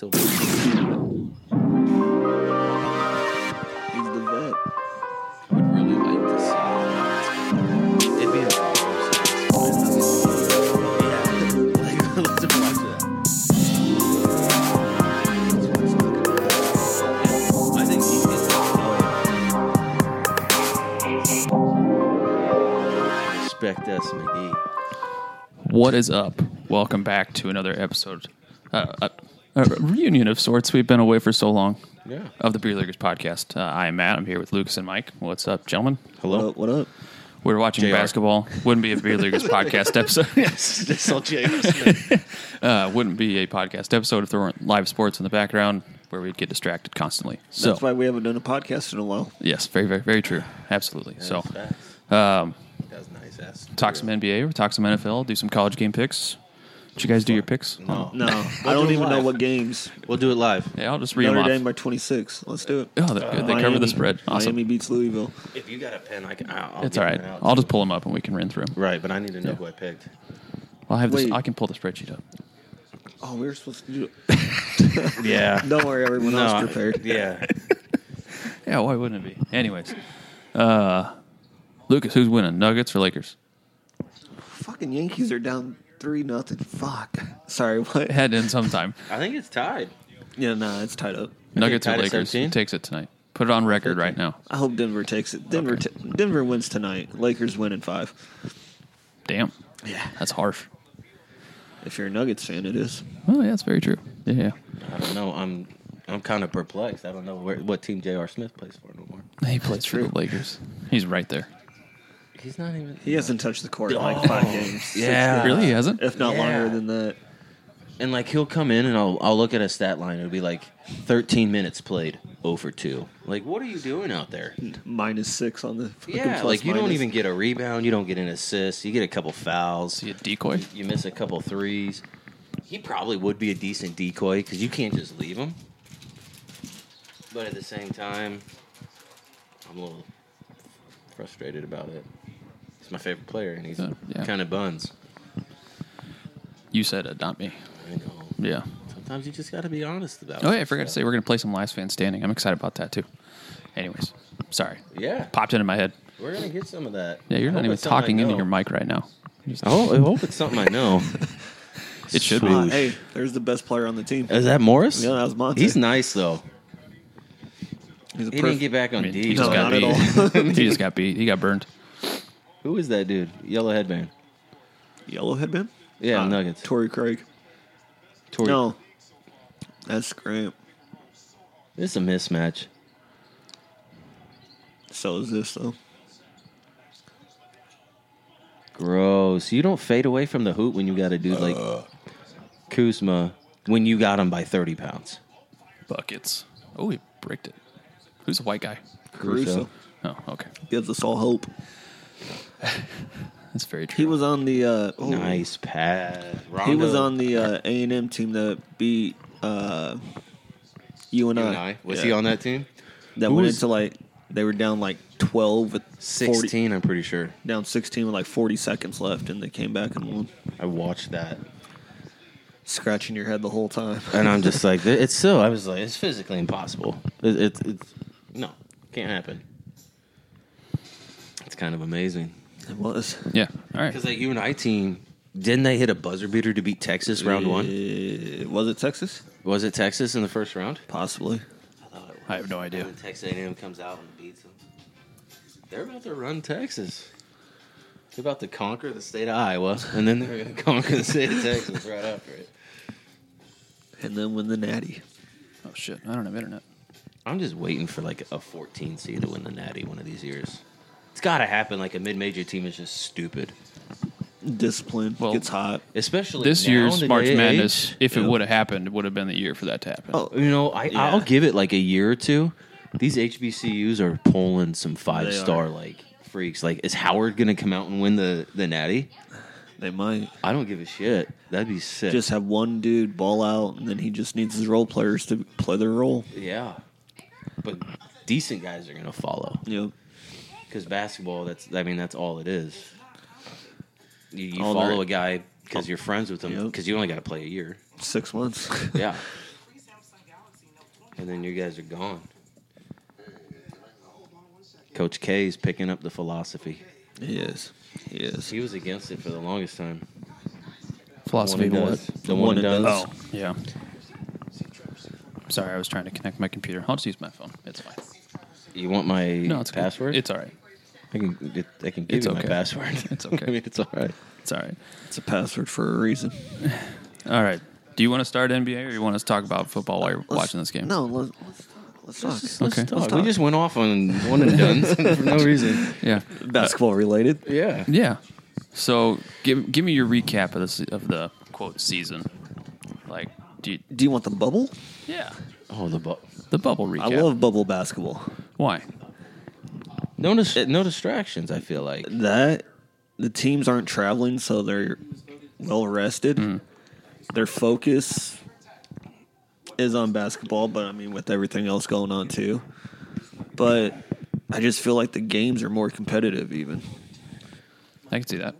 Till he's the vet. I would really like to see. it. It'd be a yeah. Like, let's just watch that. That's what it's like. I think he gets that. Respect S. McGee. What is up? Welcome back to another episode, uh, a, a reunion of sorts. We've been away for so long. Yeah. Of the Beer Leaguers podcast. Uh, I am Matt. I'm here with Lucas and Mike. What's up, gentlemen? Hello. What up? We're watching JR. basketball. Wouldn't be a Beer Leaguers podcast episode. Yes. They saw J.R. Smith. Uh, wouldn't be a podcast episode if there weren't live sports in the background where we'd get distracted constantly. So, That's why we haven't done a podcast in a while. yes, very, very, very true. Absolutely. so, um, that was nice ass. talk some NBA or talk some NFL, do some college game picks. Did you guys do your picks? No. No, I don't do even know live. what games. We'll do it live. Yeah, I'll just read Notre them Dame off. by 26. Let's do it. Oh, they, they cover the Miami- spread. Awesome. Miami beats Louisville. If you got a pen, I can. I'll, I'll It's get all right. mine out. I'll just pull them up and we can run through them. Right, but I need to know who I picked. I'll have this. Wait. I can pull the spreadsheet up. Oh, we were supposed to do it. Yeah. Don't worry, everyone No, I- else prepared. Yeah. Yeah, why wouldn't it be? Anyways, uh, Lucas, who's winning? Nuggets or Lakers? Fucking Yankees are down three nothing. Fuck. Sorry. What? Head in sometime. I think it's tied. Yeah, nah, it's tied up. Nuggets or tied at Lakers? 17? Who takes it tonight? Put it on record right now. I hope Denver takes it. Denver. T- Denver wins tonight. Lakers win in five. Damn, Yeah. that's harsh. If you're a Nuggets fan, it is. Oh yeah, that's very true. Yeah, yeah. I don't know. I'm. I'm kind of perplexed. I don't know where, what team J.R. Smith plays for no more. he plays for the Lakers. He's right there. He's not even. He hasn't touched the court in Oh, like five games. Yeah. really, he hasn't. If not Yeah. longer than that. And like he'll come in and I'll I'll look at a stat line. It'll be like 13 minutes played over two. Like what are you doing out there? Minus six on the fucking Yeah, plus like you don't minus. even get a rebound. You don't get an assist. You get a couple fouls. Is he a decoy? You miss a couple threes. He probably would be a decent decoy because you can't just leave him. But at the same time, I'm a little frustrated about it. He's my favorite player, and he's Uh, yeah. kind of buns. You said it, not me. I know. Yeah. Sometimes you just got to be honest about. Oh it. yeah, I forgot to say we're gonna play some last fan standing. I'm excited about that too. Anyways, sorry. Yeah, Popped into my head. we're gonna get some of that. Yeah, you're I not hope even it's something I talking into know. your mic right now. Just- I hope, I hope it's something I know. It should Ah, be. Swoosh. hey, there's the best player on the team. Is that Morris? Yeah, that was Monte. He's nice though. He's a He didn't perfect- get back on I mean, D. he just No, got not at all. beat. he just got beat. He got burned. Who is that dude? Yellow headband. Yellow headband? Yeah, Uh, Nuggets. Torrey Craig. Tor- No. That's Scramp. This is a mismatch. So is this, though. Gross. You don't fade away from the hoop when you got a dude like Kuzma when you got him by 30 pounds. Buckets. Oh, he bricked it. Who's the white guy? Caruso. Oh, okay. Gives us all hope. That's very true. He was on the. Uh, oh, Nice pass. He was Rondo. on the uh, A&M team that beat uh, you and You I. and I. Was Yeah. he on that team? That who went was- into like. They were down like 12 with 16, 40, I'm pretty sure. down 16 with like 40 seconds left, and they came back and won. I watched that. Scratching your head the whole time. And I'm just like, it's so. I was like, it's physically impossible. It, it, it's no, can't happen. It's kind of amazing. It was. yeah. All right. Because that UNI team, didn't they hit a buzzer beater to beat Texas round one? Uh, was it Texas? Was it Texas in the first round? Possibly. I have no idea. And then Texas A&M comes out and beats them. They're about to run Texas. They're about to conquer the state of Iowa, and then they're going to conquer the state of Texas right after it. And then win the Natty. Oh shit! I don't have internet. I'm just waiting for like a 14 seed to win the Natty one of these years. It's got to happen. Like a mid-major team is just stupid, Discipline Well, gets hot. especially This now year's in the March day and age. Madness, if it Yeah. would have happened, would have been the year for that to happen. Oh, You know, I, Yeah. I'll give it like a year or two. These HBCUs are pulling some five are. star like freaks. Like, is Howard gonna come out and win the the Natty? They might I don't give a shit. That'd be sick. just have one dude ball out, and then he just needs his role players to play their role. yeah, but decent guys are gonna follow You know, because basketball. That's I mean that's all it is. You, you All follow there- a guy because you're friends with him Yep. because you only got to play a year. six months. Yeah. and then you guys are gone. Coach K is picking up the philosophy. He is. He is. He was against it for the longest time. Philosophy One and what? does. The one and does. Oh, yeah. Sorry, I was trying to connect my computer. I'll just use my phone. It's fine. You want my No, it's good. password? It's all right. I can get, I can give It's you my okay. password. It's okay. I mean, it's all right. It's all right. It's a password for a reason. All right. Do you want to start NBA or you want us to talk about football while you're Let's- watching this game? No, let's, let's talk. Let's talk. Okay. Dog, we just went off on one and done for no reason. Yeah. Basketball related. Yeah. Yeah. So give give me your recap of this of the quote season. Like, do you, Do you want the bubble? yeah Oh, the ball. the bubble recap? I love bubble basketball. why. No, dis- no distractions. I feel like That the teams aren't traveling, so they're well rested. Mm-hmm. Their focus is on basketball, but I mean, with everything else going on too. But I just feel like the games are more competitive, even. I can see that.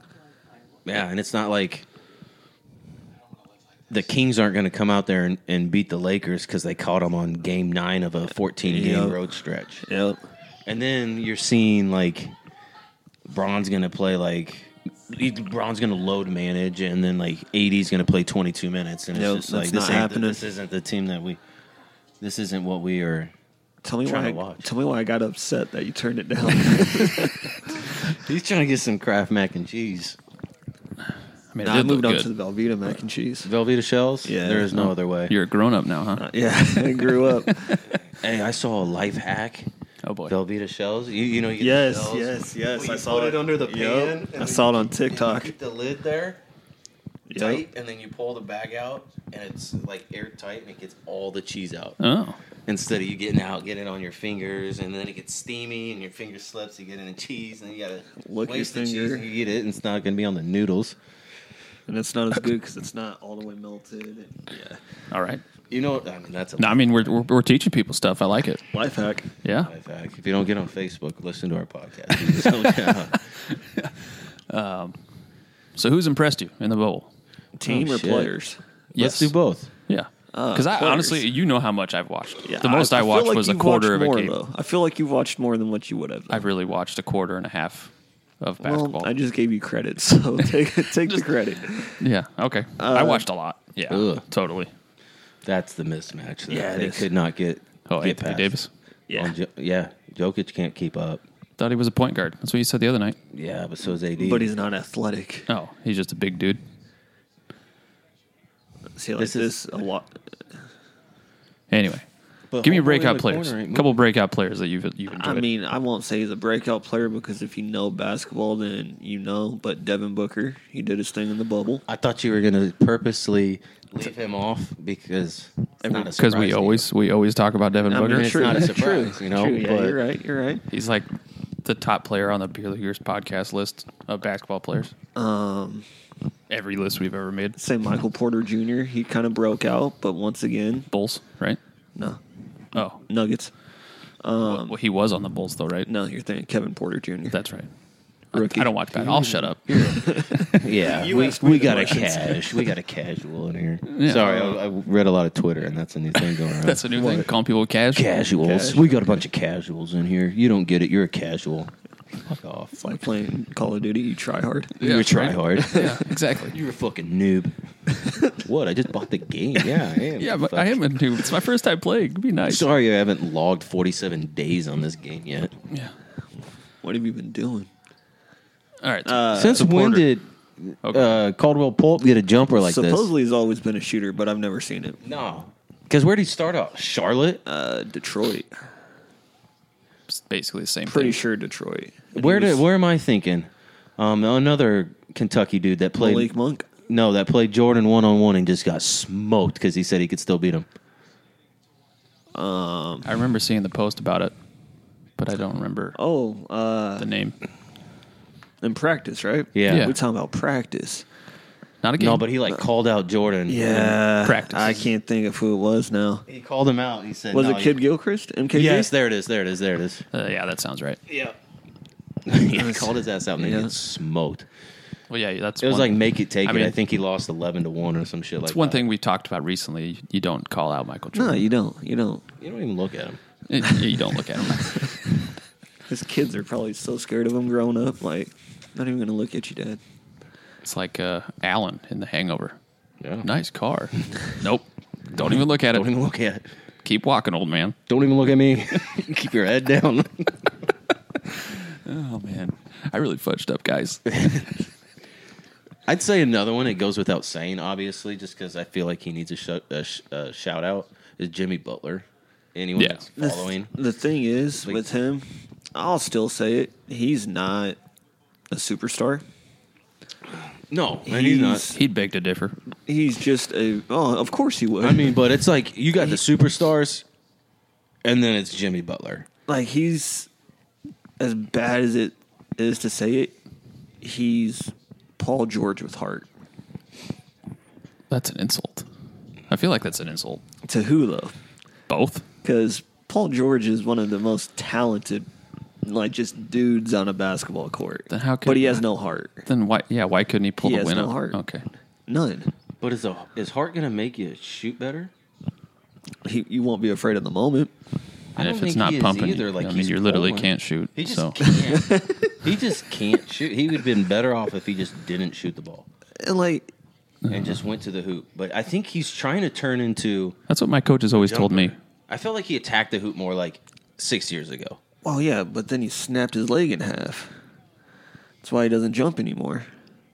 Yeah, and it's not like the Kings aren't going to come out there and, and beat the Lakers because they caught them on game nine of a 14 game Yeah. road stretch. Yep. And then you're seeing like Braun's going to play like. Braun's going to load manage, and then like 80's going to play 22 minutes, and it's Yep, just that's like this, not ain't the- happening. this isn't the team that we. This isn't what we are. Tell me Trying why. to I, watch. tell me why I got upset that you turned it down. He's trying to get some Kraft mac and cheese. I mean, it Nah, I did moved look on good. to the Velveeta mac and cheese. Velveeta shells. Yeah. there is no other way. You're a grown up now, huh? Yeah, I grew up. Hey, I saw a life hack. Oh boy. Velveeta shells. You, you know, you get the yes, shells. yes, yes. Well, I you saw put it under the Yup. pan, and I then saw it on And TikTok. You get the lid there Yup. tight, and then you pull the bag out, and it's like airtight, and it gets all the cheese out. Oh, Instead of you getting out, getting it on your fingers, and then it gets steamy, and your finger slips, you get in the cheese, and you gotta Lick your waste the finger. cheese, and you eat it, and it's not gonna be on the noodles. And it's not as good because it's not all the way melted. And Yeah. all right. You know, I mean, that's a No, I mean we're, we're we're teaching people stuff. I like it. life hack. Yeah. life hack. If you don't get on Facebook, listen to our podcast. You just don't get on. So who's impressed you in the bowl? Team Oh, or shit. players? Yes. Let's do both. Yeah. Uh, Because I players. honestly, you know how much I've watched. the most I, watched was a quarter of a game. I feel like you watched more than what you would have. I really watched a quarter and a half of well, basketball. I just gave you credit, so take take the credit. yeah. Okay. Uh, I watched a lot. Yeah. Ugh. Totally. That's the mismatch. That Yeah, it they is. could not get. Oh, get Anthony past. Davis. Yeah. On Jo- yeah, Jokic can't keep up. Thought he was a point guard. That's what you said the other night. Yeah, but so's AD. But he's not athletic. Oh, he's just a big dude. See, like This this, is- a lot. Anyway, But give homeboy me in breakout the players. corner ain't A couple breakout players that you've you've I enjoyed. mean, I won't say he's a breakout player because if you know basketball, then you know. But Devin Booker, he did his thing in the bubble. I thought you were gonna purposely leave him off because it's not a because surprise to we you. always we always talk about Devin I mean, Booker. it's not a surprise, you know. True, yeah, but you're right. You're right. He's like the top player on the Beer Leaguers podcast list of basketball players. Um, Every list we've ever made. say Michael Porter Jr. He kind of broke out, but once again, Bulls, right? no Oh, Nuggets. Um, Um, well, he was on the Bulls though, right? No, you're thinking Kevin Porter Jr. That's right. I, Rookie. I don't watch that. I'll shut up. yeah, You we, asked me we the got a questions. cash. We got a casual in here. Sorry, I, I read a lot of Twitter, and that's a new thing going around. That's a new thing. Calling people cash. Casuals. Cash. We got a bunch of casuals in here. You don't get it. You're a casual. Fuck off. It's like playing Call of Duty. You try hard. Yeah, You're try right. hard. Yeah, exactly. You're a fucking noob. what? I just bought the game. Yeah, I am. Yeah, but Fuck. I am a new. It's my first time playing. It'd be nice. Sorry, I haven't logged 47 days on this game yet. Yeah. What have you been doing? All right. Since when supporter. did Okay. uh, Caldwell Pulp get a jumper like this? Supposedly, he's always been a shooter, but I've never seen it. No, because where did he start out? Charlotte. Uh, Detroit. It's basically the same. Pretty thing. sure Detroit. And where he did? was Where am I thinking? Um, another Kentucky dude that played Malik Monk? no, that played Jordan one on one and just got smoked because he said he could still beat him. I remember seeing the post about it, but I don't remember Oh, uh, the name. in practice, right? Yeah. Yeah. We're talking about practice. Not a game. No, but he like called out Jordan. Yeah. Practice. I can't think of who it was now. he called him out. He said, Was no, it Kid you- Gilchrist? MKG? Yes, there it is. There it is. There it is. Uh, yeah, that sounds right. Yeah. he called his ass out and then Yeah. he gets smoked. Well, yeah, that's It was one- like make it take I it. mean- I think he lost eleven to one or some shit It's like one that. thing we've talked about recently. You don't call out Michael No, Jordan. you don't. You don't. You don't even look at him. you, don't look at him. His kids are probably so scared of him growing up. Like, not even gonna look at you, Dad. It's like uh, Alan in The Hangover. Yeah. Nice car. nope. Don't even look at Don't it. even look at it. Keep walking, old man. Don't even look at me. Keep your head down. Oh man, I really fudged up, guys. I'd say another one. It goes without saying, obviously, just because I feel like he needs a, shu- a, sh- a shout out is Jimmy Butler. Anyone Yeah. that's The th- following, The, thing is Like- with him, I'll still say it. He's not a superstar. no, and he's not. He's- He'd beg to differ. He's just a. Oh, of course he would. I mean, but it's like you got the superstars, and then it's Jimmy Butler. like he's as bad as it is to say it. He's Paul George with heart. That's an insult. I feel like that's an insult. To who though? Both. Because Paul George is one of the most talented, like just dudes on a basketball court. Then how could- But he has no heart. Then why? Yeah, why couldn't he pull He the has win no up? heart. Okay. None. But is a, is Hart gonna make you shoot better? He, you won't be afraid in the moment. I don't And if it's think not he is pumping, either, like, I mean, he's you literally pulling. can't shoot. He just so can't. he just can't shoot. He would have been better off if he just didn't shoot the ball And like and Mm-hmm. just went to the hoop. But I think he's trying to turn into. that's what my coach has always told me. jumper. I felt like he attacked the hoop more like six years ago. Well, yeah, but then he snapped his leg in half. That's why he doesn't jump anymore.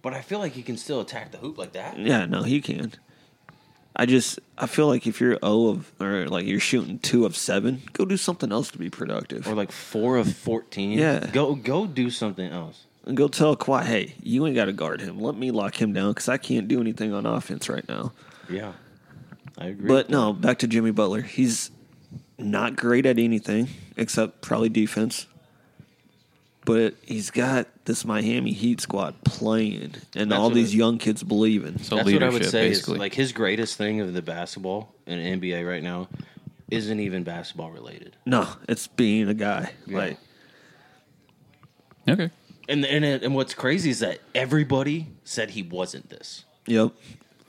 But I feel like he can still attack the hoop like that. Yeah, no, he can. I just I feel like if you're O of or like you're shooting two of seven, go do something else to be productive. Or like four of fourteen. Yeah. Go go do something else. And go tell Kawhi, hey, you ain't got to guard him. Let me lock him down because I can't do anything on offense right now. Yeah. I agree. But no, back to Jimmy Butler. He's not great at anything except probably defense. But he's got this Miami Heat squad playing, That's and all what these it- young kids believing. So that's what leadership, I would say basically. is like his greatest thing of the basketball and NBA right now isn't even basketball related. No, it's being a guy. Yeah. Like okay. And and and what's crazy is that everybody said he wasn't this. Yep.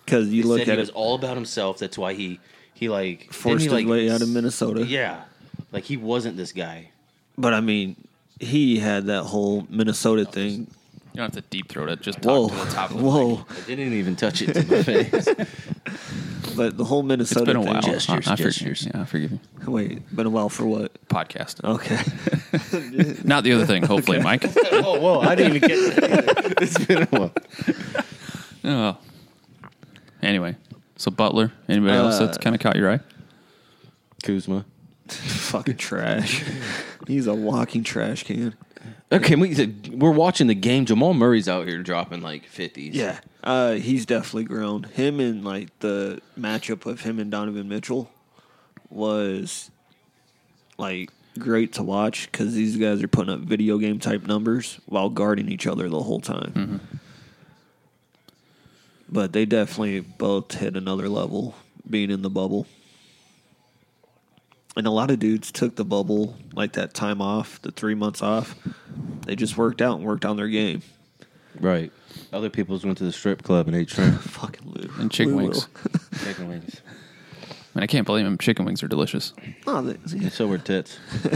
Because you They look said at he it, was all about himself. That's why he he like didn't forced he his like, way out of Minnesota. Yeah. Like he wasn't this guy. But I mean, he had that whole Minnesota thing. You don't have to deep throat it. Just Whoa, talk to the top of the mic. whoa! I didn't even touch it to my face. But the whole It's Minnesota been a while. thing. Gestures, I, I forgive- gestures. yeah, I forgive you. Wait, been a while for what? Podcast. Okay. Not the other thing. Hopefully, Mike. oh, whoa, I didn't even get that. It's been a while. Oh. Anyway, so Butler. Anybody else that's Uh, kind of caught your eye? Kuzma. Fucking trash. He's a walking trash can. Okay, we we're watching the game. Jamal Murray's out here dropping like fifties. Yeah. Uh, he's definitely grown. Him and like the matchup of him and Donovan Mitchell was like great to watch because these guys are putting up video game type numbers while guarding each other the whole time. But they definitely both hit another level being in the bubble. And a lot of dudes took the bubble, like that time off, the three months off. They just worked out and worked on their game. right. Other people's went to the strip club and ate shrimp, Fucking Lou. And chicken Lou wings. Will. chicken wings, I mean, I can't blame him. Chicken wings are delicious. No, that- and so were tits. Oh,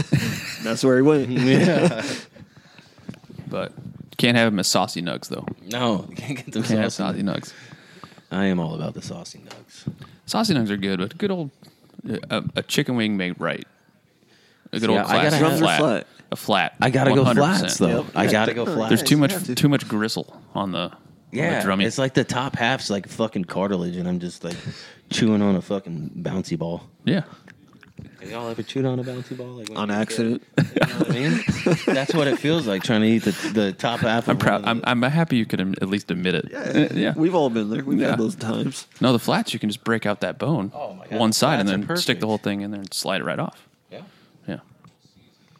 that's where he went. yeah. But can't have them as saucy nugs, though. No, you can't get them Can't have saucy. saucy nugs. I am all about the saucy nugs. Saucy nugs are good, but good old a, a chicken wing made right. A good Yeah, old I gotta classic have- flat, Flat. A flat. I gotta go 100%. flats though. Yep. I gotta go flats. There's too You much have to. too much gristle on the on the Yeah, drummy. it's like the top half's like fucking cartilage, and I'm just like chewing on a fucking bouncy ball. yeah. Have y'all ever chewed on a bouncy ball? Like when on you were a kid? accident. You know what I mean? That's what it feels like trying to eat the, the top half. I'm proud. I'm, I'm happy you could am- at least admit it. Uh, yeah. We've all been there. We've Yeah. had those times. No, the flats you can just break out that bone, Oh, my God. one side, and Flats then are stick the perfect. whole thing in there and slide it right off. yeah. Yeah.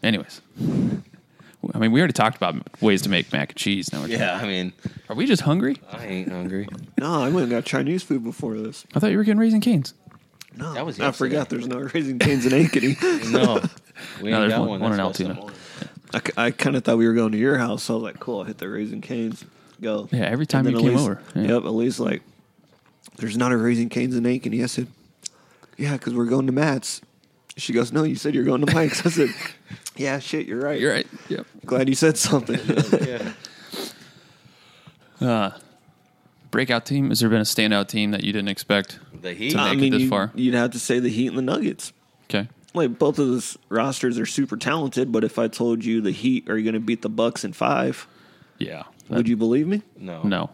Anyways, I mean, we already talked about ways to make mac and cheese. Now, we're Yeah, I mean, are we just hungry? I ain't hungry. No, I went and got Chinese food before this. I thought you were getting raisin canes. No, That was I forgot. yesterday. There's no raising canes in Ankeny. No, we No, ain't there's got one- one. one That's in why Altoona. it's not on. I, kind of thought we were going to your house, so I was like, "Cool, I'll hit the raising canes." go. Yeah, every time And you then came Elise- over, yeah. Yep, Elise like, there's not a raising canes and Aiken. I said, yeah, because we're going to Matt's. She goes, no, you said you're going to Mike's. I said, yeah, shit, you're right. You're right. Yep. Glad you said something. Yeah. Breakout team. Has there been a standout team that you didn't expect? The Heat. To I make it I mean, mean, this you, far. would have to say the Heat and the Nuggets. Okay. Like both of those rosters are super talented, but if I told you the Heat are going to beat the Bucks in five, Yeah. would you believe me? no. No.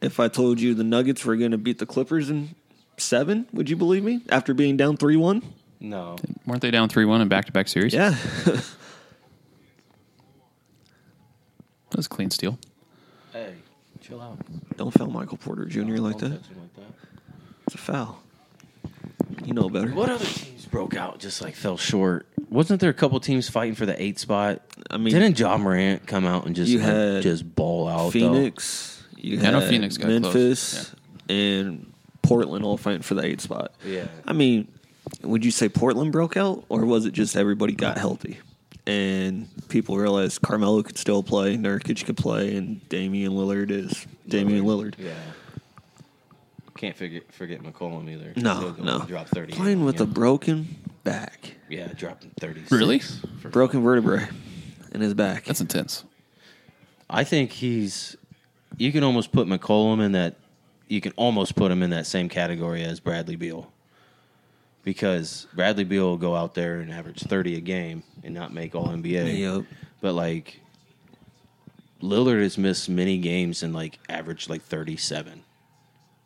If I told you the Nuggets were going to beat the Clippers in seven, would you believe me? After being down three one, No. Weren't they down three one in back to back series? yeah, That was clean steal. Hey, chill out. don't foul Michael Porter Jr. like Don't that. touch him like that. It's a foul. You know better. What other teams broke out just like fell short? Wasn't there a couple teams fighting for the eight spot? I mean- didn't John Morant come out and just You like, had just ball out? though? Phoenix, you Yeah, I had know Phoenix got close. Memphis and Portland all fighting for the eight spot. Yeah. I mean, would you say Portland broke out, or was it just everybody got healthy and people realized Carmelo could still play, Nurkic could play, and Damian Lillard is Damian Lillard. Yeah. Can't forget forget McCollum either. He'll No, go no, and Drop thirty. playing with yeah. a broken back, yeah, dropping thirty. Really? For, broken vertebrae in his back. That's intense. I think he's. You can almost put McCollum in that. You can almost put him in that same category as Bradley Beal, because Bradley Beal will go out there and average thirty a game and not make All NBA. Yep. But like, Lillard has missed many games and like averaged like thirty-seven,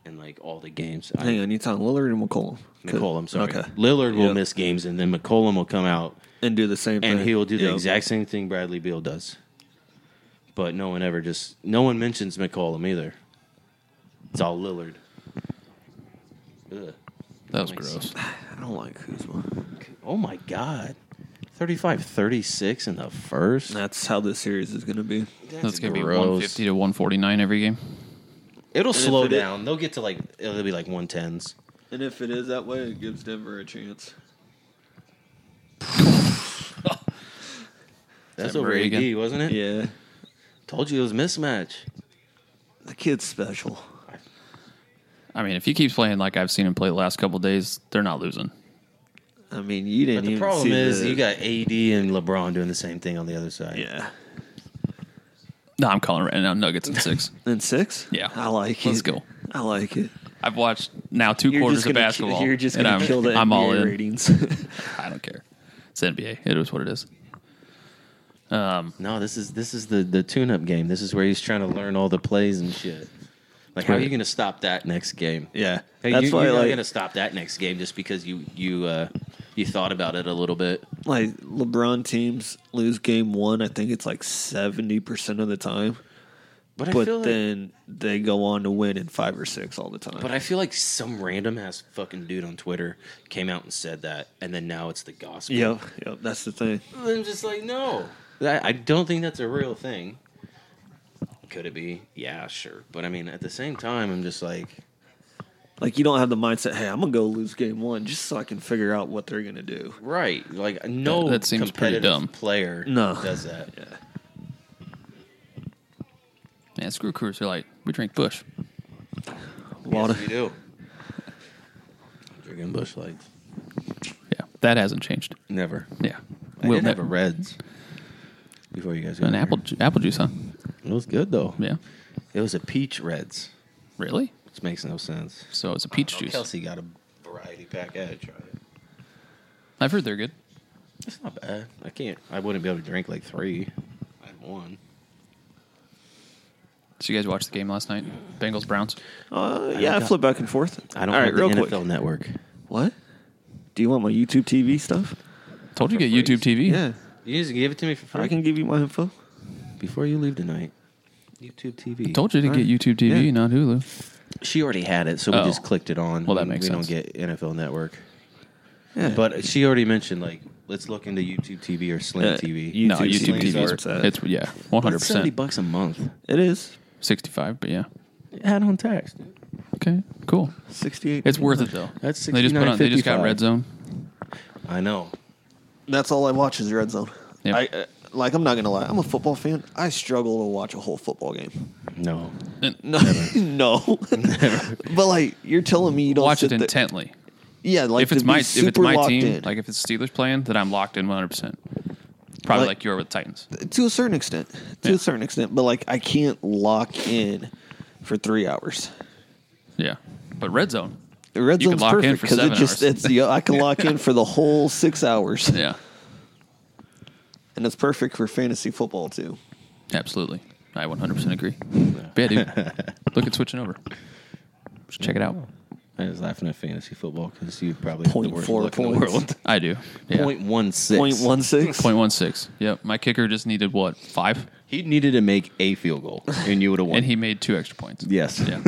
in like all the games. I- Hang on, you talking Lillard and McCollum? McCollum, sorry. Okay. Lillard will Yep. miss games, and then McCollum will come out and do the same thing, and he will do the Yep. exact same thing Bradley Beal does. But no one ever just no one mentions McCollum either. It's all Lillard. Ugh. That was Nice. gross. I don't like Kuzma. Oh my god. 35-36 in the first. That's how this series is going to be. That's gonna be gross. one fifty to one forty nine every game. It'll slow it- down. They'll get to like it'll be like 110s. And if it is that way, it gives Denver a chance. That's that over Murray AD, again? wasn't it? Yeah. Told you it was mismatch. The kid's special. I mean, if he keeps playing like I've seen him play the last couple days, they're not losing. I mean, you didn't But the even problem see is the- you got AD and LeBron doing the same thing on the other side. Yeah. No, I'm calling it right now. Nuggets in six. And six? Yeah. I like it. Let's go. I like it. I've watched now 2 You're quarters just of gonna- basketball. You're just and going I'm- to kill the I'm NBA all in. ratings. I don't care. It's NBA. It is what it is. Um, No, this is this is the the tune up game. This is where he's trying to learn all the plays and shit. Like, how are you Right. going to stop that next game? yeah. Hey, That's you, why, you're not like, going to stop that next game just because you you uh, you thought about it a little bit. like, LeBron teams lose game one, I think it's like 70% of the time. But I But feel like, then they go on to win in five or six all the time. but I feel like some random ass fucking dude on Twitter came out and said that, and then now it's the gospel. Yep. Yep. That's the thing. I'm just like, no, I, I don't think that's a real thing. Could it be? Yeah, sure. But I mean, at the same time, I'm just like, Like you don't have the mindset, hey, I'm gonna go lose game one just so I can figure out what they're gonna do. right? Like, no That- that seems pretty competitive dumb. player No. does that. man, screw Cruz. You're like, we drink Bush. A lot yes, of we do. Drinking bush lights. Yeah, that hasn't changed. Never. Yeah, I Will did have a Ne- Reds before you guys got an here. apple ju- apple juice, huh? It was good though. Yeah, It was a peach Reds, really? which makes no sense. So it's a peach Oh, juice. Kelsey got a variety pack. I had to try it. I've heard they're good. It's not bad. I can't. I wouldn't be able to drink like three. I had one. So you guys watched the game last night? Bengals Browns. uh, yeah, I got- flip back and forth. I don't. All right, have real the NFL quick. Network. What? Do you want my YouTube TV stuff? Told you For get YouTube TV. Yeah, You just give it to me for free I can give you my info. before you leave tonight. YouTube TV. Told you to get YouTube TV, Yeah. not Hulu. She already had it, so we Oh. just clicked it on. Well, that We- makes we sense. don't get NFL Network. Yeah, But she already mentioned like let's look into YouTube TV or Sling Uh, TV. you- no, YouTube YouTube TV TV. is It's, where it's it's yeah, one hundred It's seventy percent, bucks a month. it is sixty five. But yeah, Add on tax. okay, cool. sixty-eight. It's worth it though. That's they just put on. They just got 69.55. red zone. I know. That's all I watch is Red Zone. Yep. I like I'm not gonna lie, I'm a football fan. I struggle to watch a whole football game. No. No, no. but like you're telling me you don't Watch sit it there- intently. Yeah, like if it's to my be if it's super my locked team, in. like if it's Steelers playing, then I'm locked in 100. percent Probably Like- like, you are with the Titans. to a certain extent, to Yeah. a certain extent. But like I can't lock in for three hours. Yeah, but red zone. The Red You could zone's lock in perfect for because it seven just hours. it's the I can lock in for the whole six hours, Yeah, and it's perfect for fantasy football too. absolutely. I 100 percent agree. But yeah, dude. Look at switching over. Just check it out. I was laughing at fantasy football because you probably Point have the worst four luck in the points. world. I do. Yeah. Point one six. Point one six. Point one six. Yep. My kicker just needed what five, He needed to make a field goal, and you would have won. and he made two extra points. yes. Yeah.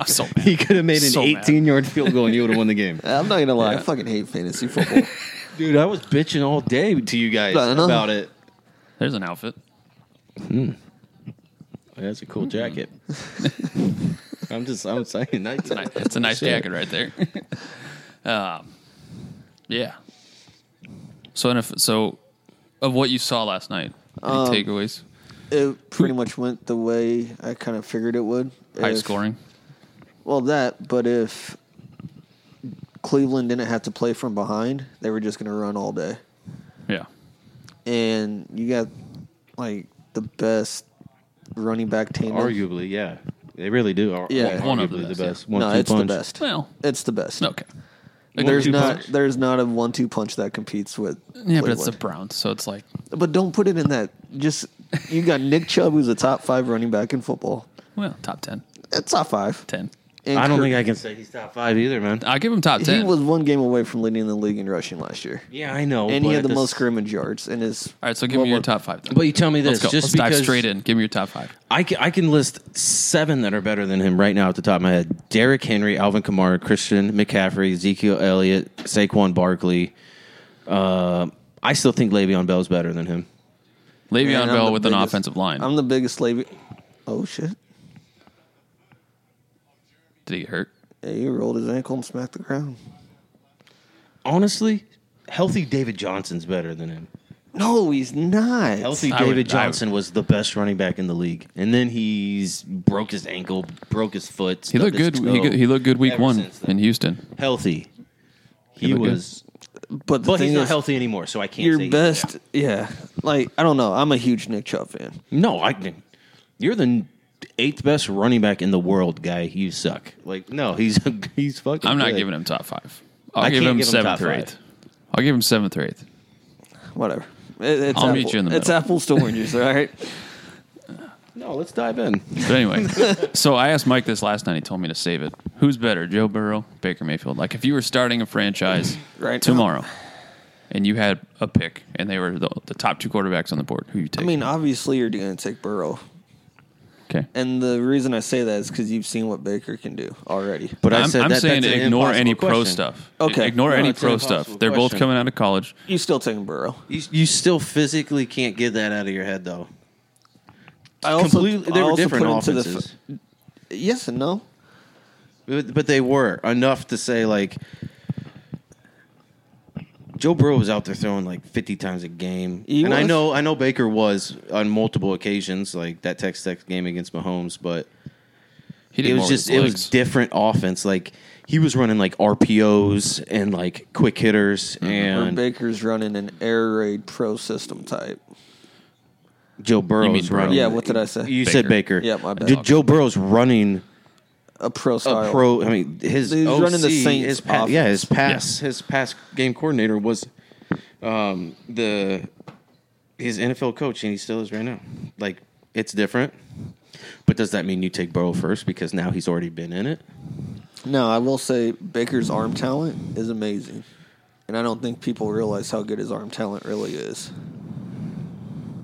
I'm so mad. He could have made an So mad. 18 yard field goal, and you would have won the game. I'm not gonna lie, I Yeah. fucking hate fantasy football. Dude, I was bitching all day to you guys I know. about it. There's an outfit. That's a cool Hmm. jacket. I'm just, I'm saying, that's Ni- That's a nice jacket right there. um, yeah. So NF so of what you saw last night, any takeaways? it pretty much went the way I kind of figured it would. High If- scoring. Well, that, but if Cleveland didn't have to play from behind, they were just going to run all day. Yeah. And you got like the best running back tandem. Arguably, yeah, they really do. Are, Yeah. one of the best. yeah. One, no, two it's punch. the best. Well, It's the best. okay. There's One-two not punch. there's not a one two punch that competes with Yeah, but it's the Cleveland. Browns, so it's like But don't put it in that. Just you got Nick Chubb, who's a top five running back in football. well, top 10, It's top five. 10. And I don't Kirk- think I can say he's top five either, man. I'll give him top 10. he was one game away from leading the league in rushing last year. Yeah, I know. and he but had at the most s- scrimmage yards and his All right, so give Well, me your look, top 5 then. But you tell me Let's this, go. just Let's dive because- straight in. Give me your top 5. I can, I can list seven that are better than him right now at the top of my head: Derrick Henry, Alvin Kamara, Christian McCaffrey, Ezekiel Elliott, Saquon Barkley. Uh, I still think Le'Veon Bell's better than him. Le'Veon Man, I'm Bell the with an biggest- offensive line. I'm the biggest Le'Veon. Oh shit! Did he get hurt? Yeah, he rolled his ankle and smacked the ground. Honestly, healthy David Johnson's better than him. No, he's not. Healthy I would- David I would- Johnson was the best running back in the league, and then he's broke his ankle, broke his foot. He looked stubbed good. his He, toe. go- he looked good week Ever one since then. in Houston. healthy. He, looked good. was, but the but thing he's not is, healthy anymore, so I can't. say your he's- best. Yeah. like I don't know. I'm a huge Nick Chubb fan. No, I can. You're the eighth best running back in the world, guy. You suck. Like, no, he's he's fucking. I'm not good. giving him top five. I'll I give can't him give him seventh top or five. eighth. I'll give him seventh or eighth. Whatever. It- it's I'll apple. meet you in the It's middle. apples to oranges. All right. No, let's dive in. But anyway, so I asked Mike this last night. He told me to save it. Who's better, Joe Burrow, Baker Mayfield? Like if you were starting a franchise Right now. tomorrow, and you had a pick, and they were the, the top two quarterbacks on the board, who you take? I mean, obviously you're going to take Burrow, okay. and the reason I say that is because you've seen what Baker can do already. But I I'm, said I'm that, saying that's an ignore any impossible pro question. stuff. Okay. Ignore No, any it's an pro impossible stuff. They're both question. coming out of college. You still taking Burrow? You, you still physically can't get that out of your head, though. I also Completely, they I were also different put into the offenses, f- yes and no. but, but they were enough to say like. Joe Burrow was out there throwing like 50 times a game, He and I was. know I know Baker was on multiple occasions, like that Texas Tech game against Mahomes, but He did it more was with just his it was legs. different offense. Like he was running like RPOs and like quick hitters, Mm-hmm. Where and Baker's running an air raid pro system type. Joe You mean Burrow's Burrow. running. Yeah, what did I say? you said Baker. Baker. Yeah, my bad. Dude, Joe Burrow's running a pro style. a pro. I mean, his He's OC, running the Saints his pa- yeah, his offense. pass, his pass game coordinator was um, the his NFL coach, and he still is right now. Like it's different. But does that mean you take Burrow first because now he's already been in it? No, I will say Baker's arm talent is amazing. And I don't think people realize how good his arm talent really is.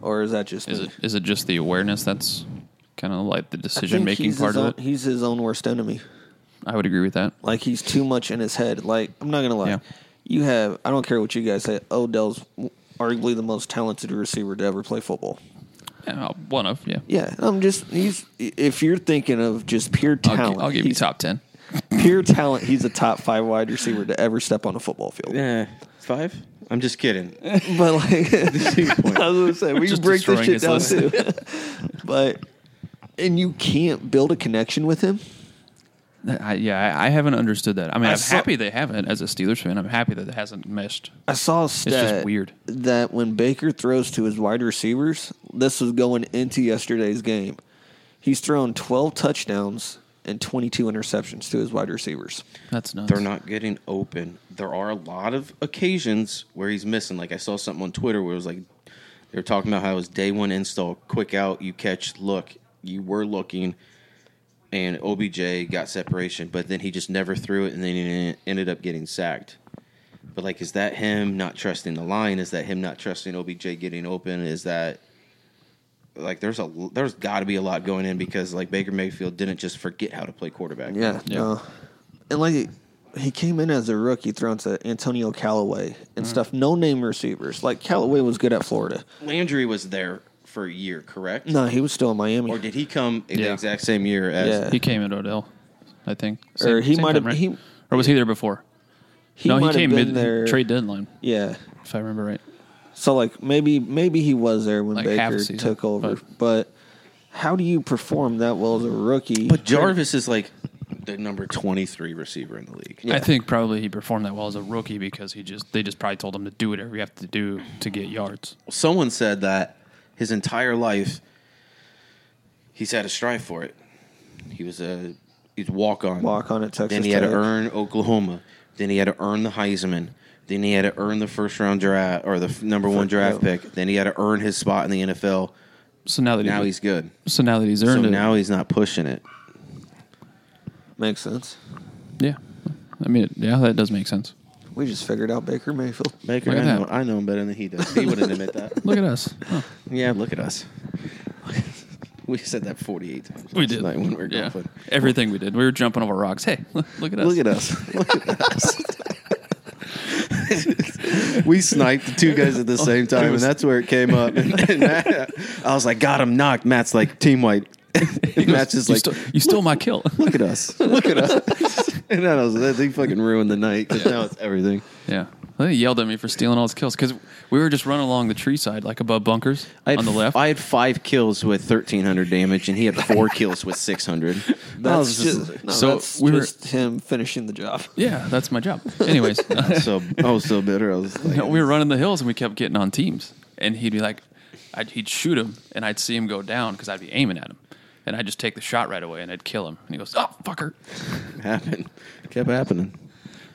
Or is that just Is me? it is it just the awareness that's kind of like the I think decision making he's part his of own, it? He's his own worst enemy. I would agree with that. Like he's too much in his head. Like I'm not gonna lie, Yeah. you have I don't care what you guys say. Odell's arguably the most talented receiver to ever play football. Yeah, I'll- one of yeah. Yeah, I'm just he's if you're thinking of just pure I'll, gi- talent, I'll give you he's top ten. pure talent, he's a top five wide receiver to ever step on a football field. Yeah, five. I'm just kidding. But like, I Point. was gonna say we can Just break destroying this shit his down list. too. but and you can't build a connection with him. I, yeah, I, I haven't understood that. I mean, I I am saw- happy they haven't. As a Steelers fan, I'm happy that it hasn't meshed. I saw a stat just weird. that when Baker throws to his wide receivers, this was going into yesterday's game. He's thrown 12 touchdowns and 22 interceptions to his wide receivers. That's nuts. They're not getting open. There are a lot of occasions where he's missing. Like I saw something on Twitter where it was like they were talking about how his day one install, quick out, you catch, look, you were looking, and OBJ got separation, but then he just never threw it, and then he ended up getting sacked. But like, is that him not trusting the line? Is that him not trusting OBJ getting open? Is that like there's a there's got to be a lot going in because like Baker Mayfield didn't just forget how to play quarterback. Yeah. Yeah. no. and like he came in as a rookie thrown to Antonio Callaway Mm. and stuff, no name receivers. Like Callaway was good at Florida. Landry was there for a year, correct? No, he was still in Miami. Or did he come in Yeah. the exact same year as? Yeah. He came in Odell, I think. Or he might have- time, right? he- or was he there before? He no, might he have came been mid there. trade deadline, Yeah. if I remember right. So like maybe maybe he was there when Like half a Baker season, took over, but- but, how do you perform that well as a rookie? But Jarvis is like the number twenty-three receiver in the league. I think probably he performed that well as a rookie because he just they just probably told him to do whatever you have to do to get yards. Someone said that his entire life he's had to strive for it. He was a he's walk on. walk on at Texas Then he had to Tech. earn Oklahoma. Then he had to earn the Heisman. Then he had to earn the first round draft or the f- number one draft yeah. pick. Then he had to earn his spot in the NFL. So now that Now he, he's good. so now that he's So earned it, now he's not pushing it. Makes sense. yeah, I mean, yeah, that does make sense. We just figured out Baker Mayfield. Baker, Look I at know, that. I know him better than he does. He wouldn't admit that. Look at us. Huh. Yeah, look at us. we said that 48 times. We last did. night when we were yeah. golfing. Everything we did, we were jumping over rocks. Hey, look, look at us. Look at us. Look at us. we sniped the two guys at the same time, and that's where it came up. And, Matt- I was like, got him knocked. Matt's like, team white. He And goes, Matt's just you, like, stole, you stole my kill. look at us. Look at us. and then I was like, they fucking ruined the night 'cause now it's everything. yeah, they yelled at me for stealing all his kills because we were just running along the tree side, like above bunkers I had on the f- left. I had five kills with 1,300 damage, and he had four kills with 600. I was That's just- just, no, So that's we were- just him finishing the job. yeah, that's my job. Anyways, so I was so bitter. I was like, No, we were running the hills and we kept getting on teams. And he'd be like, I'd, he'd shoot him and I'd see him go down because I'd be aiming at him. And I'd just take the shot right away and I'd kill him. And he goes, oh, fucker. happened. Kept happening.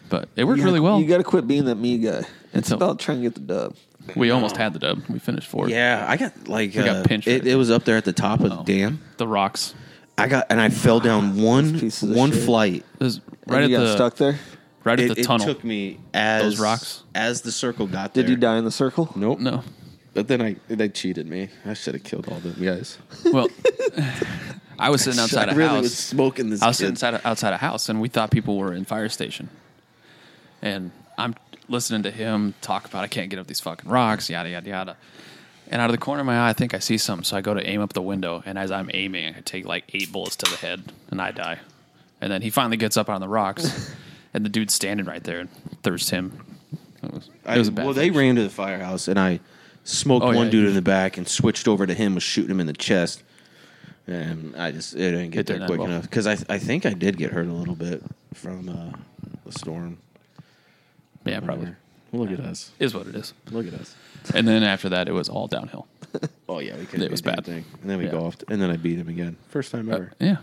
But it worked really well. You got to quit being that me guy. It's So- about trying to get the dub. we almost had the dub. We finished fourth. Yeah, I got like got uh, pinched It, for- it was up there at the top of Oh. the dam. The rocks. I got and I fell down one pieces of one shit. flight. It was and right at you got the stuck there. right at It, the it tunnel. took me as Those rocks? as the circle got there. Did you die in the circle? Nope. no. But then I they cheated me. I should have killed all them guys. Well, I was sitting outside I a really house. was smoking this. I was kid. sitting inside a, outside a house, and we thought people were in fire station. And I'm listening to him talk about I can't get up these fucking rocks, yada yada yada. And out of the corner of my eye, I think I see something. So I go to aim up the window, and as I'm aiming, I take like eight bullets to the head, and I die. And then he finally gets up on the rocks, and the dude's standing right there and thirsts him. It was, it was I- a bad well, they finish. ran to the firehouse and I smoked Oh, one yeah, dude you- in the back and switched over to him, was shooting him in the chest. And I just it didn't get It didn't there end quick well. enough because I I think I did get hurt a little bit from uh, the storm. Yeah, probably. Look at us. Is what it is. Look at us. And then after that, it was all downhill. Oh yeah, we couldn't. It do was a bad. damn Thing. And then we Yeah. Uh, golfed, and then I beat him again. First time ever. Yeah.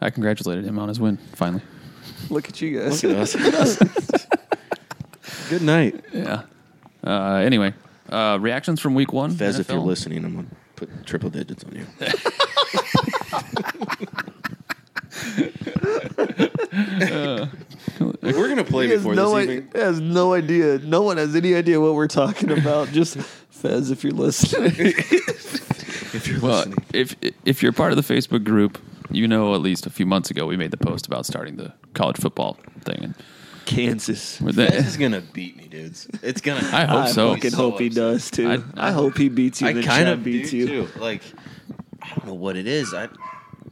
I congratulated him on his win, finally. Look at you guys. Look at us. Good night, Yeah. Uh, anyway, uh, reactions from week one. Fez. If you're NFL? listening, I'm gonna put triple digits on you. Uh, Like, we're gonna play He has before this no, i- evening. has no idea. No one has any idea what we're talking about. Just Fez, if you're listening. If you're Well, listening, if if you're part of the Facebook group, you know at least a few months ago we made the post about starting the college football thing, and Kansas. with Fez is that, gonna beat me, dudes. It's gonna. I hope I so. fucking So hope he upset. does too. I- I, I- hope he beats you. I than kind Chad of beats do you. too. Like, I don't know what it is. I,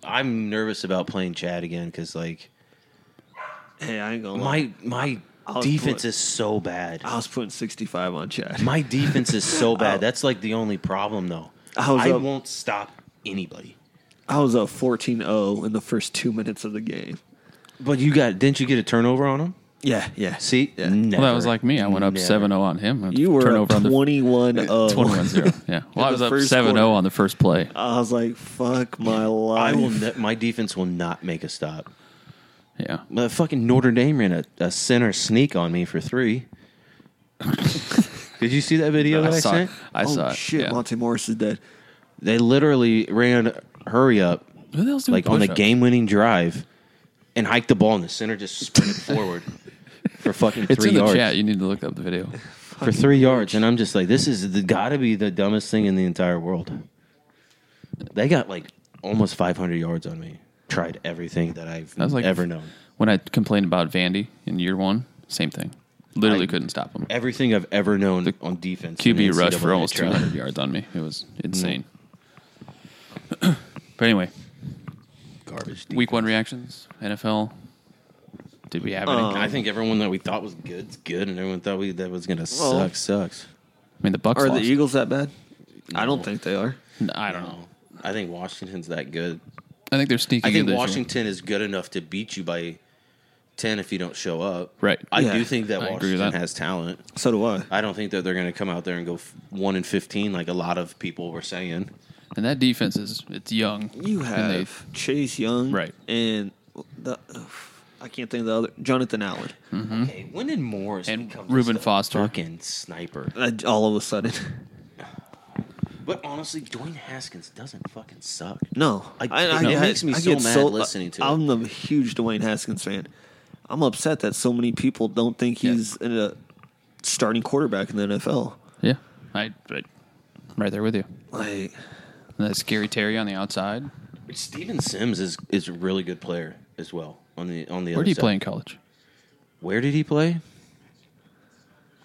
I'm nervous about playing Chad again because like, Hey, I ain't gonna lie. My my I'll defense put- is so bad. I was putting 65 on Chad. My defense is so bad. That's like the only problem, though. I was Oh. I up- won't stop anybody. I was up 14-0 in the first two minutes of the game. But you got? Didn't you get a turnover on him? Yeah, yeah. See, Yeah. never. Well, that was like me. I went up Never. 7 0 on him. you were up oh. on the 21-0. 21 0. Yeah. Well, I the was up first 7 0 quarter. on the first play. Uh, I was like, fuck my I life. will. Ne- my defense will not make a stop. Yeah. But fucking Notre Dame ran a, a center sneak on me for three. Did you see that video that I, I saw it. sent? I oh saw it. shit, yeah. Monte Morris is dead. They literally ran hurry up Who the hell's doing like on the push-ups? game winning drive and hiked the ball, and the center just sprinted forward for fucking three It's in the yards. chat. You need to look up the video. for three yards, and I'm just like, this is got to be the dumbest thing in the entire world. They got like almost 500 yards on me. Tried everything that I've That's like ever known, When I complained about Vandy in year one, same thing. Literally I- couldn't stop him. everything I've ever known on defense. in the QB rush for NCAA almost trial. 200 yards on me. It was Mm. insane. but anyway, Garbage. week one reactions, NFL. Did we have any? And I think everyone that we thought was good's good, and everyone thought we that was gonna Well- suck sucks. I mean, the Bucks Are the lost. Eagles that bad? I don't think they are. N- I don't know. I think Washington's that good. I think they're sneaking. I think good this year. Washington is good enough to beat you by ten if you don't show up. Right. I Yeah. do think that I agree with Washington that. has talent. So do I. I don't think that they're going to come out there and go f- one and fifteen like a lot of people were saying. and that defense is it's young. You And have they- Chase Young, Right. And the I can't think of the other Jonathan Allen. Hmm. Okay, when did Morris Mm-hmm. And become Reuben just a Foster. fucking sniper? Uh, All of a sudden, But honestly, Dwayne Haskins doesn't fucking suck. no. I- it makes me so get uh, mad listening to it. I'm a huge Dwayne Haskins fan. I'm upset that so many people don't think Yeah. he's in a starting quarterback in the NFL. yeah, I right, right there with you. Like, And that scary Terry on the outside. Steven Sims is is a really good player as well on the on the Where other do you side. play in college? Where did he play?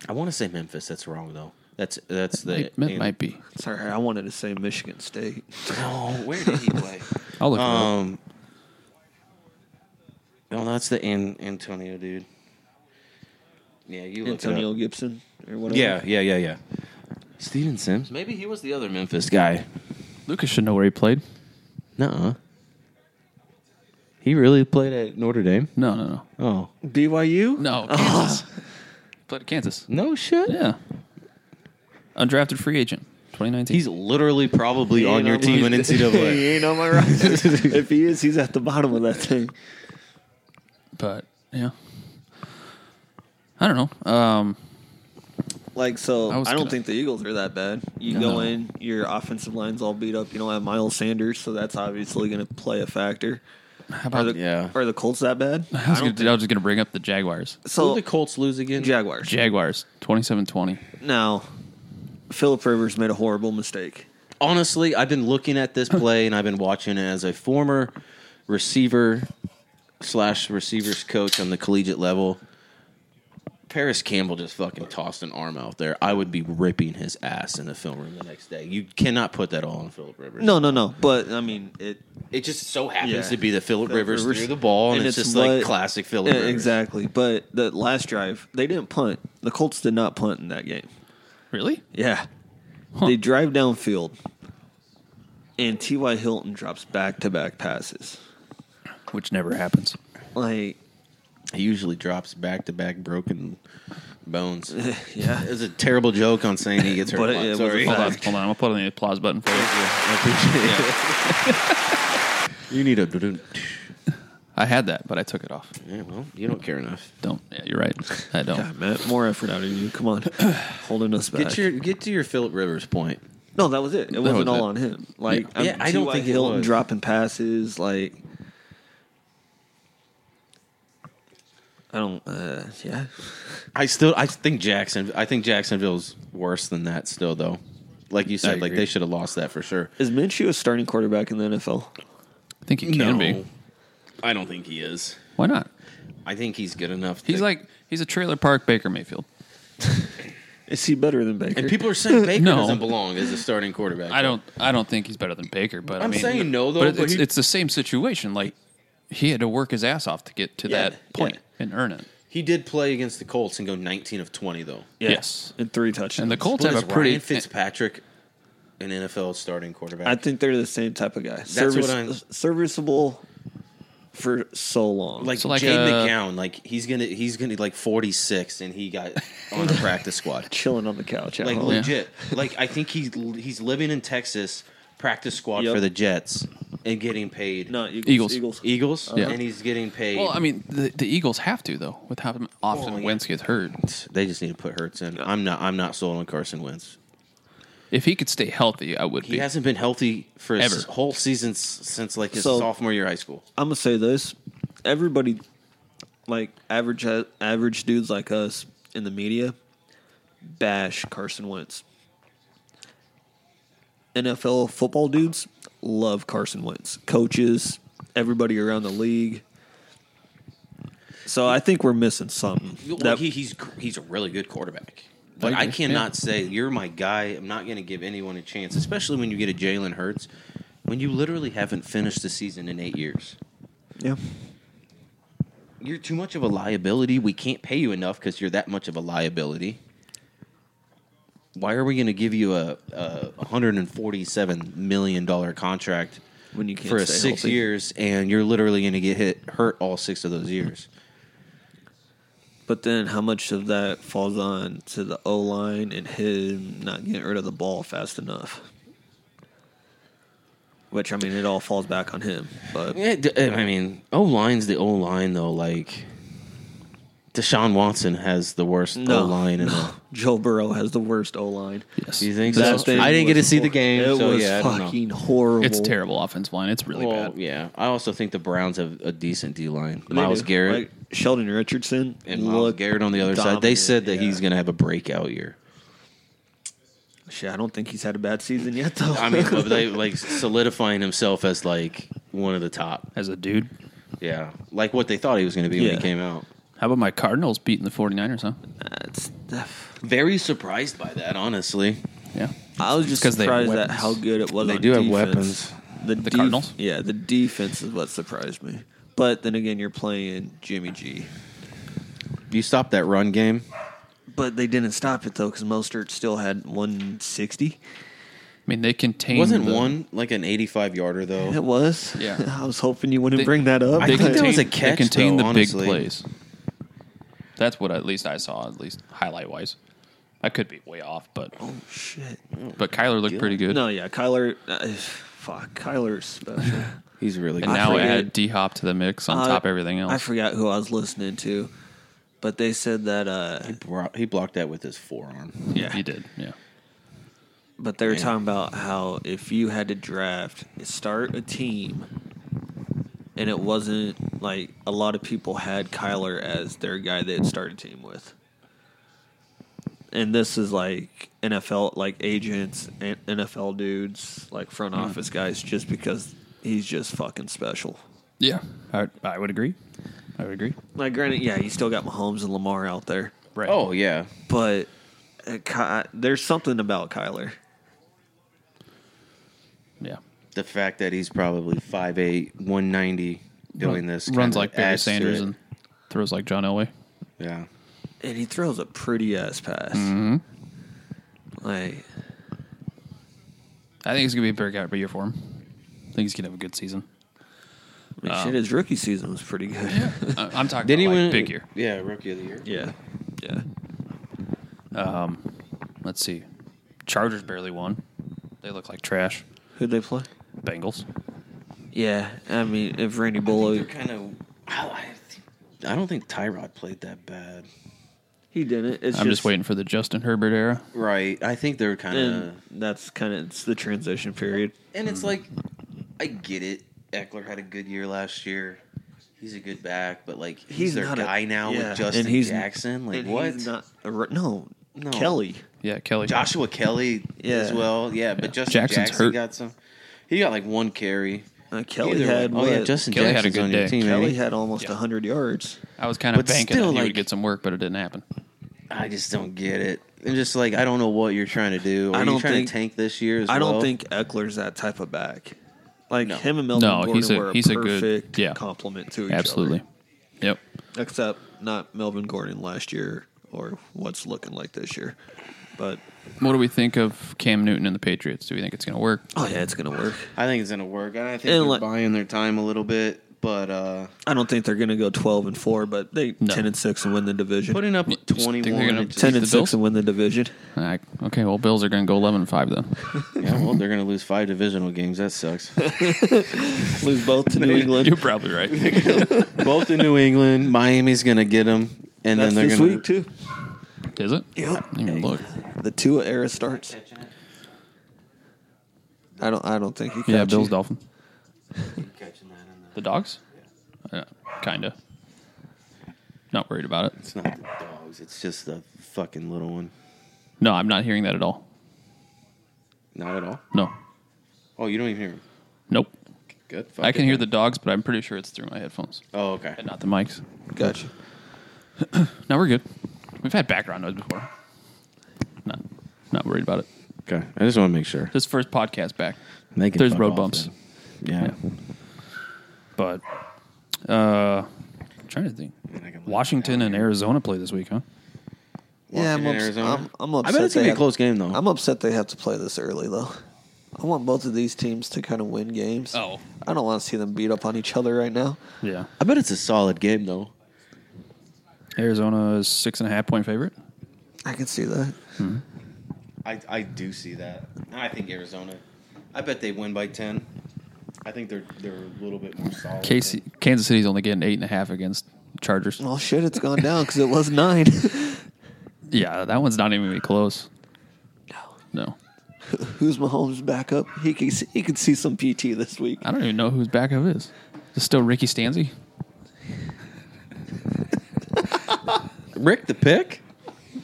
I want to say Memphis. That's wrong though. That's that's the It might, might be. sorry, I wanted to say Michigan State. No, where did he play? I'll look. it up. Um, no, that's the An- Antonio dude. Yeah, you look it up. Antonio Gibson or whatever. Yeah, yeah, yeah, yeah. Steven Sims. Maybe he was the other Memphis guy. Lucas should know where he played. Nuh-uh. He really played at Notre Dame. No, no, no, Oh. BYU. no. Kansas played at Kansas. No shit. Yeah, undrafted free agent, 2019. He's literally probably He on ain't your team in my- he NCAA. ain't on my roster. if he is, he's at the bottom of that thing. but yeah, I don't know. Um, Like so, I I, was don't gonna- think the Eagles are that bad. You No. go in, your offensive line's all beat up. You don't have Miles Sanders, so that's obviously going to play a factor. how Are about? the, Yeah. are the Colts that bad? I was, gonna, I was just gonna bring up the Jaguars. Who So the Colts lose again? Jaguars. Jaguars, 27-20. now, Philip Rivers made a horrible mistake. honestly, I've been looking at this play and I've been watching it as a former receiver slash receivers coach on the collegiate level. Paris Campbell just fucking tossed an arm out there. I would be ripping his ass in the film room the next day. You cannot put that all on Philip Rivers. No, no, no. But I mean, it it just so happens Yeah. to be that Philip Phillip Rivers, Rivers. threw the ball, and, And it's, it's just what- like classic Philip. yeah, Rivers. exactly. But the last drive, they didn't punt. The Colts did not punt in that game. Really? Yeah. Huh. They drive downfield, and T.Y. Hilton drops back to back passes. Which never happens. Like, He usually drops back to back broken bones. it yeah. was a terrible joke on saying he gets hurt. But a lot. it was Sorry. a Hold on, hold on. I'll put on the applause button for you. I appreciate it. you need a. I had that, but I took it off. Yeah, well, you don't care enough. Don't. Yeah, you're right. I Yeah, don't. Matt, more effort out of you. Come on, holding us back. Get your get to your Philip Rivers point. no, that was it. It wasn't was all it. on him. Like, Yeah. Yeah, I don't T.Y. think it Hilton was. dropping passes. Like, I don't. Uh, yeah, I still I think Jackson I think Jacksonville's worse than that still though. Like you said, like agree. they should have lost that for sure. is Minshew a starting quarterback in the NFL? I think he can be. I don't think he is. Why not? I think he's good enough. He's to- like he's a trailer park Baker Mayfield. Is he better than Baker? and people are saying Baker No. doesn't belong as a starting quarterback. I don't. I don't think he's better than Baker. But I I'm mean, saying no, though, But, it- but it's, he- it's the same situation. Like he had to work his ass off to get to Yeah, that point. yeah. and earn it. He did play against the Colts and go 19 of 20 though. Yes. and three touchdowns. And the Colts What have is a pretty Ryan Fitzpatrick, an NFL starting quarterback. I think they're the same type of guy. what Service, I'm- serviceable for so long. like, uh, So like Jay a- McGown, like he's gonna he's gonna like 46 and he got on a practice squad. chilling on the couch at Like Oh, home. legit. Like I think he's he's living in Texas, practice squad Yep. for the Jets and getting paid. No, Eagles. Eagles. Eagles. Eagles Yeah. and he's getting paid. Well, I mean, the, the Eagles have to though, with how often Well, yeah. Wentz gets hurt. they just need to put Hurts in. I'm not I'm not sold on Carson Wentz. If he could stay healthy, I would He be. hasn't been healthy for his Ever. whole season s- since like his So- sophomore year of high school. I'm gonna say this: everybody, like average average dudes like us in the media, bash Carson Wentz. NFL football dudes love Carson Wentz. Coaches, everybody around the league. So I think we're missing something. Well, That- he, he's he's a really good quarterback. But I I, agree, cannot say you're my guy. I'm not going to give anyone a chance, especially when you get a Jalen Hurts, when you literally haven't finished the season in eight years. yeah. You're too much of a liability. We can't pay you enough because you're that much of a liability. Why are we going to give you a, a 147 million dollar contract When you can't for stay six healthy. years and you're literally going to get hit hurt all six of those years? But then, how much of that falls on to the O line and him not getting rid of the ball fast enough? Which I mean, it all falls back on him. But Yeah, d- uh, I mean, O line's the O line though. Like Deshaun Watson has the worst no O line in no. Joe Burrow has the worst O line. the. You Yes. think so? I didn't get to see the game, It so was yeah, I don't know. fucking horrible. It's terrible offense line. It's really Well, bad. yeah. I also think the Browns have a decent D line. They Miles do. Garrett like Sheldon Richardson, and Miles looked Garrett on the other side. They dominant, said that yeah. he's going to have a breakout year. Shit, I don't think he's had a bad season yet, though. I mean, but they like solidifying himself as like one of the top. As a dude, Yeah, like what they thought he was going to be when Yeah. he came out. how about my Cardinals beating the 49ers, huh? That's- Very surprised by that, honestly. Yeah. I was just 'cause they have surprised at weapons. how good it was. They on do have defense. weapons. The, The def- Cardinals? yeah, the defense is what surprised me. But then again, you're playing Jimmy G. You stop that run game. But they didn't stop it though, because Mostert still had 160. I mean, they contain. Wasn't the- one like an 85 yarder It though? was. Yeah. I was hoping you wouldn't They- bring that up. I They think that contain, was a they catch, contain though, the honestly. big plays. That's what at least I saw, at least highlight wise. I could be way off, but oh shit. but Kyler looked pretty good. No, yeah, Kyler. Uh, fuck, Kyler's special. He's really good. And now I forget- add D Hop to the mix on Uh, top of everything else. I forgot who I was listening to, but they said that. uh Bro- he blocked that with his forearm. Yeah, He did. Yeah. But they were talking about how if you had to draft, start a team, and it wasn't like a lot of people had Kyler as their guy they'd start a team with. And this is like NFL, like agents, and NFL dudes, like front office guys, just because he's just fucking special. Yeah. I, I would agree. I would agree. Like, granted, yeah, you still got Mahomes and Lamar out there, Right. Oh yeah, but uh, Ky- there's something about Kyler. yeah. the fact that he's probably 5'8", 190 doing this runs kinda like Barry adds to Sanders it. and throws like John Elway. yeah. and he throws a pretty ass pass. Like I think it's gonna be a breakout year for him. I think he's gonna have a good season. I mean, shit, his rookie season was pretty good. Yeah, I, I'm talking Did about he like win big year. Yeah, rookie of the year. yeah, Let's see. Chargers barely won. They look like trash. Who'd they play? Bengals. Yeah, I mean, if Randy They're Bullock, kind of. I think- I don't think Tyrod played that bad. he didn't. It's I'm just waiting for the Justin Herbert era. Right. I think they're kind of. And that's kind of it's the transition period. And it's like, I get it. Eckler had a good year last year. He's a good back, but like he's, He's their not a- guy now yeah. with Justin And he's- Jackson. Like And what? He's not a, ru- no, No. Kelly. Yeah, Kelly. Joshua Kelly Yeah. as well. Yeah, but Justin Jackson's Jackson hurt. got some. He got like one carry. Uh, Kelly Either had way- what? oh yeah, Justin Kelly had a Jackson's good on your day. team. eh? Kelly Kelly had almost Yeah. hundred yards. I was kind of But banking still, that he like- would get some work, but it didn't happen. I just don't get it. And just like I don't know what you're trying to do. Are I you don't trying think- to tank this year? As I don't well? think Eckler's that type of back. Like No. him and Melvin No, Gordon he's a- were a he's a good- perfect yeah. complement to each other. Absolutely. Yep. except not Melvin Gordon last year or what's looking like this year. But What do we think of Cam Newton and the Patriots? Do we think it's going to work? oh yeah, it's gonna work. I think it's gonna work. I think And they're like- buying their time a little bit, but uh, I don't think they're gonna go twelve and four, but they No. ten and six and win the division. putting up You think they're twenty one. gonna- it just- ten and the six Bills? and win the division. All right. okay, well, Bills are going to go 11 and 5 then. Yeah, well, they're gonna lose five divisional games. That sucks. Lose both to New England. You're probably right. Both in New England. Miami's gonna get them, and That's then they're this gonna week too. Is it? Yep. I didn't even look. The Tua era starts. I don't. I don't think he. Yeah, caught Bills, you. Dolphin. The dogs? Yeah, kind of. Uh, Not worried about it. It's not the dogs. It's just the fucking little one. No, I'm not hearing that at all. Not at all. No. Oh, you don't even hear him. Nope. Good. I can hear the dogs, but I'm pretty sure it's through my headphones Oh, okay. and not the mics. Gotcha. No, we're good. We've had background noise before. Not, not worried about it. Okay. I just want to make sure. This first podcast back, They can There's fuck road off bumps. then. Yeah. but uh, I'm trying to think. And I can look Washington and Arizona play this week, huh? Yeah, I'm Washington, ups- Arizona. I'm- I'm I bet upset it's gonna be they a close game though. I'm upset they have to play this early though. I want both of these teams to kind of win games. Oh. I don't want to see them beat up on each other right now. Yeah. I bet it's a solid game though. Arizona is six and a half point favorite. I can see that. I, I do see that. I think Arizona. I bet they win by ten. I think they're they're a little bit more solid. Casey, Kansas City's only getting eight and a half against Chargers. Well, shit, it's gone down because it was nine. Yeah, that one's not even gonna be close. No. Who's Mahomes' backup? He can see, he can see some PT this week. I don't even know who's back of is. Is it still Ricky Stanzi? Rick the pick.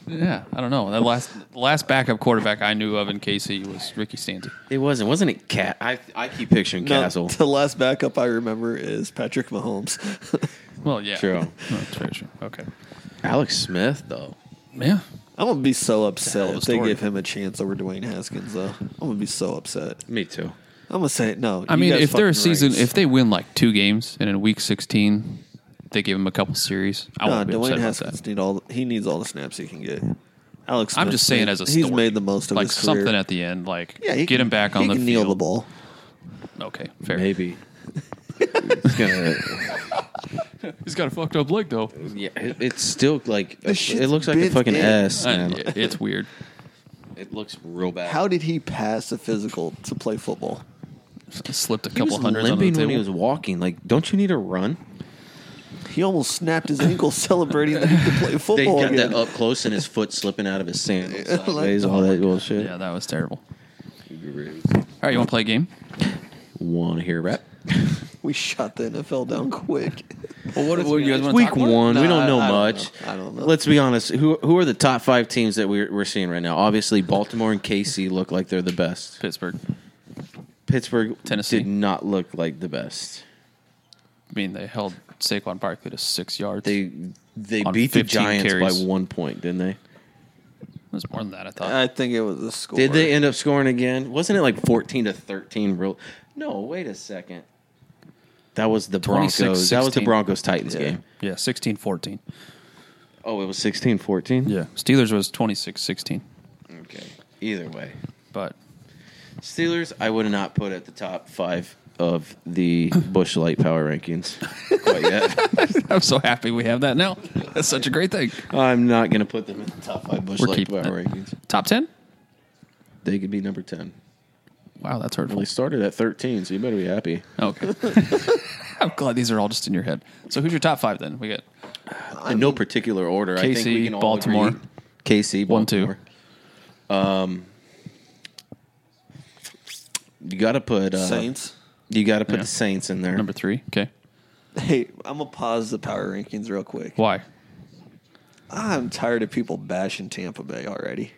Yeah, I don't know. That last the last backup quarterback I knew of in KC was Ricky Stanzi. It wasn't. Wasn't it Cat? I I keep picturing No, Castle. the last backup I remember is Patrick Mahomes. Well, yeah, True. No, that's very true. Okay. Alex Smith though. Yeah, I'm gonna be so Hell upset of a if they story. give him a chance over Dwayne Haskins. Though I'm gonna be so upset. Me too. I'm gonna say no. I you mean, guys if they're a fucking season, right. if they win like two games and in week sixteen they give him a couple series, I No, won't be Dwayne upset about Haskins that. need all he needs all the snaps he can get. Alex, I'm Smith, just saying, as a he's story, made the most of like his career. something at the end, like yeah, he get can- him back on he the can field. kneel the ball. Okay, fair. Maybe. it's gonna. He's got a fucked up leg though. Yeah, it, it's still like This shit's it looks like a bent fucking in. S. Man. And it- it's weird. It looks real bad. How did he pass the physical to play football? Slipped a he couple was hundred on the limping table. when he was walking? Like, don't you need to run? He almost snapped his ankle celebrating that he could play They football got again. that up close and his foot slipping out of his sandals, Like- sideways, all that bullshit. yeah, that was terrible. All right, you want to play a game? Want to hear a rap? We shot the NFL down quick. Well, what, what do you guys wanna Week one, we No, don't I- know I don't much. know. I don't know. Let's be honest. Who who are the top five teams that we're we're seeing right now? Obviously, Baltimore and KC look like they're the best. Pittsburgh. Pittsburgh, Tennessee. did not look like the best. I mean, they held Saquon Barkley to six yards. They they On beat the 15 Giants carries. by one point, didn't they? it was more than that, I thought. I think it was a score. Did Uh, they end up scoring again? Wasn't it like fourteen to thirteen? Real? No, wait a second. That was the Broncos. That was the 26-16. Broncos Titans Yeah. game. yeah, 16 14. Oh, it was 16-14? Yeah. Steelers was 26 16. Okay. Either way, But Steelers, I would not put at the top five of the Bush Light Power rankings quite yet. I'm so happy we have that now. That's such a great thing. I'm not going to put them in the top five Bush We're Light keeping Power it. rankings. Top 10? They could be number ten. Wow, that's Well, hurtful. they started at thirteen, so you better be happy. Okay. I'm glad these are all just in your head. So who's your top five then? We got in no particular order. I think KC, we can all Baltimore. agree. KC, One, two. Baltimore. Um, you got to put uh, Saints? You got to put Yeah. the Saints in there. number three. Okay. Hey, I'm gonna pause the power rankings real quick. Why? I'm tired of people bashing Tampa Bay already.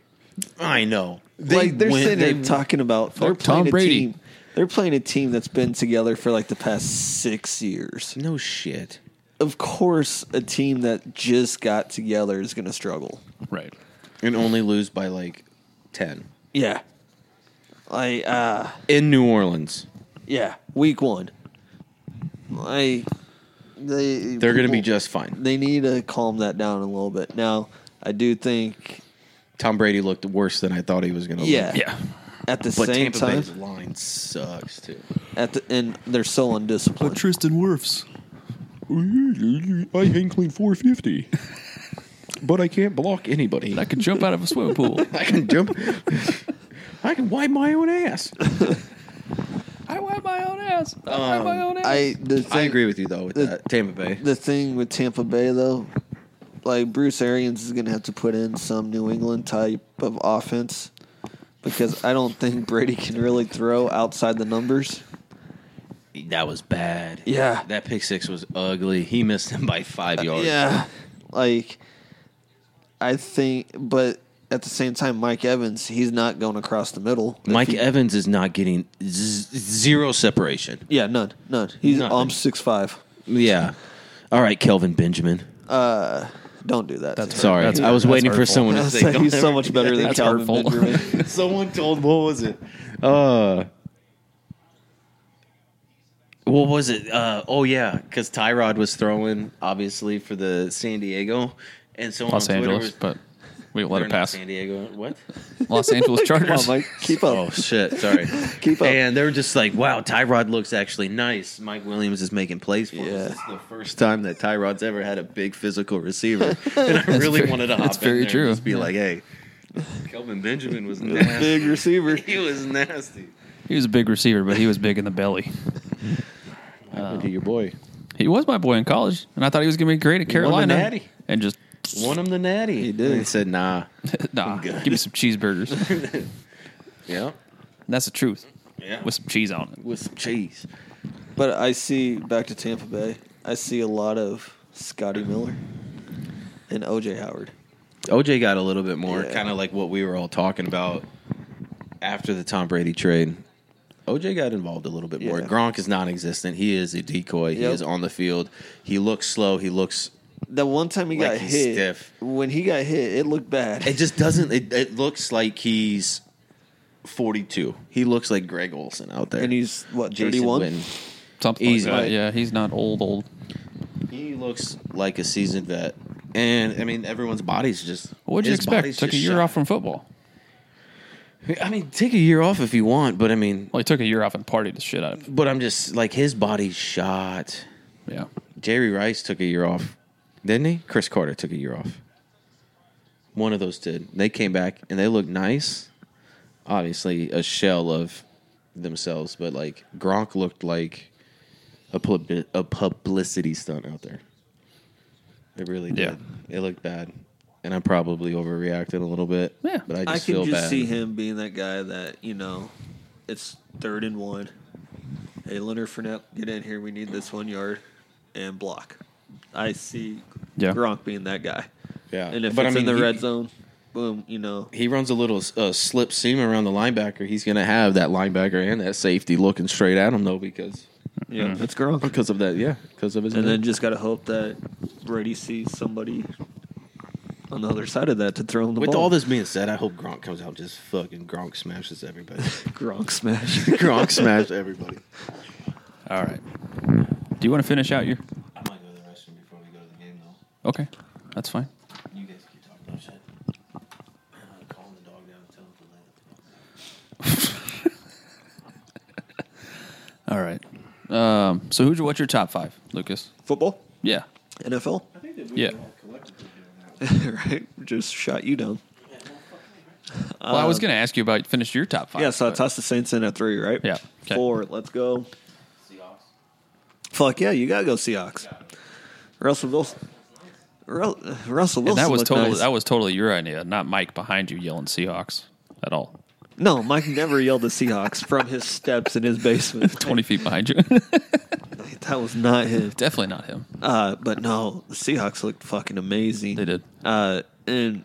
I know. like they're went- sitting there they- talking about they're Fuck Tom playing a Brady. team. They're playing a team that's been together for like the past six years. No shit. Of course, a team that just got together is going to struggle. Right. And only lose by like ten Yeah, like uh, in New Orleans. yeah, week one. Like They They're going to be people- just fine. They need to calm that down a little bit. Now, I do think, Tom Brady looked worse than I thought he was going to Yeah. look. Yeah. at the But same Tampa time, Bay's line sucks too. at the and they're so undisciplined. Tristan Wirfs. I hang clean 450, but I can't block anybody. I could jump out of a swimming pool. I can jump. I can wipe my own ass. I wipe my own ass. I wipe my own ass. I the thing, I agree with you though with The- that Tampa Bay. The thing with Tampa Bay though, like Bruce Arians is going to have to put in some New England type of offense because I don't think Brady can really throw outside the numbers. That was bad. Yeah. Uh, that pick six was ugly. He missed him by five yards. Yeah. Like, I think, but at the same time, Mike Evans, he's not going across the middle. If Mike he- Evans is not getting z- zero separation. Yeah, none. None. He's Nothing. um, six five. Yeah. All right, Kelvin Benjamin. Don't do that. That's Sorry, That's I was hurtful. waiting That's for hurtful. someone to say. he's so much better than That's Calvin hurtful. Benjamin. someone told what was it? Uh, what was it? Uh, oh yeah, because Tyrod was throwing obviously for the San Diego, and someone Los on Twitter Angeles, was- but we let or it not pass. San Diego. What? Los Angeles Come on, Chargers. Mike. Keep up. Oh shit! Sorry. Keep up. And they were just like, "Wow, Tyrod looks actually nice. Mike Williams is making plays for us. Yeah. This is the first time that Tyrod's ever had a big physical receiver, and I really very- wanted to hop that's in very there and true. just be Yeah. like, "Hey, Kelvin Benjamin was Big nasty. receiver. he was nasty." He was a big receiver, but he was big in the belly. Uh, to your boy. He was my boy in college, and I thought he was going to be great at won the Carolina. natty. And just Won him the natty. He did. He said, "Nah." nah, good. give me some cheeseburgers. And yeah. that's the truth, Yeah. with some cheese on it. with some cheese. But I see back to Tampa Bay. I see a lot of Scotty Miller and OJ Howard. OJ got a little bit more, Yeah. kind of like what we were all talking about after the Tom Brady trade. OJ got involved a little bit more. Yeah. Gronk is non-existent. He is a decoy. He Yep. is on the field. He looks slow. He looks. That one time he Like got he's hit. stiff. When he got hit, it looked bad. It just doesn't. It, it looks like he's forty-two. He looks like Greg Olson out there. and he's what Jason thirty one. Witten. Something Easy. like that. Yeah, he's not old, old. He looks like a seasoned vet. And I mean, everyone's body's just. What'd you his expect? body's Took a just year shot. off from football. I mean, take a year off if you want, but I mean, Well, he took a year off and partied the shit out of. but I'm just like his body's shot. Yeah, Jerry Rice took a year off, didn't he? Chris Carter took a year off. One of those did. They came back and they looked nice. Obviously, a shell of themselves, but like Gronk looked like a, pub- a publicity stunt out there. It really did. It looked bad. And I probably overreacted a little bit. Yeah. But I just I feel can just bad. see him being that guy that you know, it's third and one. Hey, Leonard Fournette, get in here. We need this one yard and block. I see Yeah. Gronk being that guy. Yeah. And if Uh, But I it's in mean, the he- red zone, boom, you know. he runs a little uh, slip seam around the linebacker, he's going to have that linebacker and that safety looking straight at him though because Yeah, it's Gronk. Mm-hmm. because of that, yeah, because of his And then just gotta hope that Brady sees somebody on the other side of that to throw him the with ball. all this being said, I hope Gronk comes out just fucking Gronk smashes everybody. Gronk smash. Gronk smashes everybody. All right. Do you want to finish out your? I might go to the restroom before we go to the game though. Okay, that's fine. You guys keep talking Oh, about shit. I'm calling the dog down and telling him to All right. Um, so who's your, what's your top five, Lucas? Football, Yeah, NFL, yeah. right? Just shot you down. Well, I was gonna ask you about finish your top five. Yeah, so I but- tossed the Saints in at three, right? Yeah, okay. Four. Let's go. Seahawks. Fuck yeah, you gotta go Seahawks. Russell Wilson. Ru- Russell Wilson. and that was looked totally nice. that was totally your idea, not Mike behind you yelling Seahawks at all. no, Mike never yelled at Seahawks from his steps in his basement. Twenty feet behind you, Like, that was not him. definitely not him. Uh, but no, the Seahawks looked fucking amazing. They did. Uh, and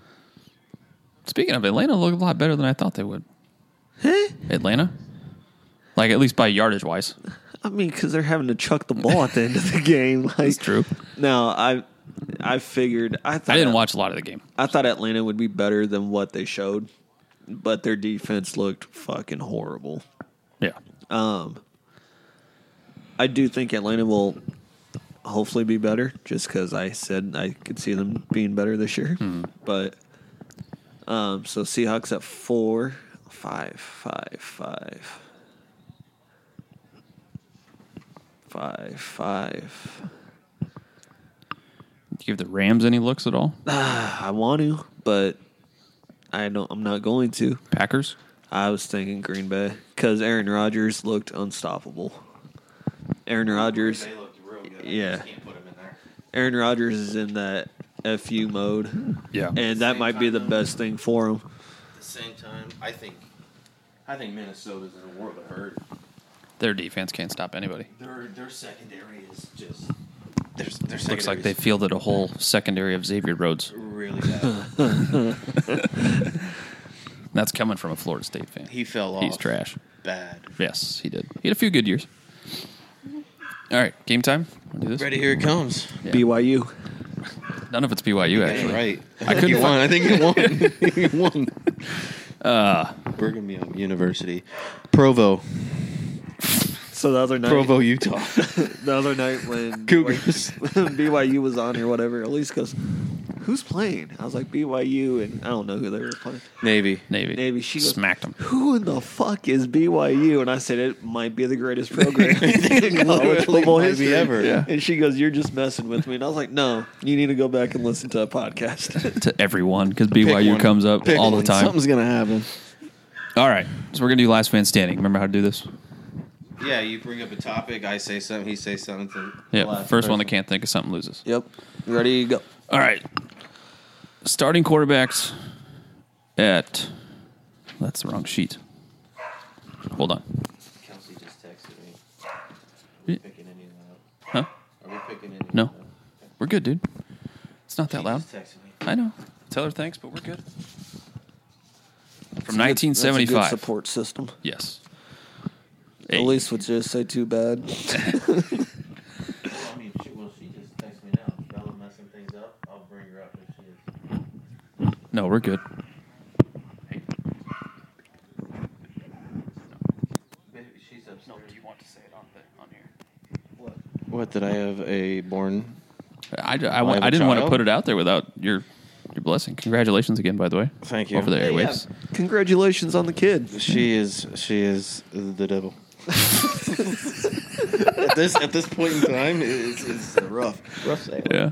Speaking of Atlanta, looked a lot better than I thought they would. eh, Atlanta, like at least by yardage wise, I mean, because they're having to chuck the ball at the end of the game. Like, it's true. No, I, I figured. I thought I didn't watch a lot of the game. I thought Atlanta would be better than what they showed, but their defense looked fucking horrible. Yeah, I do think Atlanta will hopefully be better just because I said I could see them being better this year. But um, so Seahawks at four, five, five, five, five, five. You give the Rams any looks at all? I want to, but I don't. I'm not going to. Packers? I was thinking Green Bay because Aaron Rodgers looked unstoppable. Aaron Rodgers, yeah. Aaron Rodgers is in that fu mode, Yeah. and that might be the best thing for him. At the same time, I think I think Minnesota's in a world of hurt. Their defense can't stop anybody. Their their secondary is just their their Looks like secondary's they fielded a whole secondary of Xavier Rhodes. really bad. And That's coming from a Florida State fan. he fell off. He's trash. Bad. Yes, he did. He had a few good years. All right, game time. Wanna do this? Ready? Here it comes. BYU, None of it's BYU actually. right. I couldn't He find- won. I think he won. he won. Uh, Brigham Young University, Provo, so the other night, Provo, Utah, the other night when Cougars. BYU was on or whatever, at least goes, "Who's playing?" I was like BYU, and I don't know who they were playing. Navy. Navy. Navy, she goes- smacked him. Who in the fuck is BYU? And I said it might be the greatest program in college Probably football might be history ever. Yeah. And she goes, "You're just messing with me." And I was like, "No, you need to go back and listen to a podcast." To everyone because BYU one. comes up Pick all the one. time. Something's gonna happen. All right, so we're gonna do last man standing. Remember how to do this? Yeah, you bring up a topic. I say something. He says something. Yeah, first one that can't think of something loses. yep. Ready? Go. All right, starting quarterbacks at that's the wrong sheet. Hold on. Kelsey just texted me. we Yeah. picking any of Huh? that? Are we picking any? No. We're good, dude. It's not that loud. I know. Tell her thanks, but we're good. From nineteen seventy That's a good five. support system. Yes. At Hey, least would just say too I bad. mean, she, well, she just texted me now. Y'all are messing things up. I'll bring her up if she is. No, we're good. Maybe she's upstairs. No, do you want to say it on, the, on here? What? What did I have a born? I, I, I have I a didn't want to child? put it out there without your your blessing. Congratulations again, by the way. Thank you. Over the airwaves. Congratulations on the kid. She is. She is the devil. at this at this point in time, it's, it's rough. Rough. Sale. Yeah.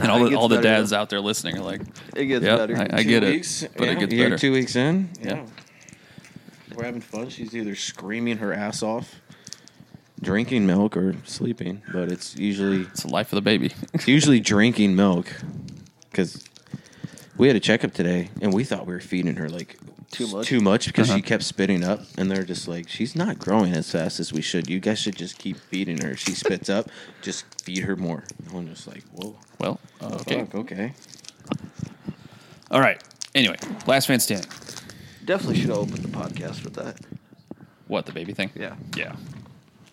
And all It the, gets all the better, dads out there listening are like, It gets yeah, better. I, I Two get weeks, it, but yeah, it gets you're better. Two weeks in, yeah. Yeah. We're having fun. She's either screaming her ass off, drinking milk, or sleeping. But it's usually It's the life of the baby. it's usually drinking milk because we had a checkup today, and we thought we were feeding her like Too much? too much because Uh-huh. she kept spitting up, and they're just like, she's not growing as fast as we should. You guys should just keep feeding her. She spits up, just feed her more. And I'm just like, whoa, well, okay. fuck, okay. All right. Anyway, last man standing. Definitely should have opened the podcast with that. What the baby thing? Yeah. Yeah.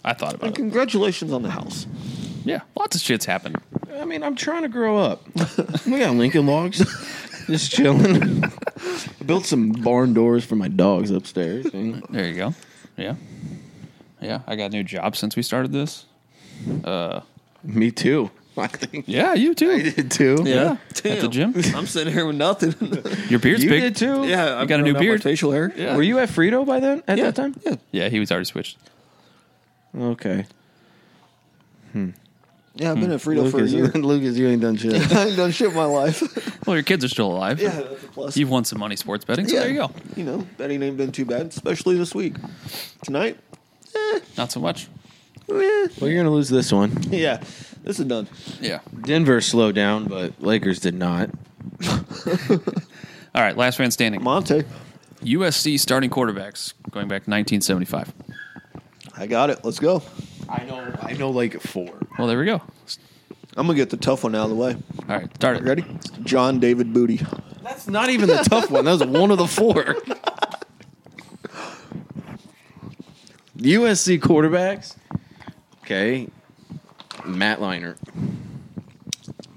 I thought And about it. congratulations on the house. Yeah. Lots of shits happened. I mean, I'm trying to grow up. we got Lincoln logs, just chilling. Built some barn doors for my dogs upstairs. and- There you go. Yeah. Yeah. I got a new job since we started this. me too. I think Yeah, you too. I did too. Yeah. Damn. At the gym. I'm sitting here with nothing. Your beard's you big. did too. yeah, got a new growing out my beard. facial hair. Yeah. Were you at Frito by then? At that time? Yeah. Yeah, he was already switched. Okay. Yeah, I've been at Frito for a Lucas, uh, you, year. Lucas, you ain't done shit. I ain't done shit with my life. Well, your kids are still alive. yeah, that's a plus. You've won some money sports betting, so yeah. there you go. You know, betting ain't been too bad, especially this week. Tonight, Not so much. eh, well, you're gonna lose this one. yeah, this is done. Yeah. Denver slowed down, but Lakers did not. All right, last man standing. Monte, USC starting quarterbacks going back to 1975. I got it. Let's go. I know. I know like four. Well, there we go. I'm gonna get the tough one out of the way. All right, start it. Ready? John David Booty. That's not even the tough one. That was one of the four. USC quarterbacks. Okay. Matt Leinart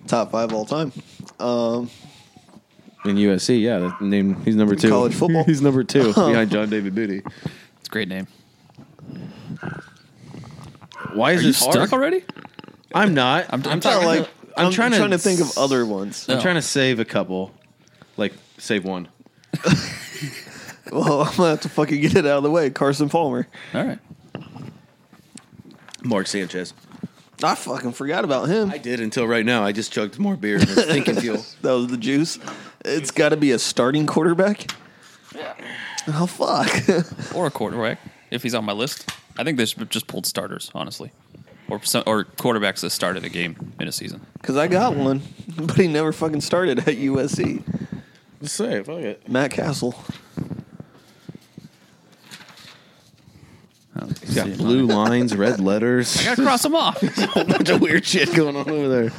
Top five all time. Um, in USC. Yeah, that name. He's number two. College football. he's number two behind John David Booty. It's a great name. Why is Are you this hard? stuck already? I'm not. I'm- I'm, trying I'm talking to like- like. I'm, Uh. trying, to, think of other ones. I'm No. trying to save a couple, like save one. Well, I'm gonna have to fucking get it out of the way. Carson Palmer. All right. Mark Sanchez. I fucking forgot about him. I did until right now. I just chugged more beer than thinking fuel. that was the juice. It's got to be a starting quarterback. Yeah. Oh fuck. Or a quarterback if he's on my list. I think they should have just pulled starters, honestly, or some, or quarterbacks that started the game in a season. Because I got one, but he never fucking started at USC. Just say, fuck it. Matt Castle. He's got blue lines, red letters. Gotta cross them off. a bunch of weird shit going on over there.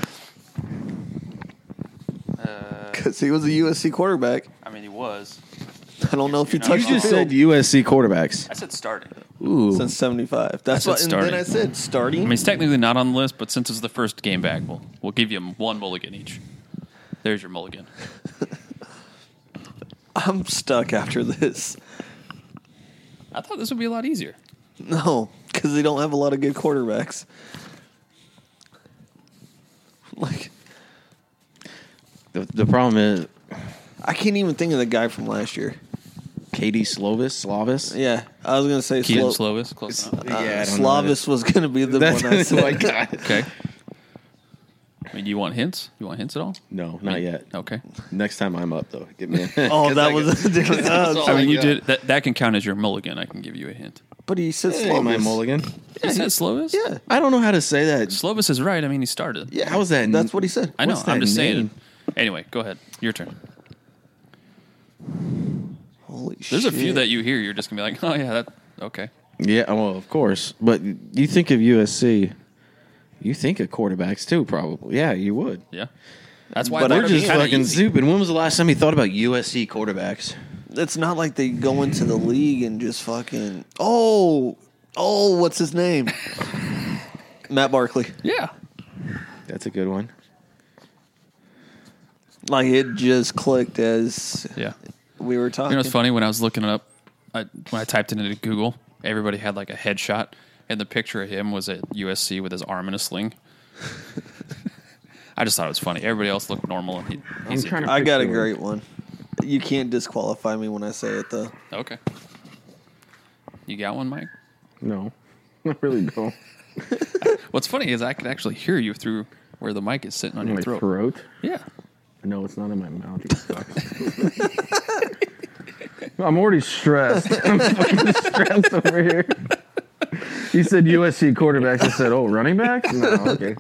Because he was a USC quarterback. I mean, he was. I don't know if he not touched You just the field said USC quarterbacks. I said starting. Ooh, since '75. That's I said what. And then I starting. said starting. I mean, he's technically not on the list, but since it's the first game back, we'll we'll give you one mulligan each. There's your mulligan. I'm stuck after this. I thought this would be a lot easier. No, because they don't have a lot of good quarterbacks. Like the, the problem is I can't even think of the guy from last year. Katie Slovis. Slovis. Yeah, I was gonna say Keaton Slo- Slovis, close enough. uh, Yeah, I don't know Slavis was gonna be the That's one I oh my said. god. Okay. I mean, you want hints? You want hints at all? No, not yet. Okay. Next time I'm up though. Get me. In. Oh, 'Cause that I was got- a different. uh, all I mean, Oh, you yeah. did that. That can count as your mulligan. I can give you a hint. but he said Hey, my Slavis. mulligan. Is that Slovis? Yeah, I don't know how to say that. Slovis is right. I mean, he started. yeah. How was that? That's what he said. I know. What's I'm that just saying. name? Anyway, go ahead. Your turn. Holy There's shit. a few that you hear. You're just gonna be like, oh yeah, that okay. Yeah, well, of course. But you think of USC, you think of quarterbacks too, probably. Yeah, you would. Yeah. That's why. But I We're thought it'd be just kinda fucking easy. stupid. When was the last time you thought about USC quarterbacks? It's not like they go into the league and just fucking. Oh, oh, what's his name? Matt Barkley. Yeah. That's a good one. Like it just clicked as Yeah. we were talking. You know what's funny? When I was looking it up, I, when I typed it into Google, everybody had like a headshot, and the picture of him was at USC with his arm in a sling. I just thought it was funny. Everybody else looked normal, and he, he's a- I got a great one. You can't disqualify me when I say it though. Okay. You got one, Mike? No, I really don't. What's funny is I can actually hear you through where the mic is sitting on My your throat. throat. Yeah. No, it's not in my mouth. you fuck. I'm already stressed. I'm fucking stressed over here. You said USC quarterbacks. I said, oh, running backs? No, okay.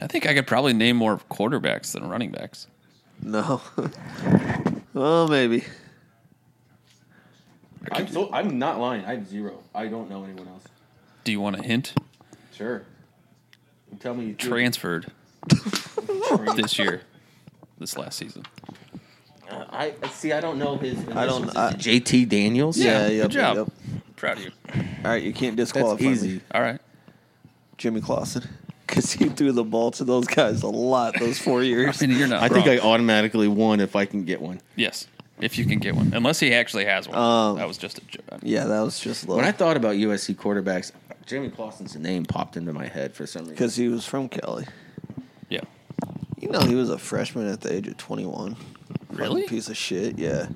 I think I could probably name more quarterbacks than running backs. No. well, maybe. I'm, so, I'm not lying. I have zero. I don't know anyone else. Do you want a hint? Sure. You Tell me. You do. Transferred this year, this last season. Uh, I see. I don't know his. I don't- Is it JT Daniels. Yeah, good yep, job. yep. Proud of you. All right, you can't that's disqualify me, easy. All right. Jimmy Clausen, because he threw the ball to those guys a lot those four years. I mean, you're not. I think wrong. I automatically won if I can get one. Yes. If you can get one. Unless he actually has one. Um, that was just a joke. yeah, that was just When I low thought about USC quarterbacks, Jamie Clausen's name popped into my head for some reason. because he was from Kelly. Yeah. You know, he was a freshman at the age of twenty-one. Fucking Really? Piece of shit. Yeah.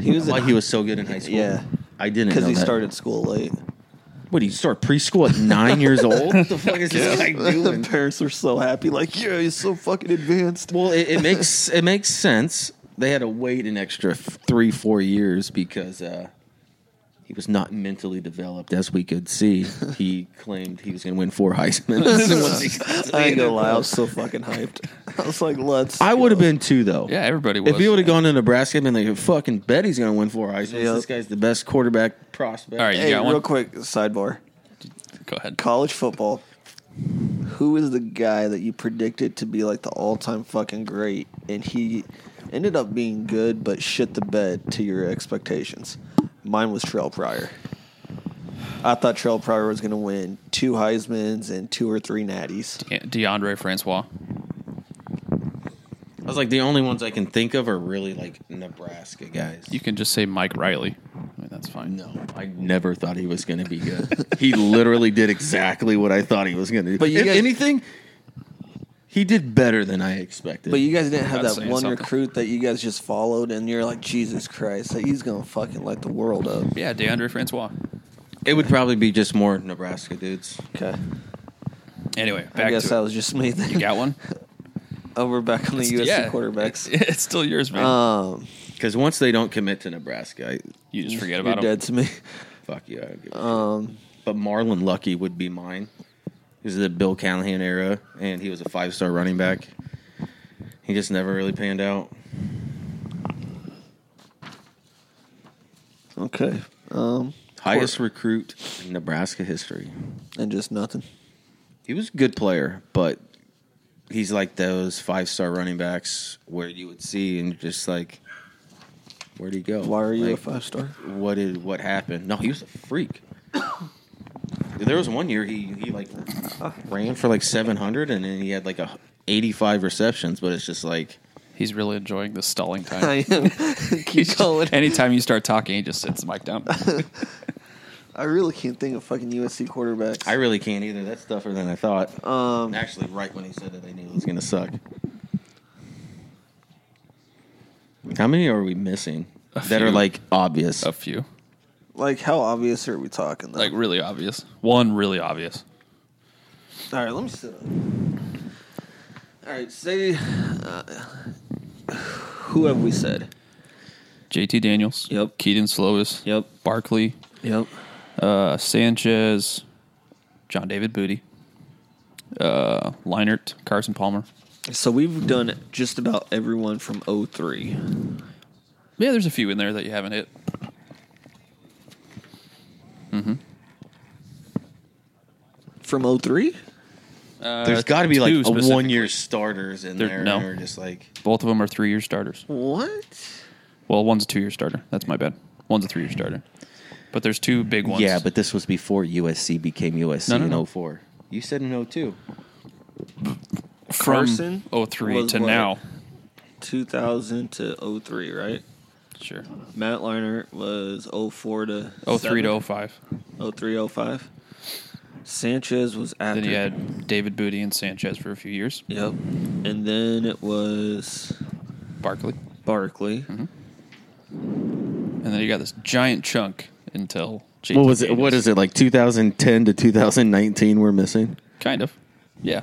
He was. why in- he was so good in high school. Yeah. I didn't Because know he that. started school late. What do you start preschool at nine years old? What the fuck is this guy the doing? parents are so happy. Like, yeah, he's so fucking advanced. Well, it, it makes it makes sense. They had to wait an extra f- three four years because uh, he was not mentally developed, as we could see. He claimed he was going to win four Heisman. Once he got to the I ain't gonna NFL. lie, I was so fucking hyped. I was like, let's. I would have go. been two though. Yeah, everybody was. If he would have gone to Nebraska, I'd been like, "Fucking bet he's going to win four Heisman. Yeah. This guy's the best quarterback prospect." All right. You Hey, got one? real quick sidebar. Go ahead. College football. Who is the guy that you predicted to be like the all-time fucking great, and he ended up being good, but shit the bed to your expectations? Mine was Trell Pryor. I thought Trell Pryor was gonna win two Heisman's and two or three Natties. DeAndre Francois. was like, the only ones I can think of are really like Nebraska guys. You can just say Mike Riley. I mean, that's fine. no, I never thought he was going to be good. he literally did exactly what I thought he was going to do. But But you if guys- anything, he did better than I expected. But you guys didn't have That's that saying one something. recruit that you guys just followed, and you're like, Jesus Christ, that he's gonna fucking light the world up. Yeah, DeAndre Francois. it would probably be just more Nebraska dudes. Okay, Anyway, back I guess to that it. was just me. Then. you got one. over back on the USC quarterbacks. It's, it's still yours, man. Um, Because once they don't commit to Nebraska, I, you just forget you're about him. dead to me. fuck you. I don't give a Um, shit. But Marlon Lucky would be mine. He was the Bill Callahan era, and he was a five star running back. He just never really panned out. okay, um, Highest recruit in Nebraska history. and just nothing. He was a good player, but he's like those five star running backs where you would see and you're just like, where'd he go? Why are you a Like, five star? What did what happened? No, he was a freak. there was one year he he like ran for like 700 and then he had like a 85 receptions, but it's just like He's really enjoying the stalling time. I am. Keep going. Anytime you start talking, he just sits the mic down. I really can't think of fucking USC quarterbacks. I really can't either. That's tougher than I thought. um, Actually, right when he said it, I knew it was gonna suck. How many are we missing that are few. like obvious? A few, like how obvious are we talking? Though? like really obvious. One really obvious. All right, let me sit up. All right, say, uh, who have we said? JT Daniels. Yep. Keaton Slovis. Yep. Barkley. Yep. Uh, Sanchez. John David Booty. Uh, Leinert. Carson Palmer. So we've done just about everyone from 03. Yeah, there's a few in there that you haven't hit. From 03? Uh, There's got to be two like a specific- one year starters in There- there. no. And we're just like Both of them are three year starters. What? Well, one's a two year starter. That's my bad. One's a three year starter. But there's two big ones. yeah, but this was before USC became USC No, no, no. in 04. You said in 02. from Carson 03 was to what? now. 2000 to 03, right? Sure. Matt Leiner was 04 to 03 to 05. 03, 05. Sanchez was after. Then you had David Booty and Sanchez for a few years. Yep. And then it was Barkley. Barkley. And then you got this giant chunk until JT What was it? Daniels. What is it like 2010 to 2019? We're missing. Kind of. Yeah.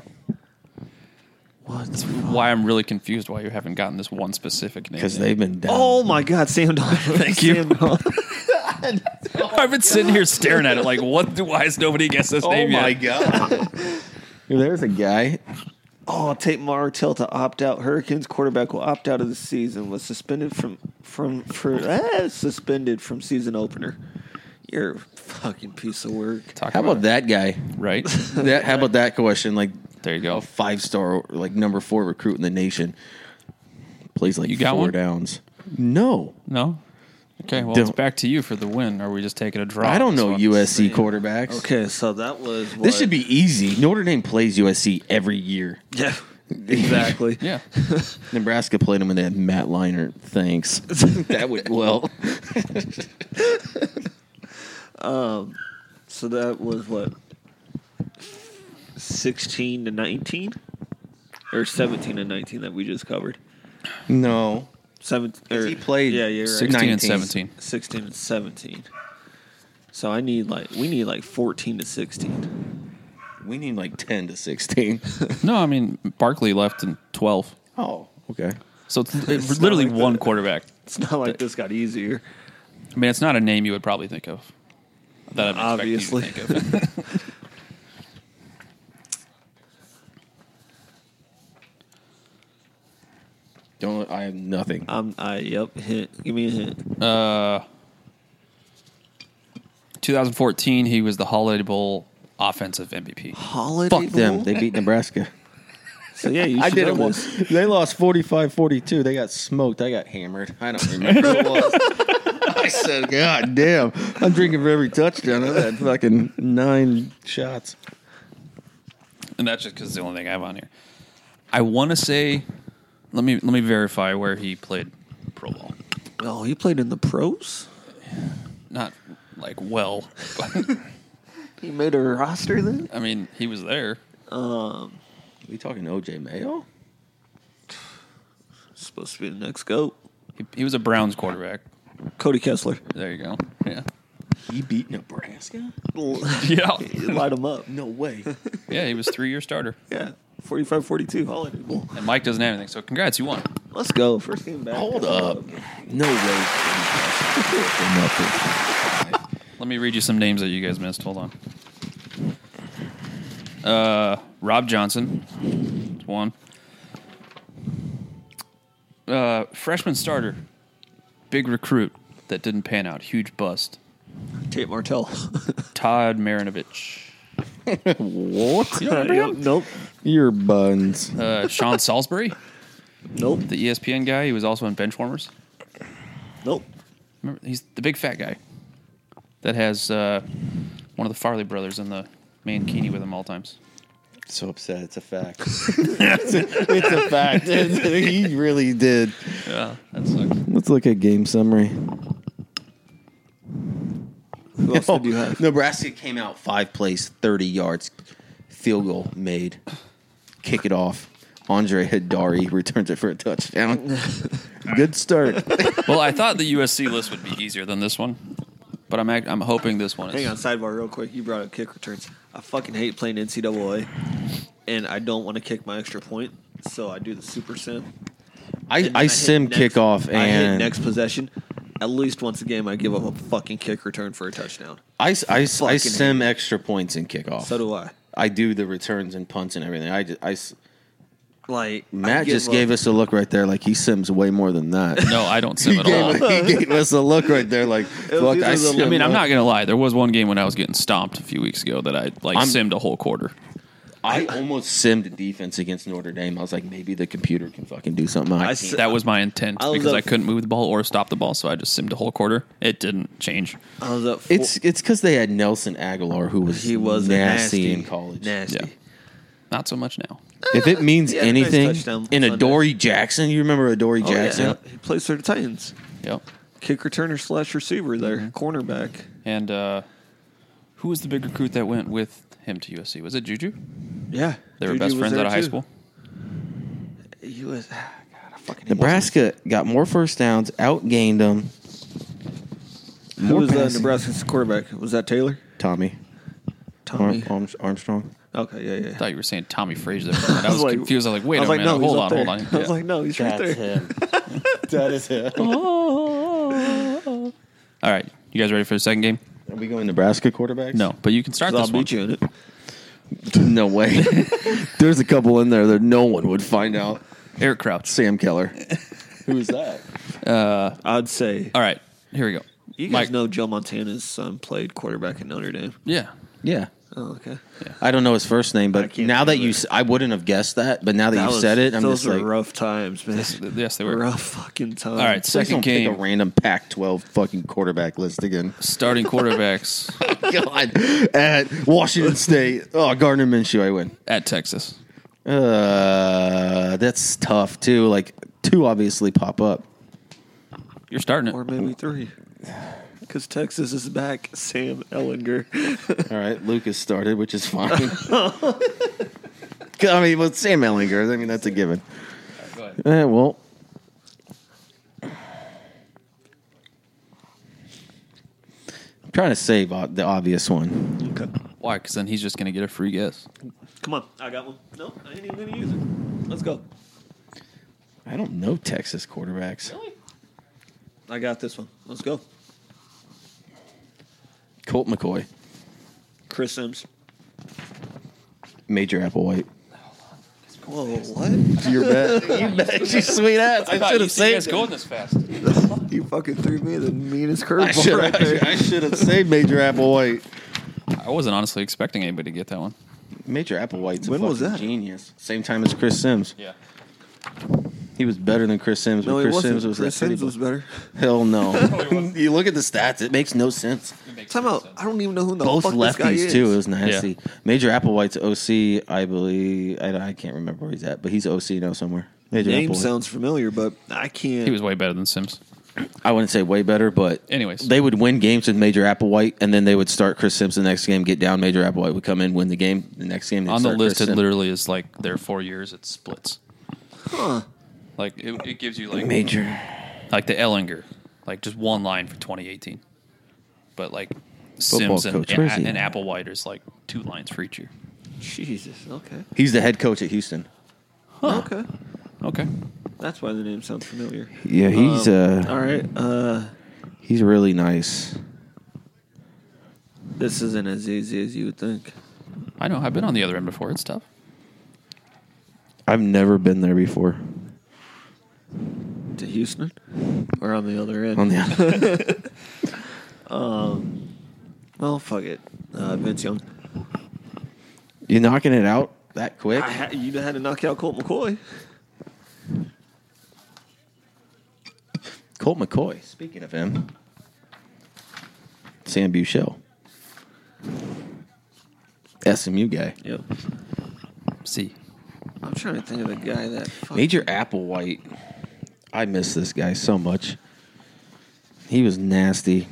What? the fuck? Why I'm really confused why you haven't gotten this one specific name. Because they've been down. Oh my God, Sam Donald. Thank you. I've been sitting here staring at it like, what? Why has nobody guessed this name yet? Oh god! There's a guy. Oh, Tate Martell to opt out. Hurricanes quarterback will opt out of the season. Was suspended from from for eh, suspended from season opener. You're a fucking piece of work. Talk How about that guy? it, Right? That how about that question? Like There you a go. five star, like number four recruit in the nation. Plays like You got four one? downs. No, No? Okay, well, it's Don't- back to you for the win. Are we just taking a draw? I don't on this know one? USC quarterbacks. Okay, so that was what? This should be easy. Notre Dame plays USC every year. yeah, exactly. Yeah. Nebraska played them when they had Matt Leinart. Thanks. that would well. So that was what sixteen to nineteen or seventeen to nineteen that we just covered. No, Seventeen. Or, he played Yeah, you're right. 16 and 19s. 17. 16 and 17. So I need like we need like 14 to 16. we need like ten to sixteen. No, I mean, Barkley left in 12. oh, okay. So it's, it's not literally like one that. quarterback. It's not like this got easier. I mean, it's not a name you would probably think of. That I'm Obviously. Obviously. You to think of. Don't I have nothing. Um, I yep. Hint. Give me a hint. Uh, 2014, he was the Holiday Bowl offensive MVP. Holiday. Fuck them. Bowl? They beat Nebraska. So yeah, you should I did know it once. this. They lost 45-42. They got smoked. I got hammered. I don't remember who it was. I said, God damn. I'm drinking for every touchdown. I had fucking nine shots. And that's just because it's the only thing I have on here. I want to say Let me let me verify where he played pro ball. Oh, he played in the pros. Not like well. He made a roster then. I mean, he was there. We talking OJ Mayo? Supposed to be the next goat. He, he was a Browns quarterback. Cody Kessler. There you go. Yeah. He beat Nebraska? Yeah. Light him up. No way. Yeah, he was three year starter. Yeah. 45 42 holiday bowl. And Mike doesn't have anything, so congrats, you won. Let's go. First game back. Hold up. No way. Let me read you some names that you guys missed. Hold on. Uh, Rob Johnson, is one. Uh, freshman starter, big recruit that didn't pan out, huge bust. Tate Martell. Todd Marinovich, what? nope. Your buns. uh, Sean Salisbury, Nope. the E ESPN guy. He was also in Benchwarmers. Nope. Remember, he's the big fat guy that has uh, one of the Farley brothers in the mankini with him all times. So upset. It's a fact. it's, a, it's a fact. he really did. Yeah, that sucks. Let's look at game summary. Who else did you have? Oh, Nebraska came out five plays, 30 yards, field goal made, kick it off. Andre Hidari returns it for a touchdown. Good start. Well, I thought the USC list would be easier than this one, but I'm act- I'm hoping this one is. Hang on, sidebar real quick. You brought up kick returns. I fucking hate playing NCAA, and I don't want to kick my extra point, so I do the super sim. I, And then I hit sim next- kickoff I hit and I, next possession. At least once a game, I give up a fucking kick return for a touchdown. I, I Fucking sim extra points in kickoff. So do I. I do the returns and punts and everything. I, ju- I s- Like I Matt give just up- gave us a look right there, like he sims way more than that. No, I don't sim he, at all. gave, he gave us a look right there, like fuck. either I, the sim I mean, I'm more. not gonna lie. There was one game when I was getting stomped a few weeks ago that I like I'm- simmed a whole quarter. I almost simmed defense against Notre Dame. I was like, maybe the computer can fucking do something. I, I can't. s- That was my intent I was because up- I couldn't move the ball or stop the ball, so I just simmed a whole quarter. It didn't change. I was up. Four, it's it's because they had Nelson Aguilar, who was he was nasty, nasty, in college. Nasty. Yeah. Not so much now. If it means Yeah, nice anything, touchdown in a Sunday. Dory Jackson, you remember a Dory Oh, yeah. Jackson? He plays for the Titans. Yep. Kick returner slash receiver there, Mm-hmm. cornerback. And uh, who was the big recruit that went with him to USC? Was it Juju? Yeah, They were Juju best was friends there out of high too. school. He was. ah, God, I fucking hate Nebraska got more first downs, outgained them. Who More was uh, passing. Nebraska's quarterback? Was that Taylor? Tommy Arm- Tommy. Arms- Armstrong. Okay, yeah, I yeah. thought you were saying Tommy Frazier. there for a minute. I was, like- confused. I was like, wait I was a like, minute. no, he's hold up on, there. hold on. I was like, no, he's right there. him. that is him. All right. You guys ready for the second game? Are we going Nebraska quarterbacks? No, but you can start I'll this one. beat you in it. no way. There's a couple in there that no one would find out. Eric Crouch. Sam Keller. Who's that? I'd say All right, here we go. you guys Mike- know Joe Montana's son played quarterback at Notre Dame. Yeah, Yeah. Oh, okay. I don't know his first name, I but can't now that remember. you, s- I wouldn't have guessed that. But now that, you was- said it, I'm those just were like, rough times, man. th- yes, they were. rough fucking times. All right, please don't second pick game, a random Pac-12 fucking quarterback list again. starting quarterbacks God, at Washington State. Oh, Gardner Minshew, I win. at Texas. Uh, that's tough too. Like two obviously pop up. You're starting or it. maybe three, because Texas is back. Sam Ellinger. All right, Lucas started, which is fine. I mean, well, Sam Ellinger. I mean, that's a given. Eh, well, I'm trying to save o- the obvious one. okay. Why? Because then he's just going to get a free guess. Come on, I got one. No, I ain't even gonna use it. Let's go. I don't know Texas quarterbacks. I got this one. Let's go. Colt McCoy, Chris Sims. Major Applewhite. Whoa, what? Your bet. you bet your sweet ass. I, should have saved. going this fast. you fucking threw me the meanest I curveball should. right there. I should have saved Major Applewhite. I wasn't honestly expecting anybody to get that one. Major Applewhite's a When fucking was that? genius. Same time as Chris Sims. Yeah. He was better than Chris Sims. No, but it Chris wasn't. Sims was Chris that pretty Sims was better. boy. Hell no. you look at the stats; it makes no sense. Time out. I don't even know who the Both fuck this guy lefties is. too. It was nasty. Major Applewhite's OC, I believe. I, I can't remember where he's at, but he's OC now somewhere. Adrian Name Applewhite. sounds familiar, but I can't. He was way better than Sims. I wouldn't say way better, but Anyways. they would win games with Major Applewhite, and then they would start Chris Sims the next game, get down. Major Applewhite would come in, win the game. The next game, they'd On the start list, Chris it Sims. literally is like their four years. It splits. Like it, it gives you like Major. like the Ellinger, like just one line for 2018. But like Football Sims and, coach, where is he? and, and Applewhite is like two lines for each year. Jesus. Okay. He's the head coach at Houston. Okay. Okay. That's why the name sounds familiar. Yeah, he's Um, uh, all right. Uh, he's really nice. this isn't as easy as you would think. I know. I've been on the other end before. It's tough. I've never been there before. To Houston, or on the other end. On the well, fuck it. Uh, Vince Young. you knocking it out that quick? I ha- you had to knock out Colt McCoy. Colt McCoy. Speaking of him, Sam Buchel, SMU guy. Yep. See. I'm trying to think of a guy that. fuck- Major Applewhite. I miss this guy so much. He was nasty.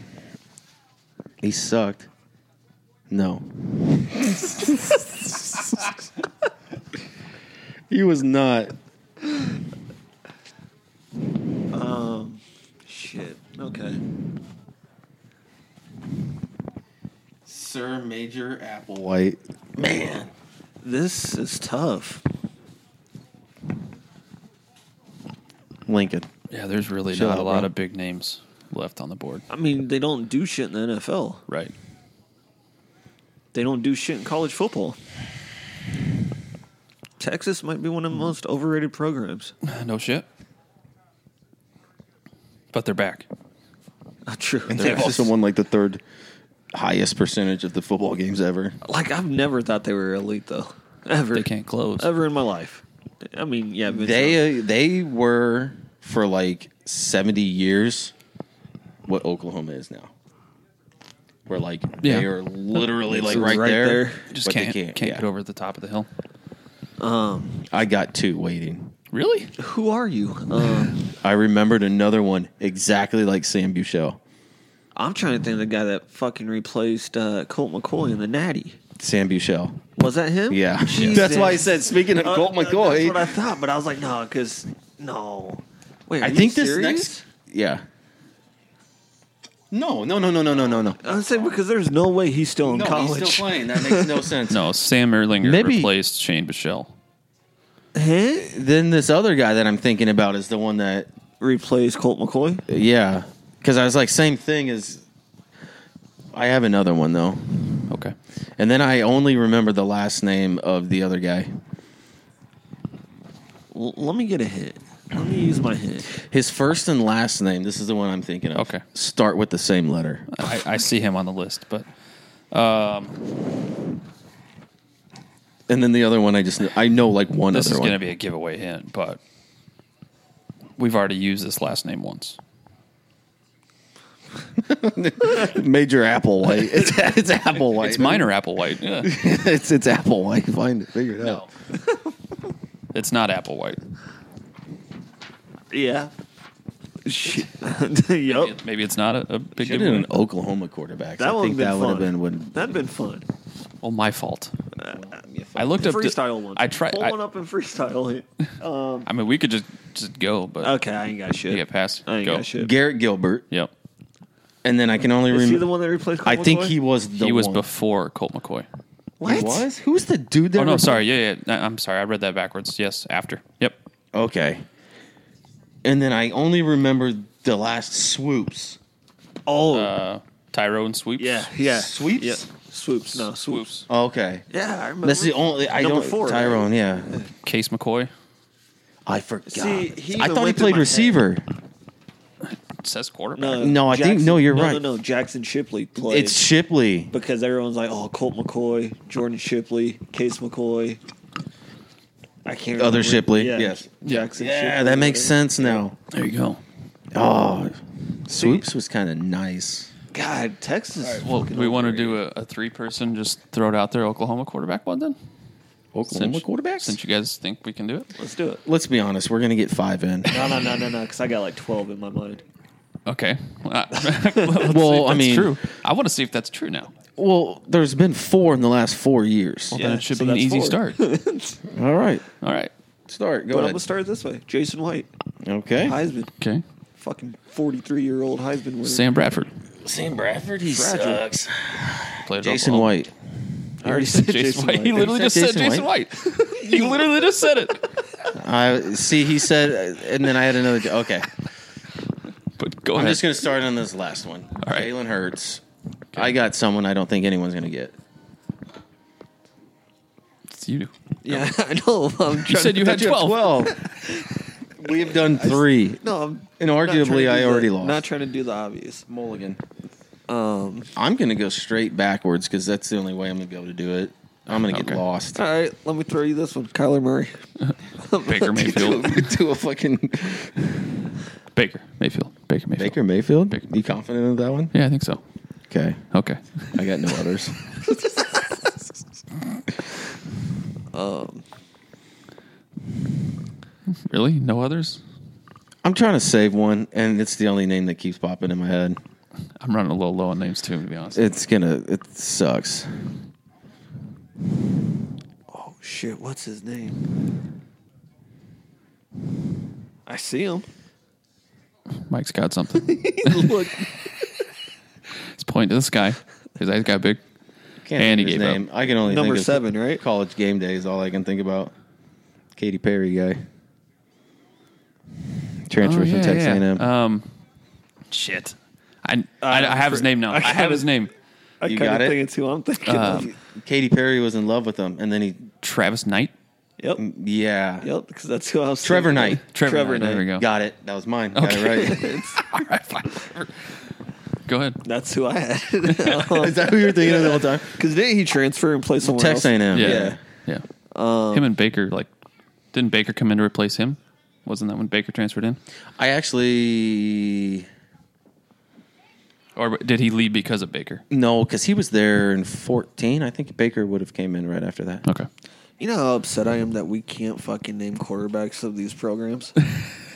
He sucked. No. he was not. Shit. Okay. Sir Major Applewhite. Man. This is tough. Lincoln. Yeah, there's really Chill not a out, lot bro. of big names left on the board. I mean, they don't do shit in the NFL. Right. They don't do shit in college football. Texas might be one of the most overrated programs. No shit. But they're back. Not true. They've also won like the third highest percentage of the football games ever. Like I've never thought they were elite though. Ever. They can't close. Ever in my life. I mean, yeah, Vince Young. They uh, they were for like seventy years what Oklahoma is now. We're like Yeah. they are literally like It's right, right there. there. Just but they can't can't, yeah. get over the top of the hill. I got two waiting. Really? uh, Who are you? Um, I remembered another one exactly like Sam Buchel. I'm trying to think of the guy that fucking replaced uh, Colt McCoy in the Natty. Sam Buchel. Was that him? Yeah, Jesus. that's why I said. Speaking of Uh, Colt th- That's McCoy, what I thought, but I was like, no, because no. Wait, are I you think this serious? next. Yeah. No, no, no, no, no, no, no, no. I said because there's no way he's still in No, college. he's still playing. That makes no sense. No, Sam Erlinger Maybe- replaced Shane Bichelle. Huh? Then this other guy that I'm thinking about is the one that Replace Colt McCoy. yeah, because I was like same thing as. I have another one though, Okay. and then I only remember the last name of the other guy. L- let me get a hit. Let me use my hit. His first and last name. This is the one I'm thinking of. Okay. start with the same letter. I, I see him on the list, but And then the other one, I just kn- I know like one this other is one. going to be a giveaway hint, but we've already used this last name once. Major Applewhite. It's it's Applewhite. It's minor Applewhite. Yeah. it's it's Applewhite. Find it. Figure it no. out. It's not Applewhite. Yeah. Shit. yep. Maybe it's not a, a big Should have been giveaway. an Oklahoma quarterback. That I would think have been that would fun. have been would. That'd been fun. Well, Oh, my fault. I looked up freestyle one. I tried. Pull I, one up and freestyle it. Um, I mean, we could just just go, but okay, I ain't got shit. you get past. I ain't go. got shit. Garrett Gilbert, Yep. and then I can only Is he the remember. one that replaced? Colt I think McCoy? he was the he was one. before Colt McCoy. What? He was? Who's the dude that Oh no, repl- sorry. Yeah, yeah. I- I'm sorry. I read that backwards. Yes, after. Yep. Okay. And then I only remember the last swoops. Oh, Uh, Tyrone sweeps. yeah, yeah. Sweeps? Yeah. Swoops. No, swoops. Swoops. Okay. Yeah, I remember. That's the only I Number don't four, right? Tyrone, yeah. Case McCoy. I forgot. See, he I even thought he went through played my head. receiver. It says quarterback. No, No, I think- no, you're right. No, no, Jackson Shipley played. It's Shipley. because everyone's like, oh, Colt McCoy, Jordan Shipley, Case McCoy. I can't. Other remember. Shipley, yes. Jackson. Yeah, Shipley, that makes whatever. sense now. There you go. Oh. Swoops was kind of nice. God, Texas. Well, we want to do a, a three person. Just throw it out there. Oklahoma quarterback one then. Oklahoma Since- quarterbacks. Since you guys think we can do it, Let's do it. Let's be honest, we're gonna get five in. No, no, no, no, no. Because I got like twelve in my mind. okay. Well, I- Well, I that's mean- true. I want to see if that's true now. Well, there's been four in the last four years. Well, then it should so be an that's easy four. start. All right, All right. start. Go But I'm ahead. gonna start this way. Jason White, Okay. Heisman, Okay. fucking forty-three-year-old Heisman winner. Sam Bradford Sam Bradford, he Bradford. sucks. played Jason Oklahoma. White. I already said Jason, White. He literally You just said said Jason Jason White. he literally just said it. I see. He said, and then I had another. Okay, But go I'm ahead. just gonna start on this last one. All right. Jalen Hurts. I got someone I don't think anyone's gonna get. It's you. Yeah, I know. I'm You said you had You have 12. we have done three, no. I'm and not trying to arguably do I the- already lost. Not trying to do the obvious. Mulligan. Um. I'm gonna go straight backwards because that's the only way I'm gonna be able to do it. I'm gonna get Okay. lost. All right, let me throw you this one, Kyler Murray. Baker Mayfield. to a fucking Baker Mayfield. Baker Mayfield. Baker Mayfield. Baker You confident of that one? Yeah, I think so. Okay, Okay. I got no others. Really? No others? I'm trying to save one, and it's the only name that keeps popping in my head. I'm running a little low on names too, to be honest. It's gonna. It sucks. Oh shit, what's his name? I see him. Mike's got something. Look, He's pointing to the sky. His eyes got big. Can't And think he of gave up. his name. I can only number think of seven, right? College game day is all I can think about. Katy Perry guy. Transfer Oh, from yeah, Texas yeah. A&M. Um, shit. I, I, I have his name now. Uh, I, have his name. I You kind got of it? Um, think it's who I'm thinking. of. Katy Perry was in love with him, and then he, Travis Knight. Yep, yeah, yep, because that's who I was. Trevor thinking of. Knight. Trevor, Trevor Knight. There Knight. we go. Got it. That was mine. Okay. Got it right. All right, fine. Whatever. Go ahead. That's who I had. Is that who you're thinking of the whole time? Because didn't he transfer and play somewhere Texas else? A&M. Yeah. Yeah. Yeah. Um, him and Baker, like, didn't Baker come in to replace him? Wasn't that when Baker transferred in? I actually Or did he leave because of Baker? no, because he was there in 14. I think Baker would have came in right after that. Okay. You know how upset I am that we can't fucking name quarterbacks of these programs.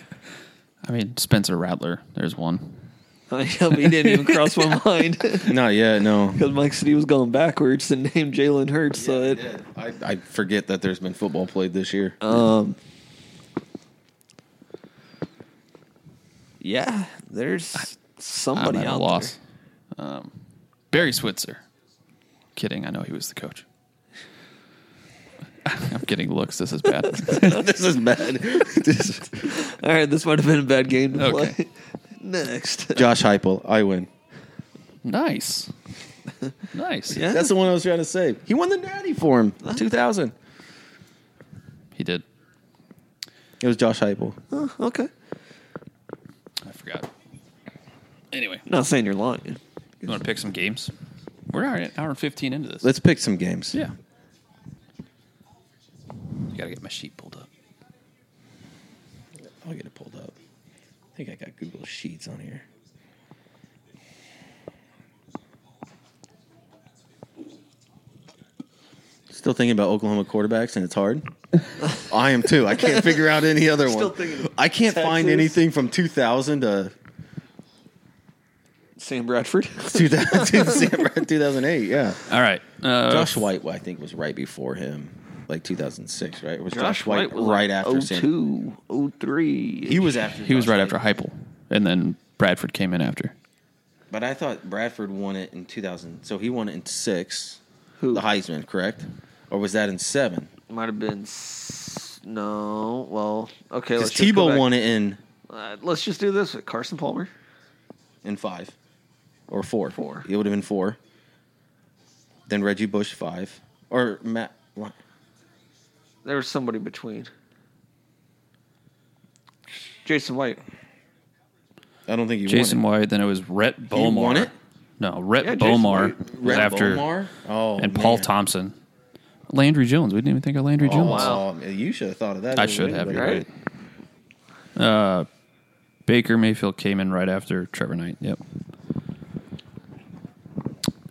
I mean, Spencer Rattler, there's one. I mean, didn't even cross my mind because Not yet. No. Mike said he was going backwards and named Jalen Hurts. so it, I, I forget that there's been football played this year. Um. Yeah, there's somebody I'm at a out loss. there. Um, Barry Switzer. Kidding. I know he was the coach. I'm getting looks. This is bad. this is bad. All right, this might have been a bad game to Okay. play. Next, Josh Heupel, I win. nice. Nice. Yeah. That's the one I was trying to say. He won the Natty for him, 2000. He did. It was Josh Heupel. Oh, okay. I forgot. Anyway, Not saying you're lying. you want to pick some games? We're already an hour and 15 into this. Let's pick some games. yeah. I got to get my sheet pulled up. I'll get it pulled up. I think I got Google Sheets on here. Still thinking about Oklahoma quarterbacks, and it's hard. I am too. I can't figure out any other Still one. thinking of I can't find Texas. anything from 2000 to Sam Bradford. 2000, 2008. Yeah, All right. Uh, Josh White, I think, was right before him, like 2006, right? It was Josh, White, was right like after Sam? 02, 03. He was after. He was Josh right White. after Heupel, and then Bradford came in after. But I thought Bradford won it in 2000. So he won it in six. Who? The Heisman, correct? Or was that in seven? might have been. s- No, well, okay. Because Let's just go Tebow back. won it in Uh, let's just do this with Carson Palmer. in five or four. Four. It would have been four. Then Reggie Bush five or Matt. Li- There was somebody between. Jason White. I don't think he Jason won. White, then it was Rhett Bomar. won it? No, Rhett Yeah, Jason Bomar White. it. was Rhett after, Bomar? Oh, and Paul man. Thompson, Landry Jones. We didn't even think of Landry Oh, Jones. wow. You should have thought of that. I should have. You're Right? right. Baker Mayfield came in right after Trevor Knight. Yep.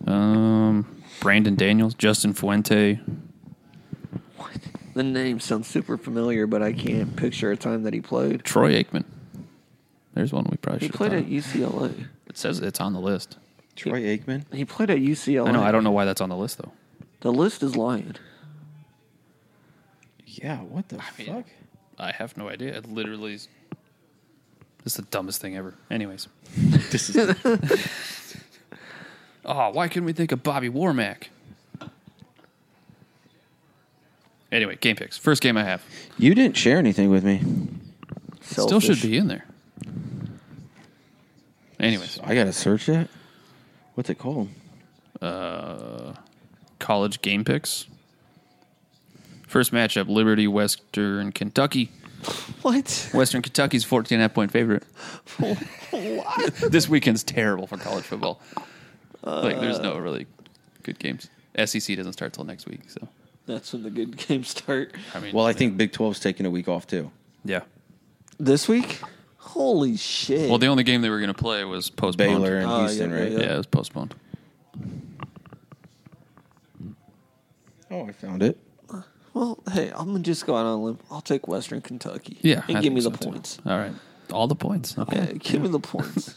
Um, Brandon Daniels, Justin Fuente. What? The name sounds super familiar, but I can't picture a time that he played. Troy Aikman. There's one we probably He should. played have at done. UCLA. It says it's on the list. Troy Aikman. He played at UCLA. I know. I don't know why that's on the list though. The list is lying. Yeah, what the mean- fuck? I have no idea. It literally is. This is the dumbest thing ever. Anyways. This is Oh, why couldn't we think of Bobby Warmack? Anyway, game picks. First game I have. You didn't share anything with me. Still Selfish. should be in there. Anyways, I gotta search that. What's it called? college game picks. First matchup Liberty, Western Kentucky. What? Western Kentucky's 14 and a half point favorite. what? This weekend's terrible for college football. like, there's no really good games. SEC doesn't start till next week, so. That's when the good games start. I mean, Well, I think Big 12's taking a week off too. yeah. This week? Holy shit. Well, the only game they were going to play was postponed. Baylor and Oh, Houston, yeah, right? yeah, Yeah, it was postponed. Oh, I found it. Well, hey, I'm gonna just go out on a limb. I'll take Western Kentucky. Yeah, and I give think me so, the too. points. All right, all the points. Okay. Yeah, give me the points.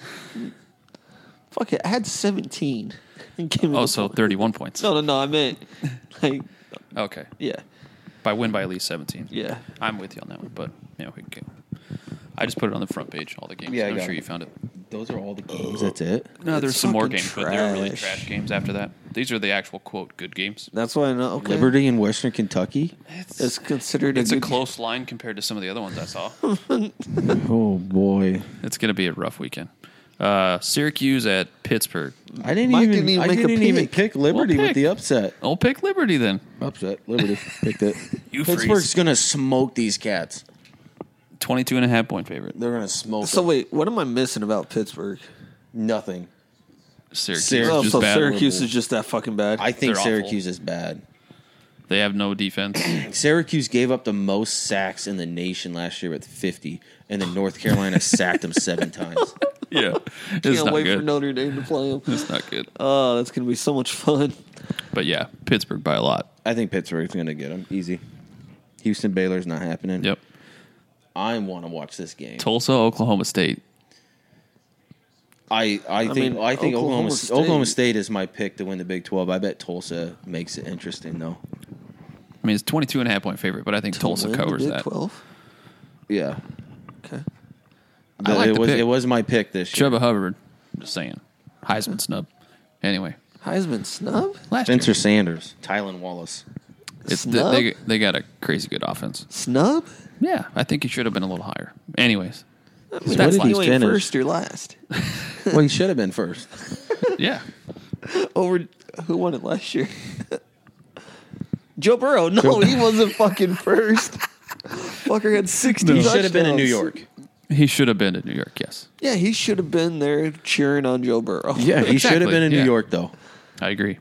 Fuck it, I had 17. And give me Oh, the so points. thirty-one points. No, no, no. I meant like, Okay, yeah, by win by at least seventeen. yeah. I'm with you on that one, but yeah, we can. I just put it on the front page. All the games. Yeah, I I'm got sure it. you found it. Those are all the games. That's it. No, It's there's some more fucking games, but they're really trash. trash games after that. These are the actual quote good games. That's why I know. Okay, Liberty and Western Kentucky. is considered It's a, a good, close line compared to some of the other ones I saw. Oh boy, it's gonna be a rough weekend. Uh, Syracuse at Pittsburgh. I didn't Mike even. didn't even I make a didn't even pick. pick Liberty Well, with the upset. I'll pick Liberty then. Upset. Liberty picked it. You Pittsburgh's freeze. gonna smoke these cats. 22 and a half point favorite. They're gonna smoke So them. wait, what am I missing about Pittsburgh? nothing. Syracuse. Syracuse. is Oh, just so bad. Syracuse Horrible. is just that fucking bad. I think They're awful. Syracuse is bad. They have no defense. Syracuse gave up the most sacks in the nation last year with 50, and then North Carolina sacked them seven times. yeah, it's can't not wait for good. Notre Dame to play them. it's not good. Oh, that's gonna be so much fun. But yeah, Pittsburgh by a lot. I think Pittsburgh's going to get them easy. Houston Baylor's not happening. Yep. I want to watch this game. Tulsa, Oklahoma State. I, I think I, mean, think Oklahoma Oklahoma State- State. Oklahoma State is my pick to win the Big 12. I bet Tulsa makes it interesting though. I mean, it's 22 and a half point favorite, but I think Tulsa Win the covers Big that. 12? Yeah. Okay. I like it the was pick. it was my pick this year. Chuba Hubbard, just saying. Heisman snub. Anyway, Heisman snub? last Spencer year, Sanders, Tylen Wallace. it's th- snub? they, they got a crazy good offense. Snub? Yeah, I think he should have been a little higher. Anyways, What That's if like- you ain't finish. first or last? well, he should have been first. yeah. Over who won it last year? Joe Burrow. No, he wasn't fucking first. Fucker had sixty. He should have been in touchdowns. New York. He should have been to New York, yes. Yeah, he should have been there cheering on Joe Burrow. Yeah, he should Exactly, have been in yeah. New York though. I agree.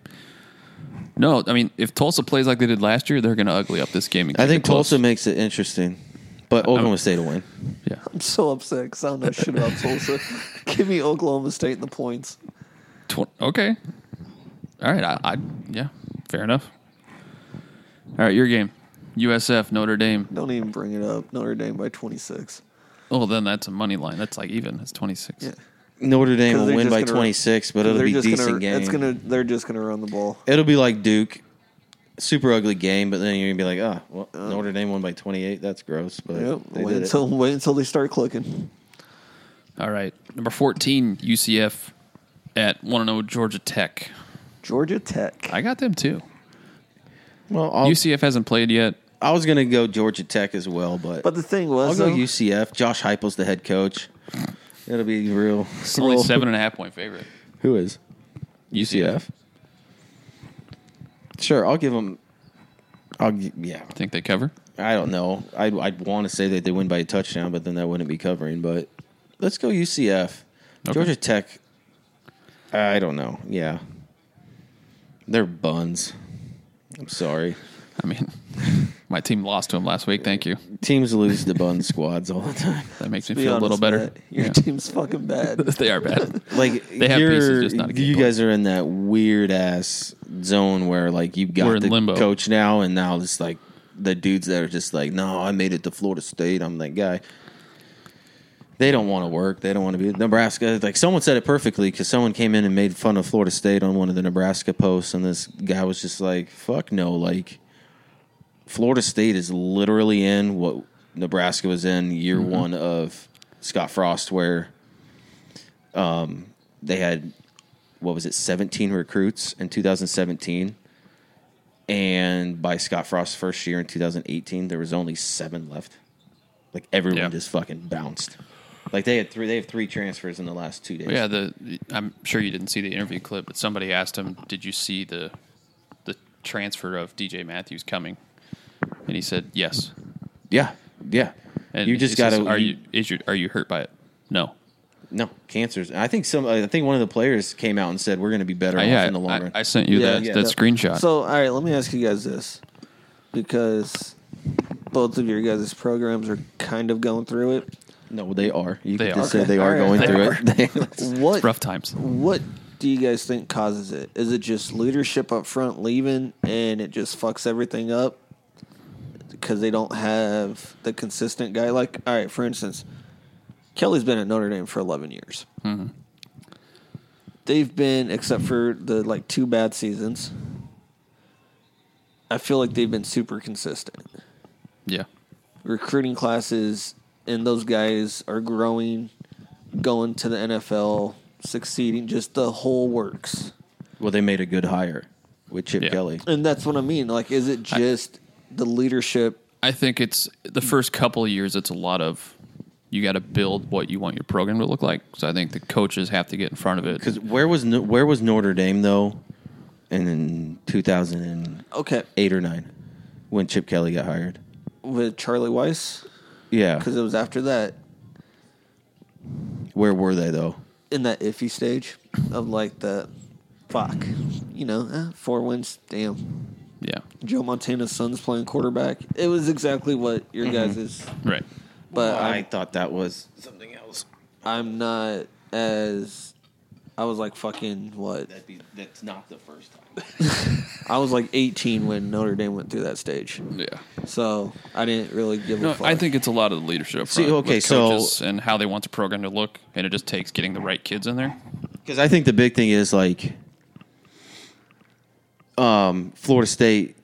No, I mean, if Tulsa plays like they did last year, they're going to ugly up this game. and I keep think it close. Tulsa makes it interesting, but Oklahoma State will win. Yeah. I'm so upset because I don't know shit about Tulsa. Give me Oklahoma State and the points. Tw- okay. All right. I, I yeah. Fair enough. All right. Your game. USF Notre Dame. Don't even bring it up. Notre Dame by 26. Oh, then that's a money line. That's like even. It's twenty six. Yeah. Notre Dame 'Cause will they're win just by gonna- 26, but it'll they're be just decent gonna, game. It's gonna. They're just gonna run the ball. It'll be like Duke, super ugly game, but then you're gonna be like, oh, well, Notre Dame won by 28. That's gross, but Uh, Yep. they Wait did it. until wait until they start clicking. All right. Number fourteen UCF at one and zero Georgia Tech. Georgia Tech. I got them too. Well, I'll, UCF hasn't played yet. I was gonna go Georgia Tech as well, but, But the thing I'll was, go though, UCF. Josh Heupel's the head coach. It'll be real. It's only real- seven and a half point favorite. Who is Sure, I'll give them. I'll gi- yeah. Think they cover? I don't know. I'd, I'd want to say that they win by a touchdown, but then that wouldn't be covering. But let's go UCF. Okay. Georgia Tech. I don't know. Yeah. They're buns. I'm sorry. I mean, my team lost to them last week. Thank you. Teams lose to bun squads all the time. That makes me be feel a honest, little better. Matt, your Yeah. team's fucking bad. they are bad. Like They have you're, pieces, just not a game you plan. guys are in that weird ass zone where like you've got We're in the limbo. coach now, and now it's like the dudes that are just like, no, I made it to Florida State. I'm that guy. They don't want to work. They don't want to be Nebraska. Like someone said it perfectly because someone came in and made fun of Florida State on one of the Nebraska posts, and this guy was just like, "Fuck no!" Like Florida State is literally in what Nebraska was in year Mm-hmm. one of Scott Frost, where they had what was it 17 recruits in 2017 and by scott frost's first year in 2018 there was only seven left like everyone Yeah. just fucking bounced like they had three they have three transfers in the last two days But yeah, the I'm sure you didn't see the interview clip, but somebody asked him, "Did you see the the transfer of DJ Matthews coming?" And he said, "Yes." yeah yeah And you he just says, gotta Are you is your, are you hurt by it? No. no cancers i think some i think one of the players came out and said we're going to be better I, off yeah, in the long I, run I sent you Yeah, that yeah. that So- screenshot. So, all right, let me ask you guys this because both of your guys' programs are kind of going through it. no they are you They could just are. say they are Okay. All going right. through it What Rough times. What do you guys think causes it? Is it just leadership up front leaving and it just fucks everything up because they don't have the consistent guy? Like, all right, for instance, Kelly's been at Notre Dame for 11 years. They've been, except for the like two bad seasons, I feel like they've been super consistent. Yeah. Recruiting classes and those guys are growing, going to the NFL, succeeding, just the whole works. well they made a good hire with chip Yeah. kelly And that's what I mean. Like, is it just the leadership? I think it's the first couple of years. It's a lot of you got to build what you want your program to look like. So I think the coaches have to get in front of it. Because where was No- where was Notre Dame though, in two thousand and Okay, eight or nine, when Chip Kelly got hired? with Charlie Weiss Yeah, because it was after that where were they though? in that iffy stage of like the fuck, you know, eh, four wins. Damn, yeah, Joe Montana's son's playing quarterback. It was exactly what your guys is, right. but I I'm, thought that was something else. I'm not as. I was like fucking what? That'd be that's not the first time. I was like 18 when Notre Dame went through that stage, Yeah. so I didn't really give a No, fuck. I think it's a lot of the leadership. See, front okay, with so- coaches and how they want the program to look, and it just takes getting the right kids in there. Because I think the big thing is like, um, Florida State,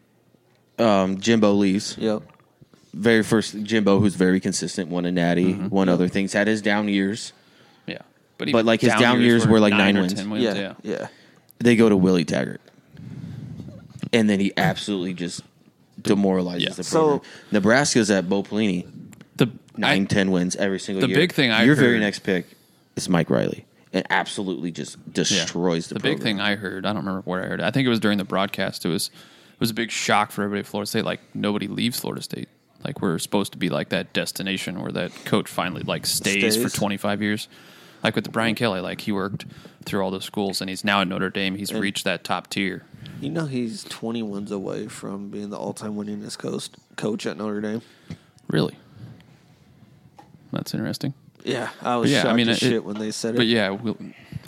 um, Jimbo leaves. Yep. Very first Jimbo, who's very consistent, won a natty, won other things, had his down years. Yeah, But, even like, his down years were, like, nine or wins. 10 Yeah. yeah. Yeah. they go to Willie Taggart, and then he absolutely just demoralizes Yeah. the program. So- Nebraska's at Bo Pelini, The nine, I- ten wins every single the year. big thing I your very heard- next pick is Mike Riley, and absolutely just Yeah. destroys the, big thing I heard. I don't remember where I heard. It. I think it was during the broadcast. It was it was a big shock for everybody at Florida State. Like nobody leaves Florida State. Like we're supposed to be like that destination where that coach finally like stays, Stays. for twenty five years. Like with the Brian Kelly, like he worked through all those schools and he's now at Notre Dame. He's reached that top tier. You know he's 20 wins away from being the all-time winningest coach coach at Notre Dame. Really, that's interesting. Yeah, I But was yeah, I shocked mean, as it- shit when they said it. But yeah, Will,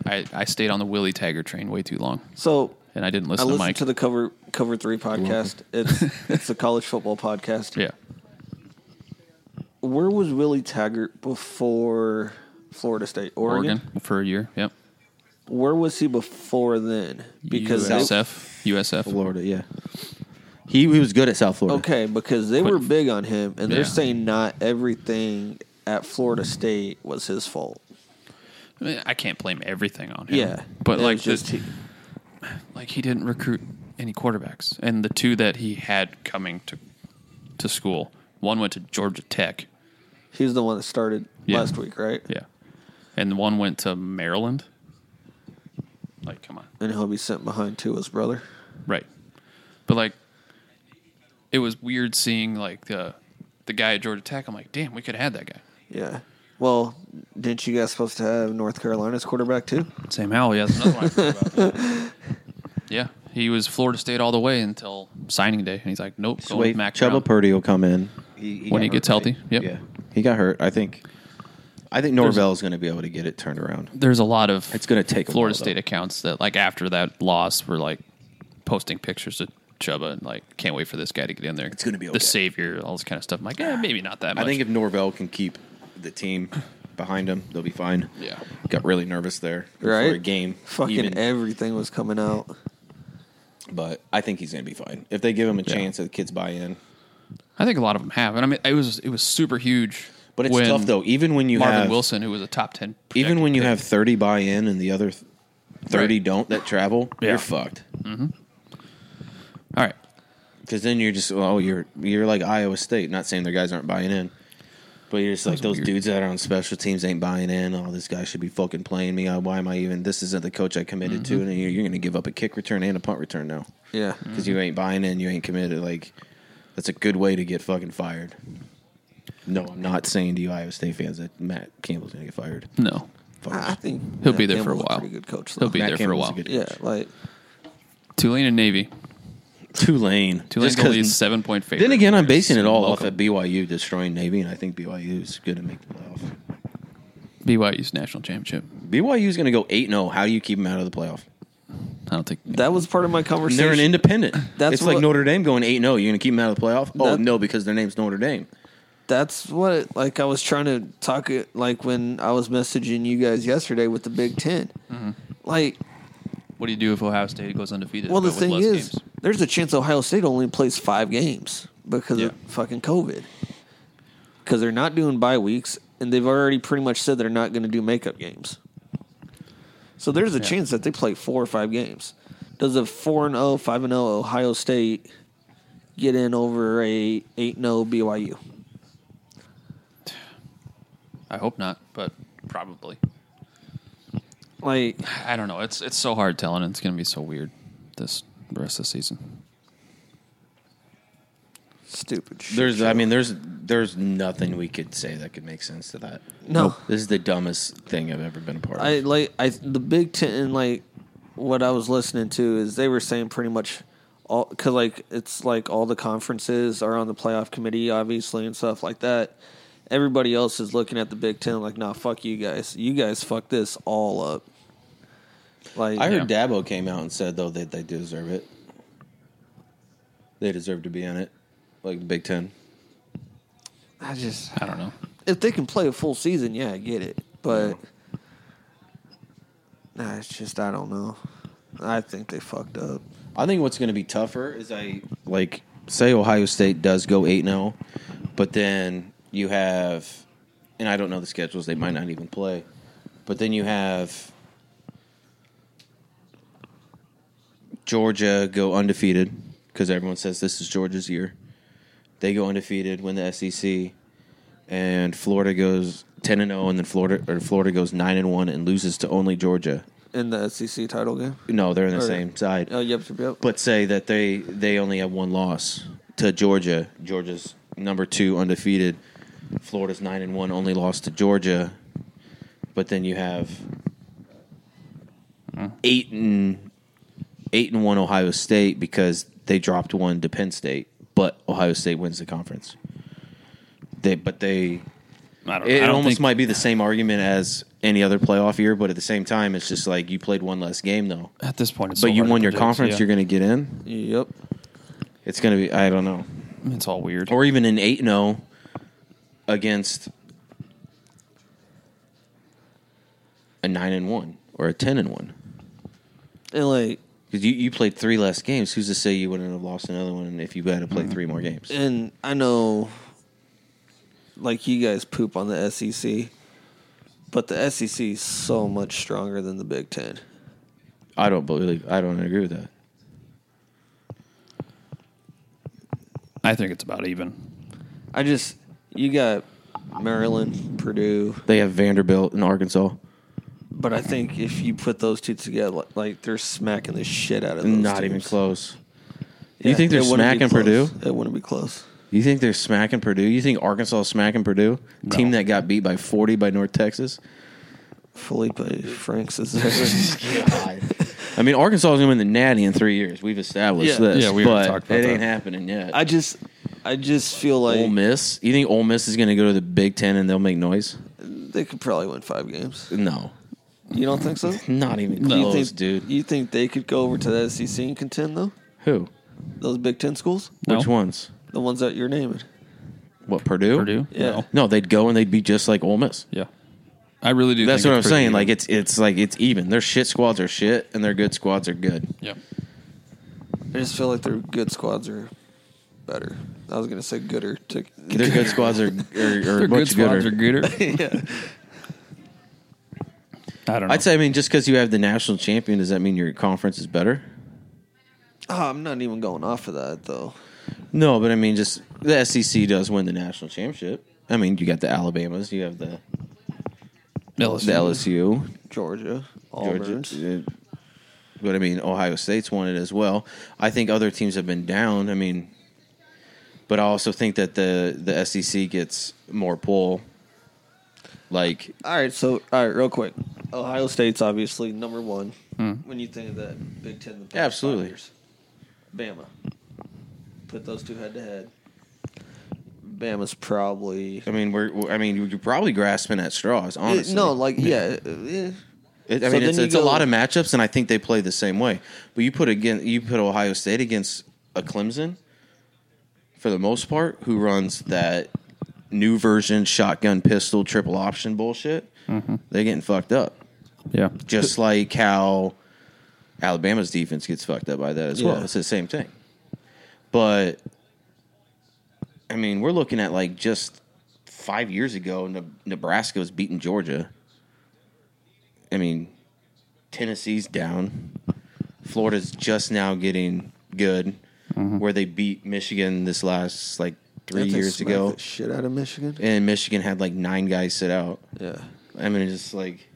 I I stayed on the Willie Tagger train way too long so and I didn't I listen to listened Mike. to the cover cover three podcast. It's it's the college football podcast. yeah, Where was Willie Taggart before Florida State, Oregon? Oregon for a year. Yep. Where was he before then? Because they- USF, USF. Florida, yeah. He he was good at South Florida. okay, because they Quit. were big on him, and they're Yeah. Mm-hmm. saying not everything at Florida State was his fault. I, mean, I can't blame everything on him. Yeah, but It like was just this, like he didn't recruit any quarterbacks, and the two that he had coming to to school, one went to Georgia Tech, he was the one that started Yeah. last week, right? yeah, and one went to Maryland. Like, come on, And he'll be sent behind to his brother. right? But like, it was weird seeing like the the guy at Georgia Tech. I'm like, damn, we could have had that guy. Yeah. Well, didn't you guys supposed to have North Carolina's quarterback too? Sam Howell, yeah, that's another one I forgot about. yeah, he was Florida State all the way until signing day, and he's like, nope, So going wait, with Mac Chuba Brown. Purdy will come in When he gets healthy, yep. Yeah, he got hurt. I think. I think Norvell is going to be able to get it turned around. There's a lot of It's going to take a Florida while, though. State accounts that like after that loss were like posting pictures of Chuba and like can't wait for this guy to get in there. It's gonna be okay. the savior, all this kind of stuff. I'm like, yeah, maybe not that much. I think if Norvell can keep the team behind him, they'll be fine. yeah, Got really nervous there Right? for a game. Fucking even. everything was coming out. but I think he's going to be fine. If they give him a Yeah. chance, the kids buy in. I think a lot of them have, and I mean, it was it was super huge. But it's when tough though. Even when you Marvin have Wilson, who was a top ten, even when you have projected thirty buy in and the other th- thirty Right. don't that travel, Yeah. you're fucked. pick. all right, Because then you're just oh you're you're like Iowa State. Not saying their guys aren't buying in, but you're just like those dudes that are on special teams ain't buying in. Oh, this guy should be fucking playing me. Oh, Why am I even? This isn't the coach I committed to. Mm-hmm. And you're, you're going to give up a kick return and a punt return now Yeah. because you ain't buying in. You ain't committed. Like that's a good way to get fucking fired. No, I'm not saying to you Iowa State fans that Matt Campbell's going to get fired. no, Fuck. I I think He'll be there for a Campbell's while. Pretty good coach. he'll though. be Matt there for a Campbell's while. a good- Yeah, like Tulane and Navy, Tulane. Tulane Just 'cause- only seven point favorite. Then again, I'm basing it all off Welcome. at BYU destroying Navy, and I think BYU is going to make the playoff. BYU's national championship. BYU is going to go eight zero. How do you keep them out of the playoff? I don't think that was part of my conversation. They're an independent. That's it's like what- Notre Dame going eight zero. You're going to keep them out of the playoff? Oh That- no, because their name's Notre Dame. That's what like I was trying to talk it like when I was messaging you guys yesterday with the Big 10 Mm-hmm. Like, What do you do if Ohio State goes undefeated? well, the but with thing less is, games? there's a chance Ohio State only plays five games because Yeah. of fucking COVID. Because they're not doing bye weeks, and they've already pretty much said they're not going to do makeup games. So there's a chance that they play four or five games. Does a four and 0, 5 and 0 Ohio State get in over a eight and 0 BYU? I hope not, but probably. Like, I don't know. It's it's so hard telling. It's going to be so weird this the rest of the season. stupid. shit There's, I show. mean, there's, there's nothing we could say that could make sense to that. No. this is the dumbest thing I've ever been a part of. I like I the Big Ten like what I was listening to is they were saying pretty much all because like it's like all the conferences are on the playoff committee obviously and stuff like that. Everybody else is looking at the Big Ten like, nah, fuck you guys. You guys fuck this all up. Like I heard Dabo came out and said though that they deserve it. They deserve to be in it, like the Big Ten. I just I don't know. if they can play a full season, yeah, I get it. But nah, it's just I don't know. I think they fucked up. I think what's going to be tougher is I like say Ohio State does go eight 0 but then you have, and I don't know the schedules; they might not even play. But then you have Georgia go undefeated because everyone says this is Georgia's year. They go undefeated, win the SEC, and Florida goes ten and zero, and then Florida or Florida goes nine and one and loses to only Georgia. In the SEC title game. No, they're on the Okay. same side Oh, yep, yep, yep. but say that they they only have one loss to Georgia. Georgia's number two undefeated. Florida's nine and one, only lost to Georgia. But then you have eight and eight and one Ohio State because they dropped one to Penn State, but Ohio State wins the conference. They but they I don't. it I don't almost think- might be the same argument as any other playoff year, but at the same time, it's just like you played one less game though. at this point. It's But so you hard to won your predict, conference, yeah. you're going to get in. Yep. It's going to be I don't know. It's all weird. Or even an 8-0 against a 9 and 1 or a 10 and 1. And like Cuz you, you played 3 less games, who's to say you wouldn't have lost another one if you had to play Mm-hmm. 3 more games? and I know like you guys poop on the SEC, but the SEC is so much stronger than the Big 10. I don't believe I don't agree with that. I think it's about even. I just you got Maryland, Purdue, They have Vanderbilt and Arkansas. but I think if you put those two together like they're smacking the shit out of those Not even teams. close. Yeah, you think they're it wouldn't be smacking Purdue? close. It wouldn't be close. You think they're smacking Purdue? You think Arkansas is smacking Purdue? Team that got beat by 40 by North Texas? Felipe Franks is there. I mean, Arkansas is going to win the Natty in three years. We've established Yeah. this. Yeah, we but already talked about it ain't that. happening yet. I just I just feel like Ole Miss. You think Ole Miss is going to go to the Big Ten and they'll make noise? they could probably win 5 games. No, You don't think so? not even Do you close, think, dude. You think they could go over to the SEC and E contend though? Who? Those Big Ten schools? No. Which ones? The ones that you're naming. What Purdue? Purdue? Yeah. No. No, they'd go and they'd be just like Ole Miss. Yeah. I really do. That's think what I'm it's pretty saying. even. Like it's it's like it's even. Their shit squads are shit, and their good squads are good. yeah. I just feel like their good squads are better. I was gonna say gooder to Their good squads are are, are Their good much squads gooder. are gooder. yeah. I don't know. I'd say. I mean, just because you have the national champion, does that mean your conference is better? Oh, I'm not even going off of that though. No, but I mean, just the SEC does win the national championship. I mean, you got the Alabamas, you have the LSU. the LSU, Georgia, Georgia. Auburn. uh, But I mean, Ohio State's won it as well. I think other teams have been down. I mean, but I also think that the the SEC gets more pull. Like All right, so all right, real quick. Ohio State's obviously number one when you think of that Big Ten. The past five Hmm. Absolutely. years. Bama. Put those two head to head. Bama's probably I mean, we're, we're- I mean, you're probably grasping at straws. Honestly, Eh, no, like yeah. eh, It, So I mean, then it's, you it's a go- lot of matchups, and I think they play the same way. But you put again, you put Ohio State against a Clemson, for the most part, who runs that new version shotgun pistol triple option bullshit. Mm-hmm. They're getting fucked up, Yeah. just like how Alabama's defense gets fucked up by that as well. Yeah. It's the same thing. But I mean, we're looking at like just five years ago, Ne- Nebraska was beating Georgia. I mean, Tennessee's down. Florida's just now getting good, where they beat Michigan this last like three they years smacked ago, the shit out of Michigan. and Michigan had like nine guys sit out. Yeah. I mean, it's just like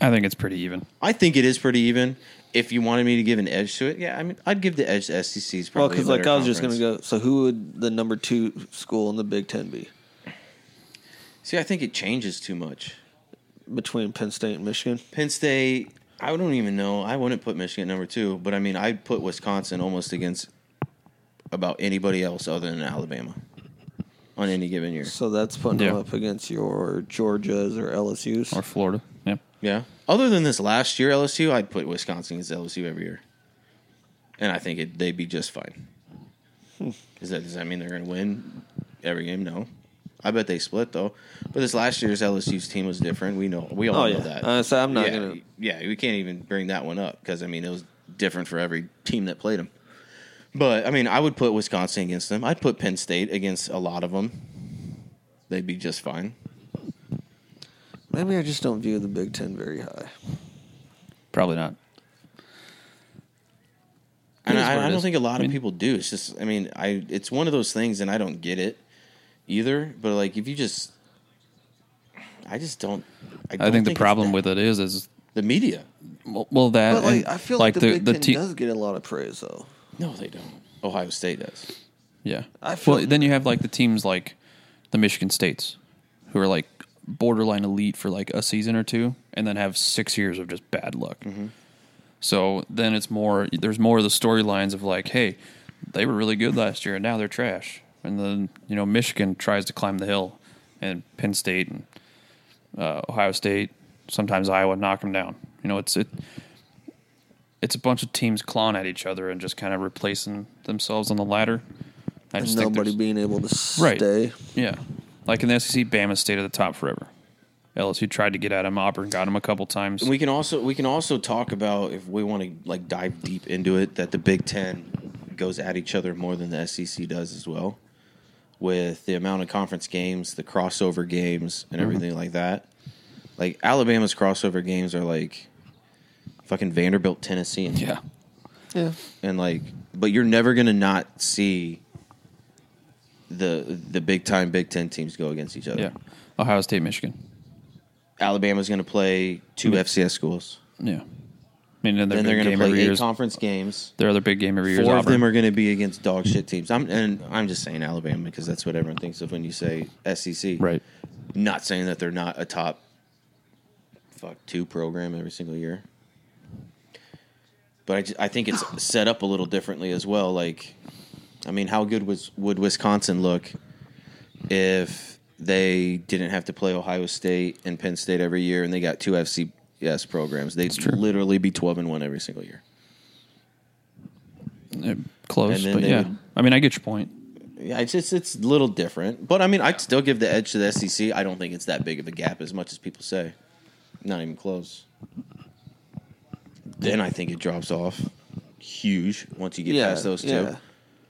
I think it's pretty even. I think it is pretty even. If you wanted me to give an edge to it, yeah, I mean, I'd give the edge to SEC's. Well, Probably because because like I was just gonna go. So who would the number two school in the Big Ten be See, I think it changes too much. between Penn State and Michigan? Penn State, I don't even know. I wouldn't put Michigan at number two, but I mean, I'd put Wisconsin almost against about anybody else other than Alabama on any given year. So that's putting them Yeah. up against your Georgias or LSU's. Or Florida. Yep. Yeah. Other than this last year LSU, I'd put Wisconsin against LSU every year, and I think it, they'd be just fine. Is that does that mean they're going to win every game? No. I bet they split though. But this last year's LSU's team was different. We know we all oh know yeah. that. Uh, so I'm not yeah, gonna. yeah, we can't even bring that one up because I mean it was different for every team that played them. But I mean, I would put Wisconsin against them. I'd put Penn State against a lot of them. They'd be just fine. Maybe I just don't view the Big Ten very high. Probably not. And It is I, what it I don't is. think a lot I mean- of people do. It's just, I mean, I it's one of those things, and I don't get it either. But like, if you just, I just don't. I, don't think the it's problem that- with it is is the media. well, well that But like and, I feel like, the, Big Ten te- does get a lot of praise though. No, they don't. Ohio State does. Yeah. I feel- well, then you have like the teams like the Michigan States, who are like borderline elite for like a season or two, and then have six years of just bad luck. Mm-hmm. So then it's more. There's more of the storylines of like, hey, they were really good last year, and now they're trash. And then you know Michigan tries to climb the hill, and Penn State and uh, Ohio State, sometimes Iowa knock them down. You know, it's it. It's a bunch of teams clawing at each other and just kind of replacing themselves on the ladder. I And just think nobody there's- being able to Right. stay. yeah. Like in the SEC, Bama stayed at the top forever. LSU tried to get at him. Auburn got him a couple times. We can also we can also talk about if we want to like dive deep into it that the Big Ten goes at each other more than the SEC does as well, with the amount of conference games, the crossover games, and Mm-hmm. everything like that. Like Alabama's crossover games are like fucking Vanderbilt, Tennessee, and yeah. Yeah. and like but you're never gonna not see the the big time Big Ten teams go against each other. Yeah. Ohio State, Michigan. Alabama's gonna play two FCS schools, Yeah. I mean, then then, they're they're going gonna to play play eight years. conference games. Their other big game every year is Four of Auburn. them are going to be against dog shit teams. I'm and I'm just saying Alabama because that's what everyone thinks of when you say SEC. right. Not saying that they're not a top fuck two program every single year, but I ju- I think it's set up a little differently as well. Like, I mean, how good was would Wisconsin look if they didn't have to play Ohio State and Penn State every year and they got two FCS programs? They'd literally be twelve and one every single year. Uh, Close, And then but they yeah. would- I mean, I get your point. Yeah, it's just it's a little different. But I mean, I'd still give the edge to the SEC. I don't think it's that big of a gap as much as people say. Not even close. Then I think it drops off huge once you get past those two.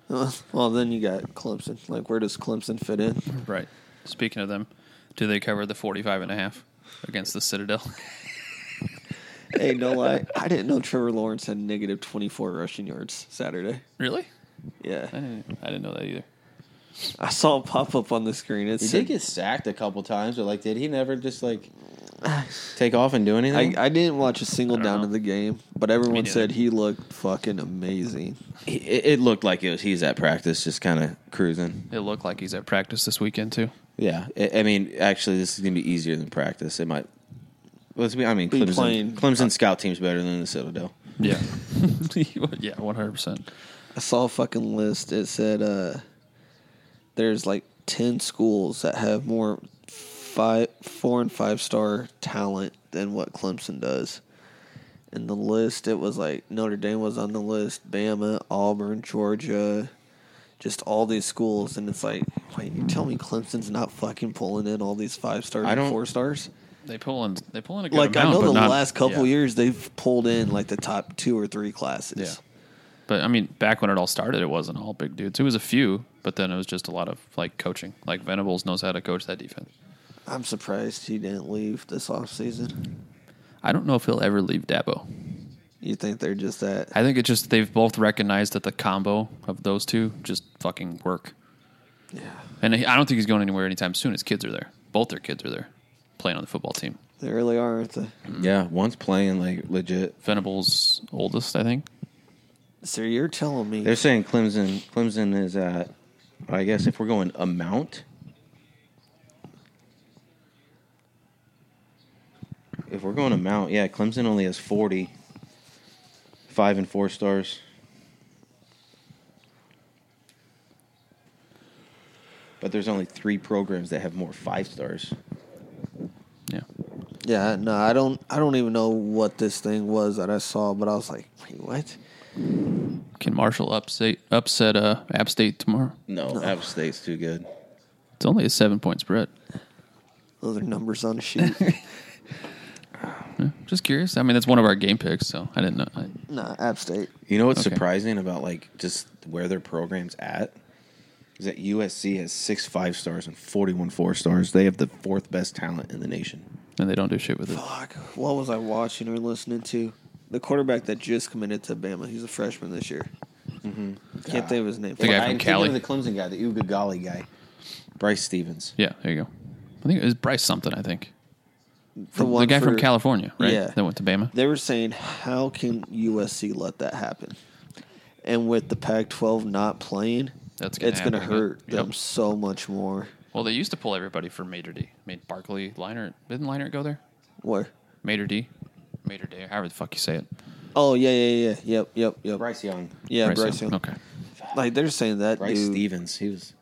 Uh, Well, then you got Clemson. Like, where does Clemson fit in? Right. Speaking of them, do they cover the 45 and a half against the Citadel? hey, no lie, I didn't know Trevor Lawrence had negative twenty four rushing yards Saturday. really? I Yeah, didn't, I didn't know that either. I saw it pop up on the screen. It He said, did get sacked a couple times, but like, did he never just like take off and do I, anything? I didn't watch a single I don't down know. of the game, but everyone neither. said he looked fucking amazing. He- it, it looked like it was he's at practice, just kind of cruising. It looked like he's at practice this weekend too. Yeah, I, I mean, actually, this is gonna be easier than practice. It might. Let's be. I mean, Be Clemson, playing- Clemson scout team's better than the Citadel. Yeah. yeah, 100%. I saw a fucking list. It said uh, there's like ten schools that have more five, four and five star talent than what Clemson does. And the list, it was like Notre Dame was on the list, Bama, Auburn, Georgia, just all these schools. And it's like, wait, you tell me Clemson's not fucking pulling in all these five stars I and don't- four stars? They pull in they pull in a good Like I amount, know but the not- last couple yeah. years they've pulled in like the top two or three classes. Yeah. But I mean, back when it all started, it wasn't all big dudes. It was a few, but then it was just a lot of like coaching. Like Venables knows how to coach that defense. I'm surprised he didn't leave this offseason. I don't know if he'll ever leave Dabo. You think they're just that? I think it's just they've both recognized that the combo of those two just fucking work. Yeah. And I don't think he's going anywhere anytime soon. His kids are there. Both their kids are there playing on the football team. They really are, aren't they? Yeah, one's playing like legit. Venables' oldest, I think. So you're telling me They're saying Clemson. Clemson is at. I guess if we're going amount. If we're going amount, yeah, Clemson only has forty. Five and four stars. But there's only three programs that have more five stars. Yeah. Yeah, no, I don't I don't even know what this thing was that I saw, but I was like, wait, what? Can Marshall upset upset uh, App State tomorrow? No, App State's too good. It's only a seven point spread. Those are numbers on a sheet. Just curious. I mean, that's one of our game picks, so I didn't know. I, nah, App State. You know what's Okay. surprising about like just where their program's at is that USC has six five stars and forty one four stars. They have the fourth best talent in the nation. and they don't do shit with it. Fuck. What was I watching or listening to? The quarterback that just committed to Bama, he's a freshman this year. Mm-hmm. Can't think of his name. The guy from I'm thinking Cali. of the Clemson guy, the Uga Golly guy, Bryce Stevens. Yeah, there you go. I think it was Bryce something. I think The the one guy from for- California, right? Yeah. that went to Bama. They were saying, how can USC let that happen? And with the Pac-12 not playing, That's gonna it's going to happen, hurt yep. them so much more. Well, they used to pull everybody from Mater D. I mean, Barkley, Liner, didn't Liner go there? Where? Mater D, Mater D, however the fuck you say it. Oh yeah, yeah, yeah, yep, yep, yep. Bryce Young. Yeah, Bryce, Young. Okay, Like they're saying that Bryce dude, uh, Stevens. He was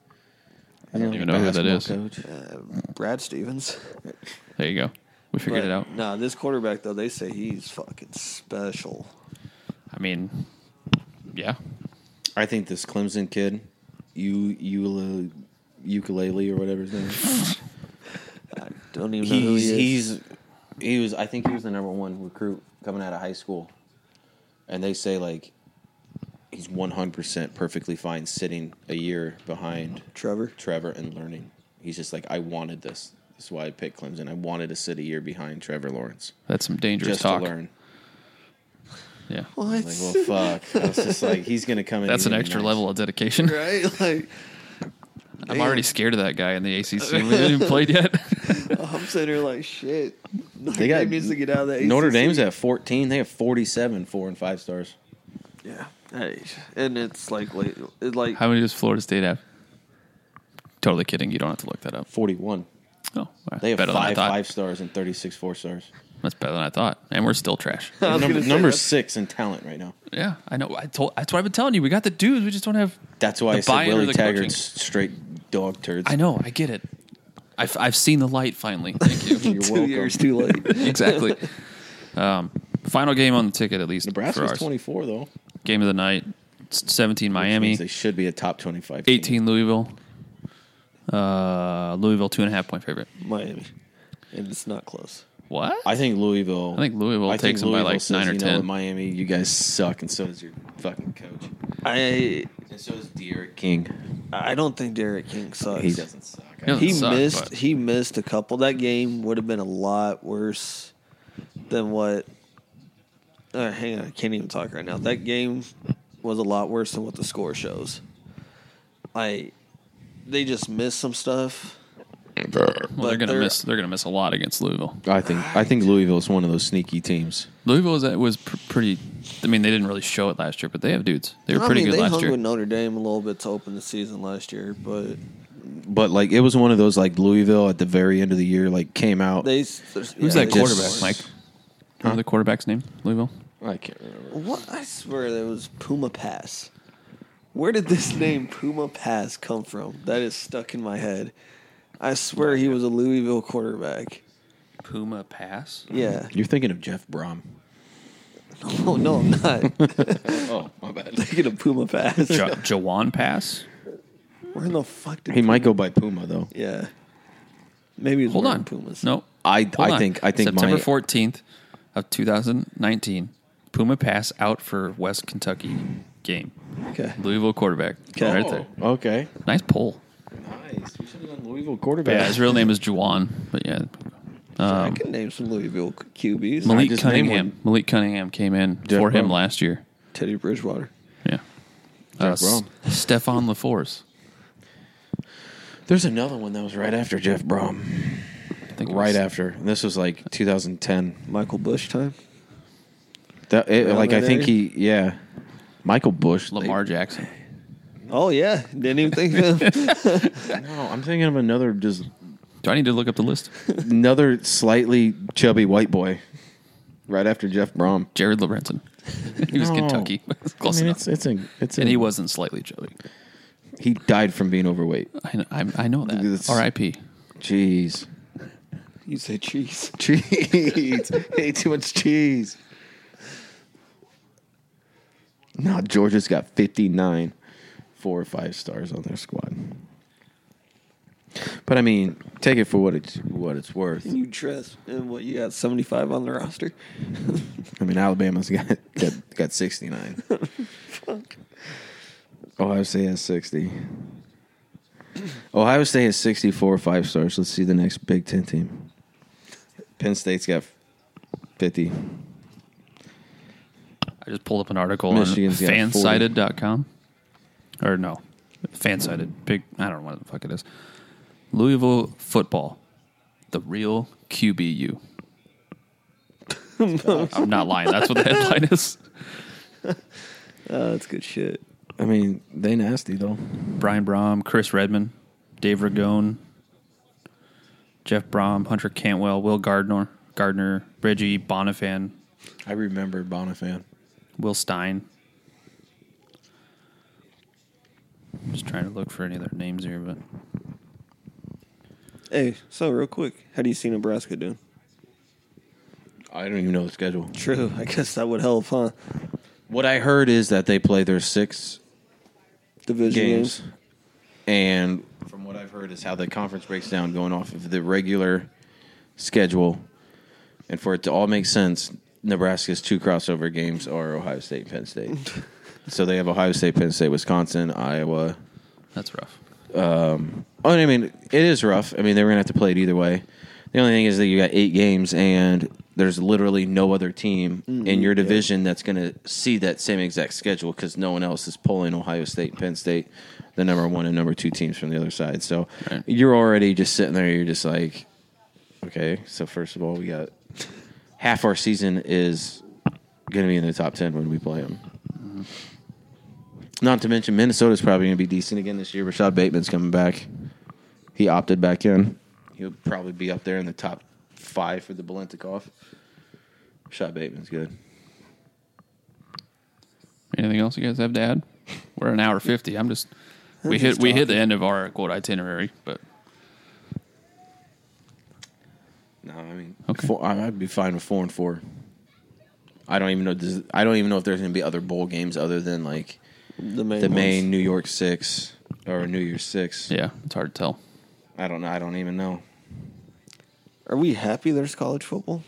I don't even know who that is. Coach. Brad Stevens. there you go. We figured But, it out. Nah, this quarterback though, they say he's fucking special. I mean, yeah, I think this Clemson kid, you you ukulele or whatever his name. is. I don't even know who he's he is. he's he was I think he was the number one recruit coming out of high school, and they say like he's one hundred percent perfectly fine sitting a year behind Trevor. Trevor and learning. He's just like I wanted this. This is why I picked Clemson. I wanted to sit a year behind Trevor Lawrence that's some dangerous just talk. to learn. Yeah, What? Like well, fuck. I was just like he's gonna come in. that's he's an gonna be extra nice. level of dedication. right? Like I'm already scared of that guy in the ACC. We haven't even played yet. I'm sitting here like shit. Notre got- Dame needs to get out of that. Notre ACC. Dame's at fourteen. They have forty-seven four and five stars. Yeah. Hey, and it's like late. It like How many does Florida State have? Totally kidding. You don't have to look that up. Forty-one. Oh, all right. They have better five than I thought. five stars and thirty-six four stars. That's better than I thought. And we're still trash. I was number, gonna say number that's- six in talent right now. yeah, I know. I told. That's what I've been telling you. We got the dudes. We just don't have. That's why The I said buy-in or Willie the Taggart's coaching? straight dog turds. I know. I get it. I've I've seen the light finally. Thank you. You're two welcome. years too late. exactly. Um, final game on the ticket at least. for Nebraska's ours. twenty-four though. Game of the night. 17 Miami, means They should be a top twenty-five. team. 18 Louisville. Uh, Louisville two and a half point favorite. Miami, and it's not close. What? I think Louisville. I think Louisville takes them by, like, says, nine or you know what, 10. Miami, you guys suck, and so does your fucking coach, I and so does Derek King. I don't think Derek King sucks. He doesn't suck. Yeah. He suck, missed. but- He missed a couple. That game would have been a lot worse than what. Uh, hang on, I can't even talk right now. That game was a lot worse than what the score shows. I, they just missed some stuff. well, they're but gonna they're- miss. They're gonna miss a lot against Louisville. I think I think Louisville is one of those sneaky teams. Louisville was was pr- pretty. I mean, they didn't really show it last year, but they have dudes. They were I pretty mean, good they last hung year. with Notre Dame a little bit to open the season last year, but But like it was one of those like Louisville at the very end of the year like came out. they. Who's Yeah, that they quarterback, just- Mike? Remember the quarterback's name? Louisville. I can't remember. What I swear there was Puma Pass. Where did this name Puma Pass come from? That is stuck in my head. I swear he was a Louisville quarterback. Puma Pass. Yeah. You're thinking of Jeff Brom. Oh no, I'm not Oh my bad. thinking of Puma Pass. Ja- Jawan Pass. Where in the fuck did He might go by Puma though. Yeah. Maybe he was Hold wearing on. Pumas. No, I Hold I on. think I think September my, fourteenth of two thousand nineteen, Puma Pass out for West Kentucky game. Okay. Louisville quarterback. Okay. Right there. Oh, okay. Nice pull. Nice. We should have done Louisville quarterback. Yeah, his real name is Juwan, but yeah. Um, I can name some Louisville QBs. Malik- Malik just named Cunningham. Malik Cunningham came in Jeff for him Brom. last year. Teddy Bridgewater. Yeah. Uh, Jeff Brom. Stefan LaForce. There's another one that was right after Jeff Brom. I think it Right was- after. And this was like 2010. Michael Bush time. That it, Around like I there? think he yeah. Michael Bush. they- Lamar Jackson. Oh yeah. Didn't even think of him. no, I'm thinking of another just Do I need to look up the list? another slightly chubby white boy. Right after Jeff Brom. Jared Lorenzen. he was No. Kentucky. Close I mean, enough. it's it's a it's and a, he wasn't slightly chubby. he died from being overweight. I know, I, I know that. It's- R.I.P. Jeez. you say cheese. Cheese. Ate too much cheese. Now Georgia's got 59 four or five stars on their squad. But I mean, take it for what it's what it's worth. You dress and what you got seventy five on the roster? I mean, Alabama's got got, got 69. Ohio State has 60. Ohio State has 64 five stars. Let's see the next Big 10 team. Penn State's got 50. I just pulled up an article Michigan's on got 40. fansided.com. Or no, fansided. Big, I don't know what the fuck it is. Louisville football, the real QBU. I'm not lying. That's what the headline is. Oh, that's good shit. I mean, they nasty though. Brian Brom, Chris Redman, Dave Ragone, Jeff Brom, Hunter Cantwell, Will Gardner, Gardner, Reggie Bonifan, I remember Bonifan. Will Stein. Just trying to look for any other names here, but Hey, so real quick, how do you see Nebraska doing? I don't even know the schedule. True, I guess that would help, huh? What I heard is that they play their six Division games, games. and from what I've heard is how the conference breaks down, going off of the regular schedule, and for it to all make sense, Nebraska's two crossover games are Ohio State, and Penn State. so they have Ohio State, Penn State, Wisconsin, Iowa. that's rough. Oh, I mean, it is rough. I mean, they were gonna have to play it either way. The only thing is that you got eight games, and there's literally no other team in your division that's gonna see that same exact schedule because no one else is pulling Ohio State, and Penn State, the number one and number two teams from the other side. So Right. you're already just sitting there. You're just like, okay. So first of all, we got half our season is gonna be in the top ten when we play them. Not to mention Minnesota's probably going to be decent again this year. Rashad Bateman's coming back. He opted back in. He'll probably be up there in the top five for the Balintikoff. Rashad Bateman's good. Anything else you guys have to add? We're an hour fifty. I'm just we hit we hit the end of our quote itinerary, but No, I mean, Okay. four, I- I'd be fine with four and four. I don't even know. Does, I don't even know if there's going to be other bowl games other than like The main. the ones. main New York Six or New Year's Six. Yeah, it's hard to tell. I don't know. I don't even know. Are we happy there's college football?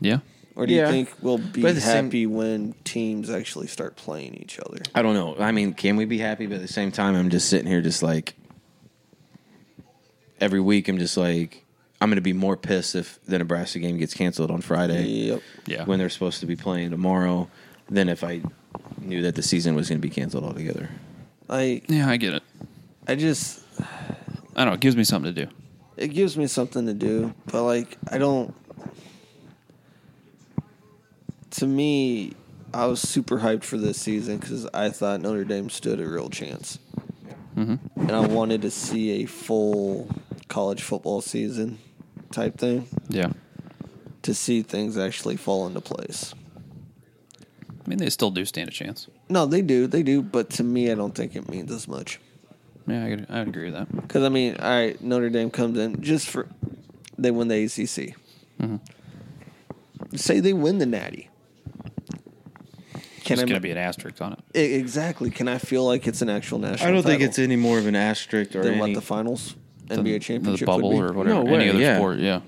Yeah. Or do Yeah. you think we'll be But at the happy same- when teams actually start playing each other? I don't know. I mean, can we be happy? But at the same time, I'm just sitting here, just like every week, I'm just like I'm going to be more pissed if the Nebraska game gets canceled on Friday Yep. Yeah. when they're supposed to be playing tomorrow than if I knew that the season was going to be canceled altogether. I yeah, I get it. I just I don't know. It gives me something to do. it gives me something to do, but like I don't. To me, I was super hyped for this season because I thought Notre Dame stood a real chance, Mm-hmm. and I wanted to see a full college football season type thing Yeah. to see things actually fall into place. I mean, they still do stand a chance. No, they do, they do, but to me, I don't think it means as much. Yeah, I, could, I would agree with that. Because I mean, all right, Notre Dame comes in just for they win the ACC. Mm-hmm. Say they win the Natty. Can It's I going to be an asterisk on it. e- exactly? Can I feel like it's an actual national? I don't think title? it's any more of an asterisk or Then any what the finals The- NBA championship the bubble would or be? whatever. No way, Any other yeah. sport. Yeah.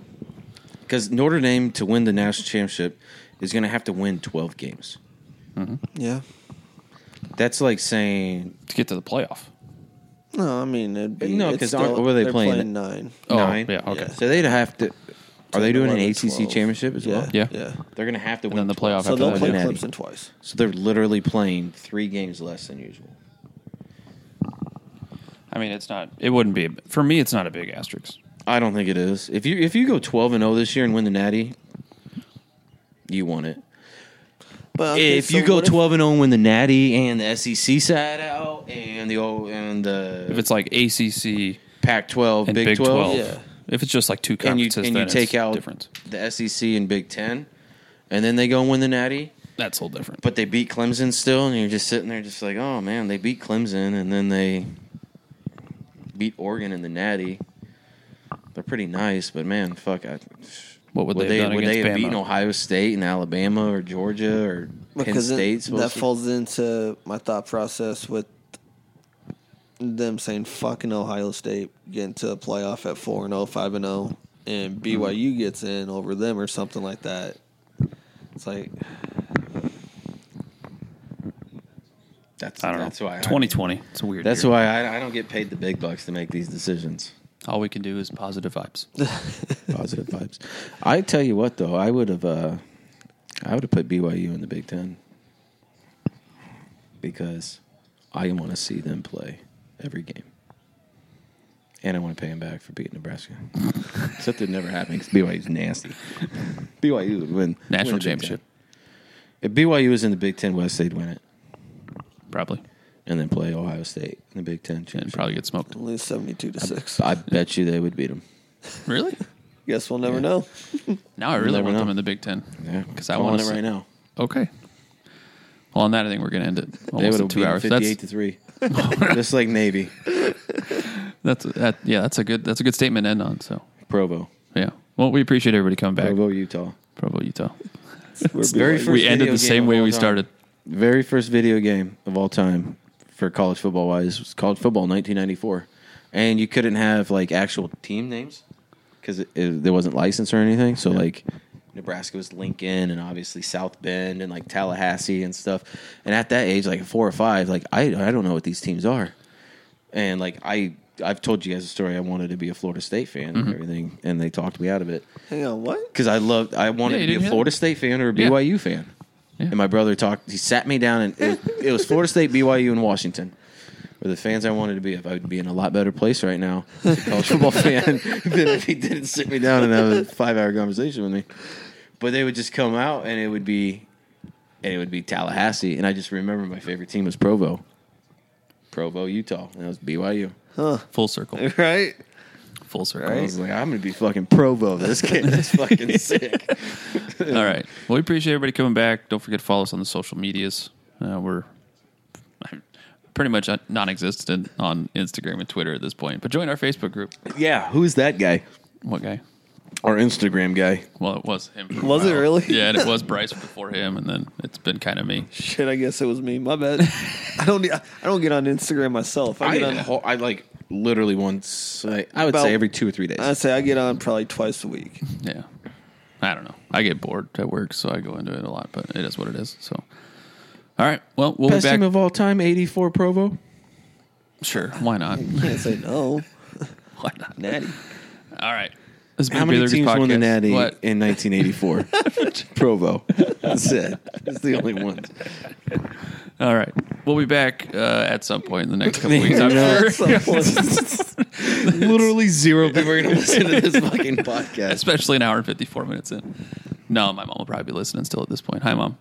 because Notre Dame to win the national championship is going to have to win 12 games. Yeah. That's like saying To get to the playoff. No, I mean it'd be No, it's 'cause still- aren't- what are they they're playing? nine. Oh, nine. yeah. Okay. Yeah. So they'd have to. Are they 10, doing an 11, ACC 12. championship as well? Yeah. Yeah. They're going to have to And win then the playoff So So after they'll that, play yeah. Cincinnati. Clemson twice. So they're literally playing three games less than usual. I mean, it's not. It wouldn't be a- for me. It's not a big asterisk. I don't think it is. If you if you go twelve and zero this year and win the Natty, you won it. But okay, if so you go what if- twelve and zero and win the Natty and the SEC side out and the old and If the it's like ACC Pac twelve, and Big, twelve, Yeah. if it's just like two and you conferences, and you then it's take out different. the SEC and Big Ten, and then they go and win the Natty. That's a little different. but they beat Clemson still, and you're just sitting there, just like, oh man, they beat Clemson, and then they beat Oregon in the Natty. They're pretty nice, but man, fuck, I, what would, would they they have done would they against have beaten Bama? Ohio State and Alabama or Georgia or Penn because it- State? that supposed to- falls into my thought process with them saying fucking Ohio State getting to a playoff at 4 and 0, 5 and 0 Mm-hmm. and BYU gets in over them or something like that. It's like that's I don't that's know. why I- 2020. It's a weird. that's year. why I, I don't get paid the big bucks to make these decisions. all we can do is positive vibes. Positive vibes. I tell you what, though, I would have, uh, I would have put BYU in the Big Ten because I want to see them play every game, and I want to pay them back for beating Nebraska. Except it never happened because BYU's nasty. BYU would win win the National Big championship. Ten. If BYU was in the Big Ten West, they'd win it, Probably and then play Ohio State in the Big Ten and championship. probably get smoked. lose 72 to 6. I bet you they would beat them. Really? Guess we'll never know. Now I really never want them know. in the Big Ten. Yeah, 'Cause I Calling wanna it see- right now. Okay. Well, on that, I think we're gonna end it. They Almost would at have two hours. That's fifty-eight to three, just like Navy. that's that. Yeah, that's a good that's a good statement to end on. So Provo. yeah. Well, we appreciate everybody coming back. Provo, Utah. Provo Utah. very first we ended video game the same of way all we time. started. Very first video game of all time for college football wise was college football 1994. And you couldn't have like actual team names because it, it, there wasn't license or anything. So like Nebraska was Lincoln and obviously South Bend and like Tallahassee and stuff. And at that age, like four or five, like I I don't know what these teams are. And like I I've told you guys a story. I wanted to be a Florida State fan and everything, and they talked me out of it. Hang on, what? because I loved I wanted Yeah, to you didn't be hear a Florida that? State fan or a Yeah. BYU fan. And my brother talked. He sat me down, and it, it was Florida State, BYU, and Washington were the fans I wanted to be. If I would be in a lot better place right now, as a college football fan, than if he didn't sit me down and have a five hour conversation with me. But they would just come out, and it would be, and it would be Tallahassee. And I just remember my favorite team was Provo, Provo, Utah, and that was BYU. Full circle. Right? Full circle. I was like, I'm gonna be fucking Provo. This kid is fucking sick. All right. Well, we appreciate everybody coming back. Don't forget to follow us on the social medias. Uh, we're pretty much non-existent on Instagram and Twitter at this point. But join our Facebook group. Yeah, who's that guy? What guy? our Instagram guy. Well, it was him. for a Was it while. really? Yeah, and it was Bryce before him, and then it's been kind of me. Shit, I guess it was me. My bad. I don't. e, I don't get on Instagram myself. I I, get on. ho- I like literally once. I, I would About- say every two or three days. I say I get on probably twice a week. Yeah. I don't know. I get bored at work, so I go into it a lot, but it is what it is. So, all right. Well, we'll Best be back. team of all time, eighty-four Provo. sure. Why not? Can't say no. Why not? Natty. All right. This has been How many Beeler's teams won the Podcast. Natty What? in 1984? Provo. That's it. That's the only one. All right. We'll be back uh, at some point in the next couple weeks. I'm No. sure. Literally zero people are going to listen to this fucking podcast. Especially an hour and 54 minutes in. No, my mom will probably be listening still at this point. Hi, mom.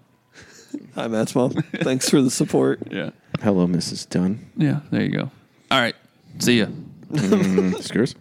Hi, Matt's mom. Thanks for the support. Yeah. Hello, Mrs. Dunn. Yeah. There you go. All right. See ya. Hmm, Screws.